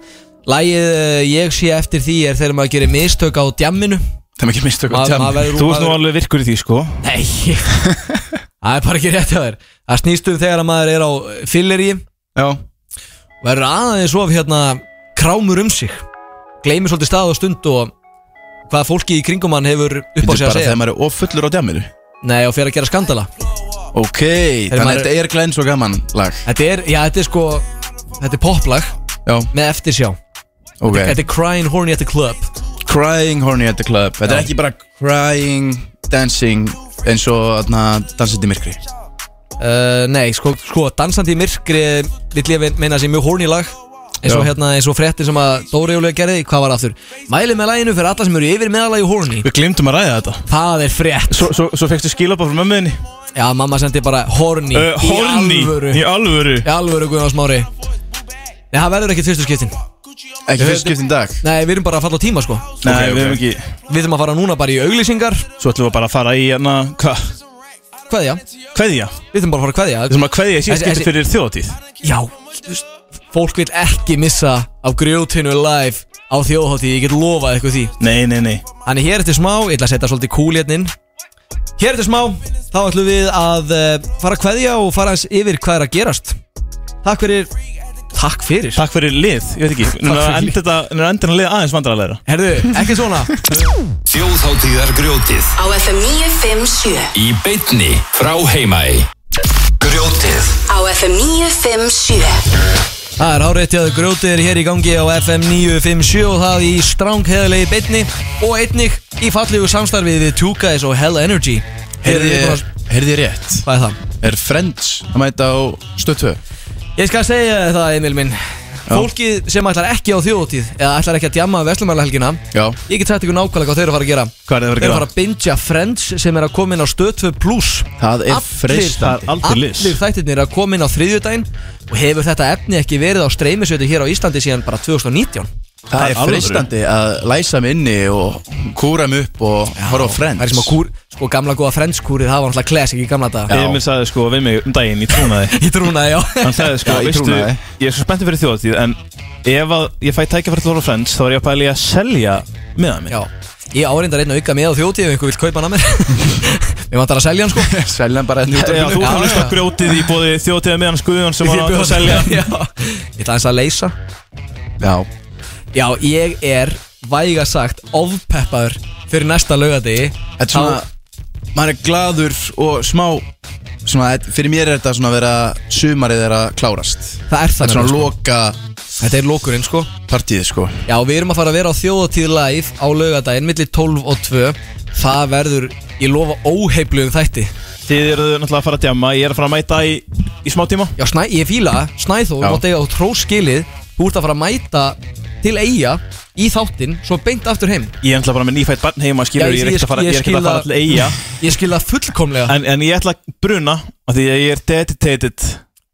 A: Lægið eh, ég sé eftir því er þegar maður gerir mistök á djamminu
G: Það er ekki mistök á djamminu.
B: Þú ert nú alveg virkur í því sko
A: Nei Það er bara ekki rétt hjá þér Það snýst um þegar að maður er á fillerí
G: Já
A: Verður aðeins of hérna krámur um sig Gleimir svolítið stað og stund og Hvaða fólki í kringum hann hefur
G: Þetta er
A: upp á sig að
G: bara þegar
A: segja
G: maður er ofullur á djaminu
A: Nei, og fer að gera skandala
G: Ok, þannig að
A: maður-
G: þetta er glæn svo gaman lag
A: Þetta er, já, þetta er sko Þetta er poplag
G: Já
A: Með eftirsjá
G: Ok
A: Þetta er Crying Horny at the Club
G: Crying Horny at the Club Þetta er
A: Já.
G: ekki bara crying, dancing eins og atna, dansandi myrkri
A: uh, Nei, sko, sko, dansandi í myrkri Vill ég meina sér mjög horny lag eins og,
G: Já.
A: hérna, eins og fréttir sem að Dóri Júlega gerði Hvað var aftur? Mæli með laginu fyrir alla sem eru yfir meðalagi horny
B: Við glemdum að ræða þetta
A: Það er frétt
B: Svo, svo, svo fekstu skilabá frá mömmuðinni
A: Já, mamma sendi bara horny
B: uh, Horni
A: Í alvöru
B: Í alvöru
A: Í alvöru, Guðjóns Mári Nei, það verður ekki fyrstu skiptin
G: Ekki fyrstu skiptin dag?
A: Nei, við erum bara að falla á tíma, sko
B: Nei, við erum ekki
A: Við þurfum að fara núna bara í auglýsingar
B: Svo ætlum við bara að fara í hérna Hvað?
A: Kveðja
B: Kveðja?
A: Við þurfum bara að fara að kveðja Við
B: þurfum að kveðja í síðan skipti fyrir þjóðatíð
A: Já, þú veist, fólk vil ekki missa af grjótinu live á þjóðháttíð, ég get lofað eitthvað því
B: Nei, nei, nei
A: Þannig hér eftir smá, ég ætla að setja svolítið kúl hérna inn Hér eftir smá, þá ætlum við að uh, fara að kveðja og fara eins yfir hvað er að gerast Takk fyrir Takk fyrir
B: Takk fyrir lið, ég veit ekki Núna
A: fyrir
B: endur þetta, núna endur hann lið aðeins vandrarleira
A: Herðu, ekki svona
O: Þjóðháttíðar grjótið
M: Á FM 957
O: Í beitni frá heimaði Grjótið
M: Á FM 957
A: Það er áreitt að grjótið er hér í gangi á FM 957 og það í strángheðalegi beinni og einnig í fallegu samstarfið við Two Guys og Hell Energy
G: Heyrði
A: Hér er bara-
G: ég- heyrði ég rétt?
A: Hvað er það?
G: Er Friends að mæta á stöttu?
A: Ég skal segja þér það Emil minn Fólkið sem ætlar ekki á þjóðtíð eða ætlar ekki að djamma Vestlumælahelgina
G: Já
A: Ég get sagt ykkur nákvæmlega hvað þau eru að fara að gera
B: Hvað er
A: Þau
B: það að fara að
A: eru að
B: gera?
A: fara að bingja Friends sem er að koma inn á Stöð 2 Plus
G: Það er freistandi.
A: Allir,
G: Það er aldrei
A: allir,
G: list.
A: þættirnir eru að koma inn á þriðjudaginn og hefur þetta efni ekki verið á streymisveitu hér á Íslandi síðan bara 2019
G: Það er freistandi að læsa mig inni og kúra mig upp og horfa á Friends
A: Það er sem að kúr, sko gamla góða Friends kúrið það var náttúrulega classic í gamla dag
B: Emil sagði sko við mig um daginn í trúnaði
A: Í trúnaði, já
B: Hann sagði sko,
A: Já, í
B: veistu,
A: trúnaði.
B: ég er svo spenntið fyrir þjóðatíð En ef að ég fæ tækja fyrir Þóra Friends Þá er ég að pæli að selja miðað mig
A: Já, ég áreindar einn að auka með á þjóðtíð ef einhver vil kaupa hann að mér Við vantar að selja hann sko
G: Selja hann bara hérna
B: Já, þú ert að hlusta á grjótið í bóði þjóðtíða meðan skuðun sem
A: Ég
B: var að
A: bjóð-
B: að selja
A: Já. Ég ætla aðeins að leysa
G: Já
A: Já, ég er væga sagt ofpeppaður fyrir næsta laugadegi
G: Þetta er svona, maður er gladur og smá svona, þetta- fyrir mér er þetta svona að vera sumarið er að klárast
A: Það er
G: Þetta
A: þannig
G: er svona
A: sko.
G: loka
A: Þetta er lokurinn sko
G: Partíð sko
A: Já, við erum að fara að vera á þjóðatíð live á laugadaginn millir 12 og 2 Það verður, ég lofa óheiflu um þætti
B: Þið eruðu náttúrulega að fara að djama Ég er að fara að mæta í í smá tíma
A: Já, snæ, ég fíla, það. Snæþór,
B: Já.
A: þú mátt eiga á tróskilið Þú ert að fara að mæta til eiga í þáttinn, svo beint aftur heim
B: Ég er náttúrulega bara með nýfætt barn heima skilur,
A: Já,
B: ég,
A: ég-
B: er ekkert að fara,
A: ég- ég
B: ég, er ekkert
A: skil
B: að fara
A: það-
B: til eiga
A: Ég skil það fullkomlega
B: en, en ég ætla að bruna af Því að ég er dedicated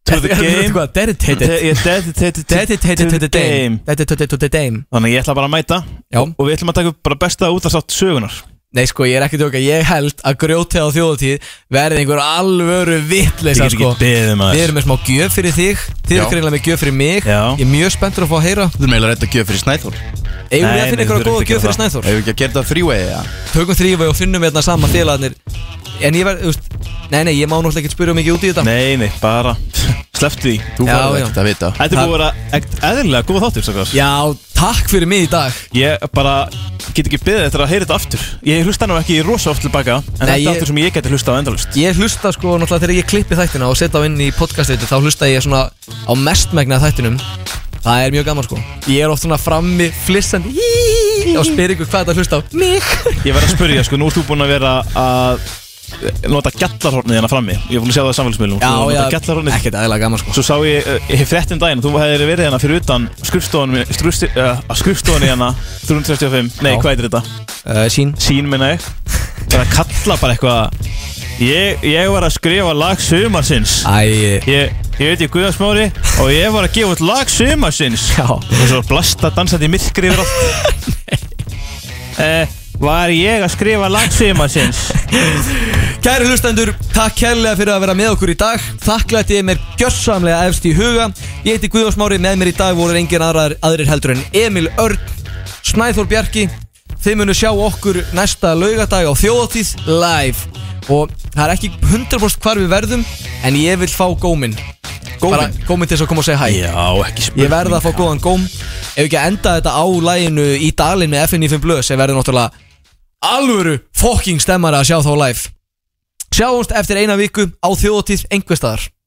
B: to the game
A: Hvað, dedicated?
B: Ég er dedicated to-
A: sko- Dedicated to the game. Dedicated to the game
B: Þannig að ég ætla bara að mæta
A: Já.
B: Og við ætlum að taka upp bara besta útarstátt sögunar
A: Nei, sko, ég er ekki tjóka Ég held að grjótið á þjóðatíð verði einhver alvöru vitleysa,
B: Ég get
A: sko
B: ekki beðið, um maður.
A: Við erum með smá gjöf fyrir þig Þið
B: Já.
A: eru greinlega með gjöf fyrir mig
B: Já.
A: Ég er mjög spenntur að fá að heyra
G: Þú erum eiginlega rétt að gjöf fyrir Snæþór
A: Eigum við að finna einhverja góða gjöf fyrir Snæþór?
G: Ef við ekki að gera það þrjúvegi, já
A: Tökum þrýfa og finnum hérna sama félagarnir En ég verð, þú veist Nei, nei, ég má náttúrulega ekki spyrja um mikið út í þetta
B: Nei, nei, bara Sleppt því
A: Þú Já, verður já. ekkert að vita.
B: Þetta er búið að vera ekkert eðlilega góð þáttur sakar.
A: Já, takk fyrir mig í dag
B: Ég bara get ekki beðið eftir að heyra þetta aftur Ég hlusta nú ekki rosa oft tilbaka En
A: Nei,
B: þetta
A: ég-
B: er aftur sem ég geti hlusta á endalust
A: Ég hlusta sko náttúrulega þegar ég klippi þættina og setja á inn í podcastveitu þá hlusta ég svona á mestmægna þættinum Það er mjög gaman sko Ég er oft svona frammi flissandi "Í", og spyr ykkur hvað þetta hlusta á Mig
B: Ég verð að spyrja, sko, nú ert þú búin að vera að nota gjallarhornið hérna frammi Ég er búin að sjá það á samfélagsmiðlum
A: Já,
B: Þú
A: já,
B: notar gjallarhornið.
A: ekkert aðeinslega gaman sko
B: Svo sá ég, uh, ég frétt um daginn, þú hefðir verið hérna fyrir utan skrifstofunni, skrifsti, uh, skrifstofunni hérna 365, nei
A: Já.
B: hvað er þetta?
A: Uh, sín
B: Sín minna ég Það er að kalla bara eitthvað Ég, ég var að skrifa lag sumarsins
A: Æ
B: Ég, ég veit ég Guðarsmári og ég var að gefa út lag sumarsins Já Og svo blasta dansandi myrkri yfir allt uh, Var ég að skrifa lag sumarsins
A: Kæri hlustendur, takk kærlega fyrir að vera með okkur í dag Þakklætti ég mér gjörsamlega efst í huga Ég heiti Guðjón Smári, með mér í dag voru engin aðrar, aðrir heldur en Emil Örn Snæþór Bjarki Þið munu sjá okkur næsta laugardag á þjóðatíð live Og það er ekki 100% hvar við verðum En ég vil fá góminn
B: Góminn?
A: Bara góminn til þess að koma og segja hæ
B: Já, ekki
A: Ég verða að fá góðan góm Ef ekki að enda þetta á læginu í dalinn með FNF Blöð sem verður náttúrulega alvöru fokking stemmara að sjá þá live Sjáumst eftir eina viku á þjóðtíð einhver staðar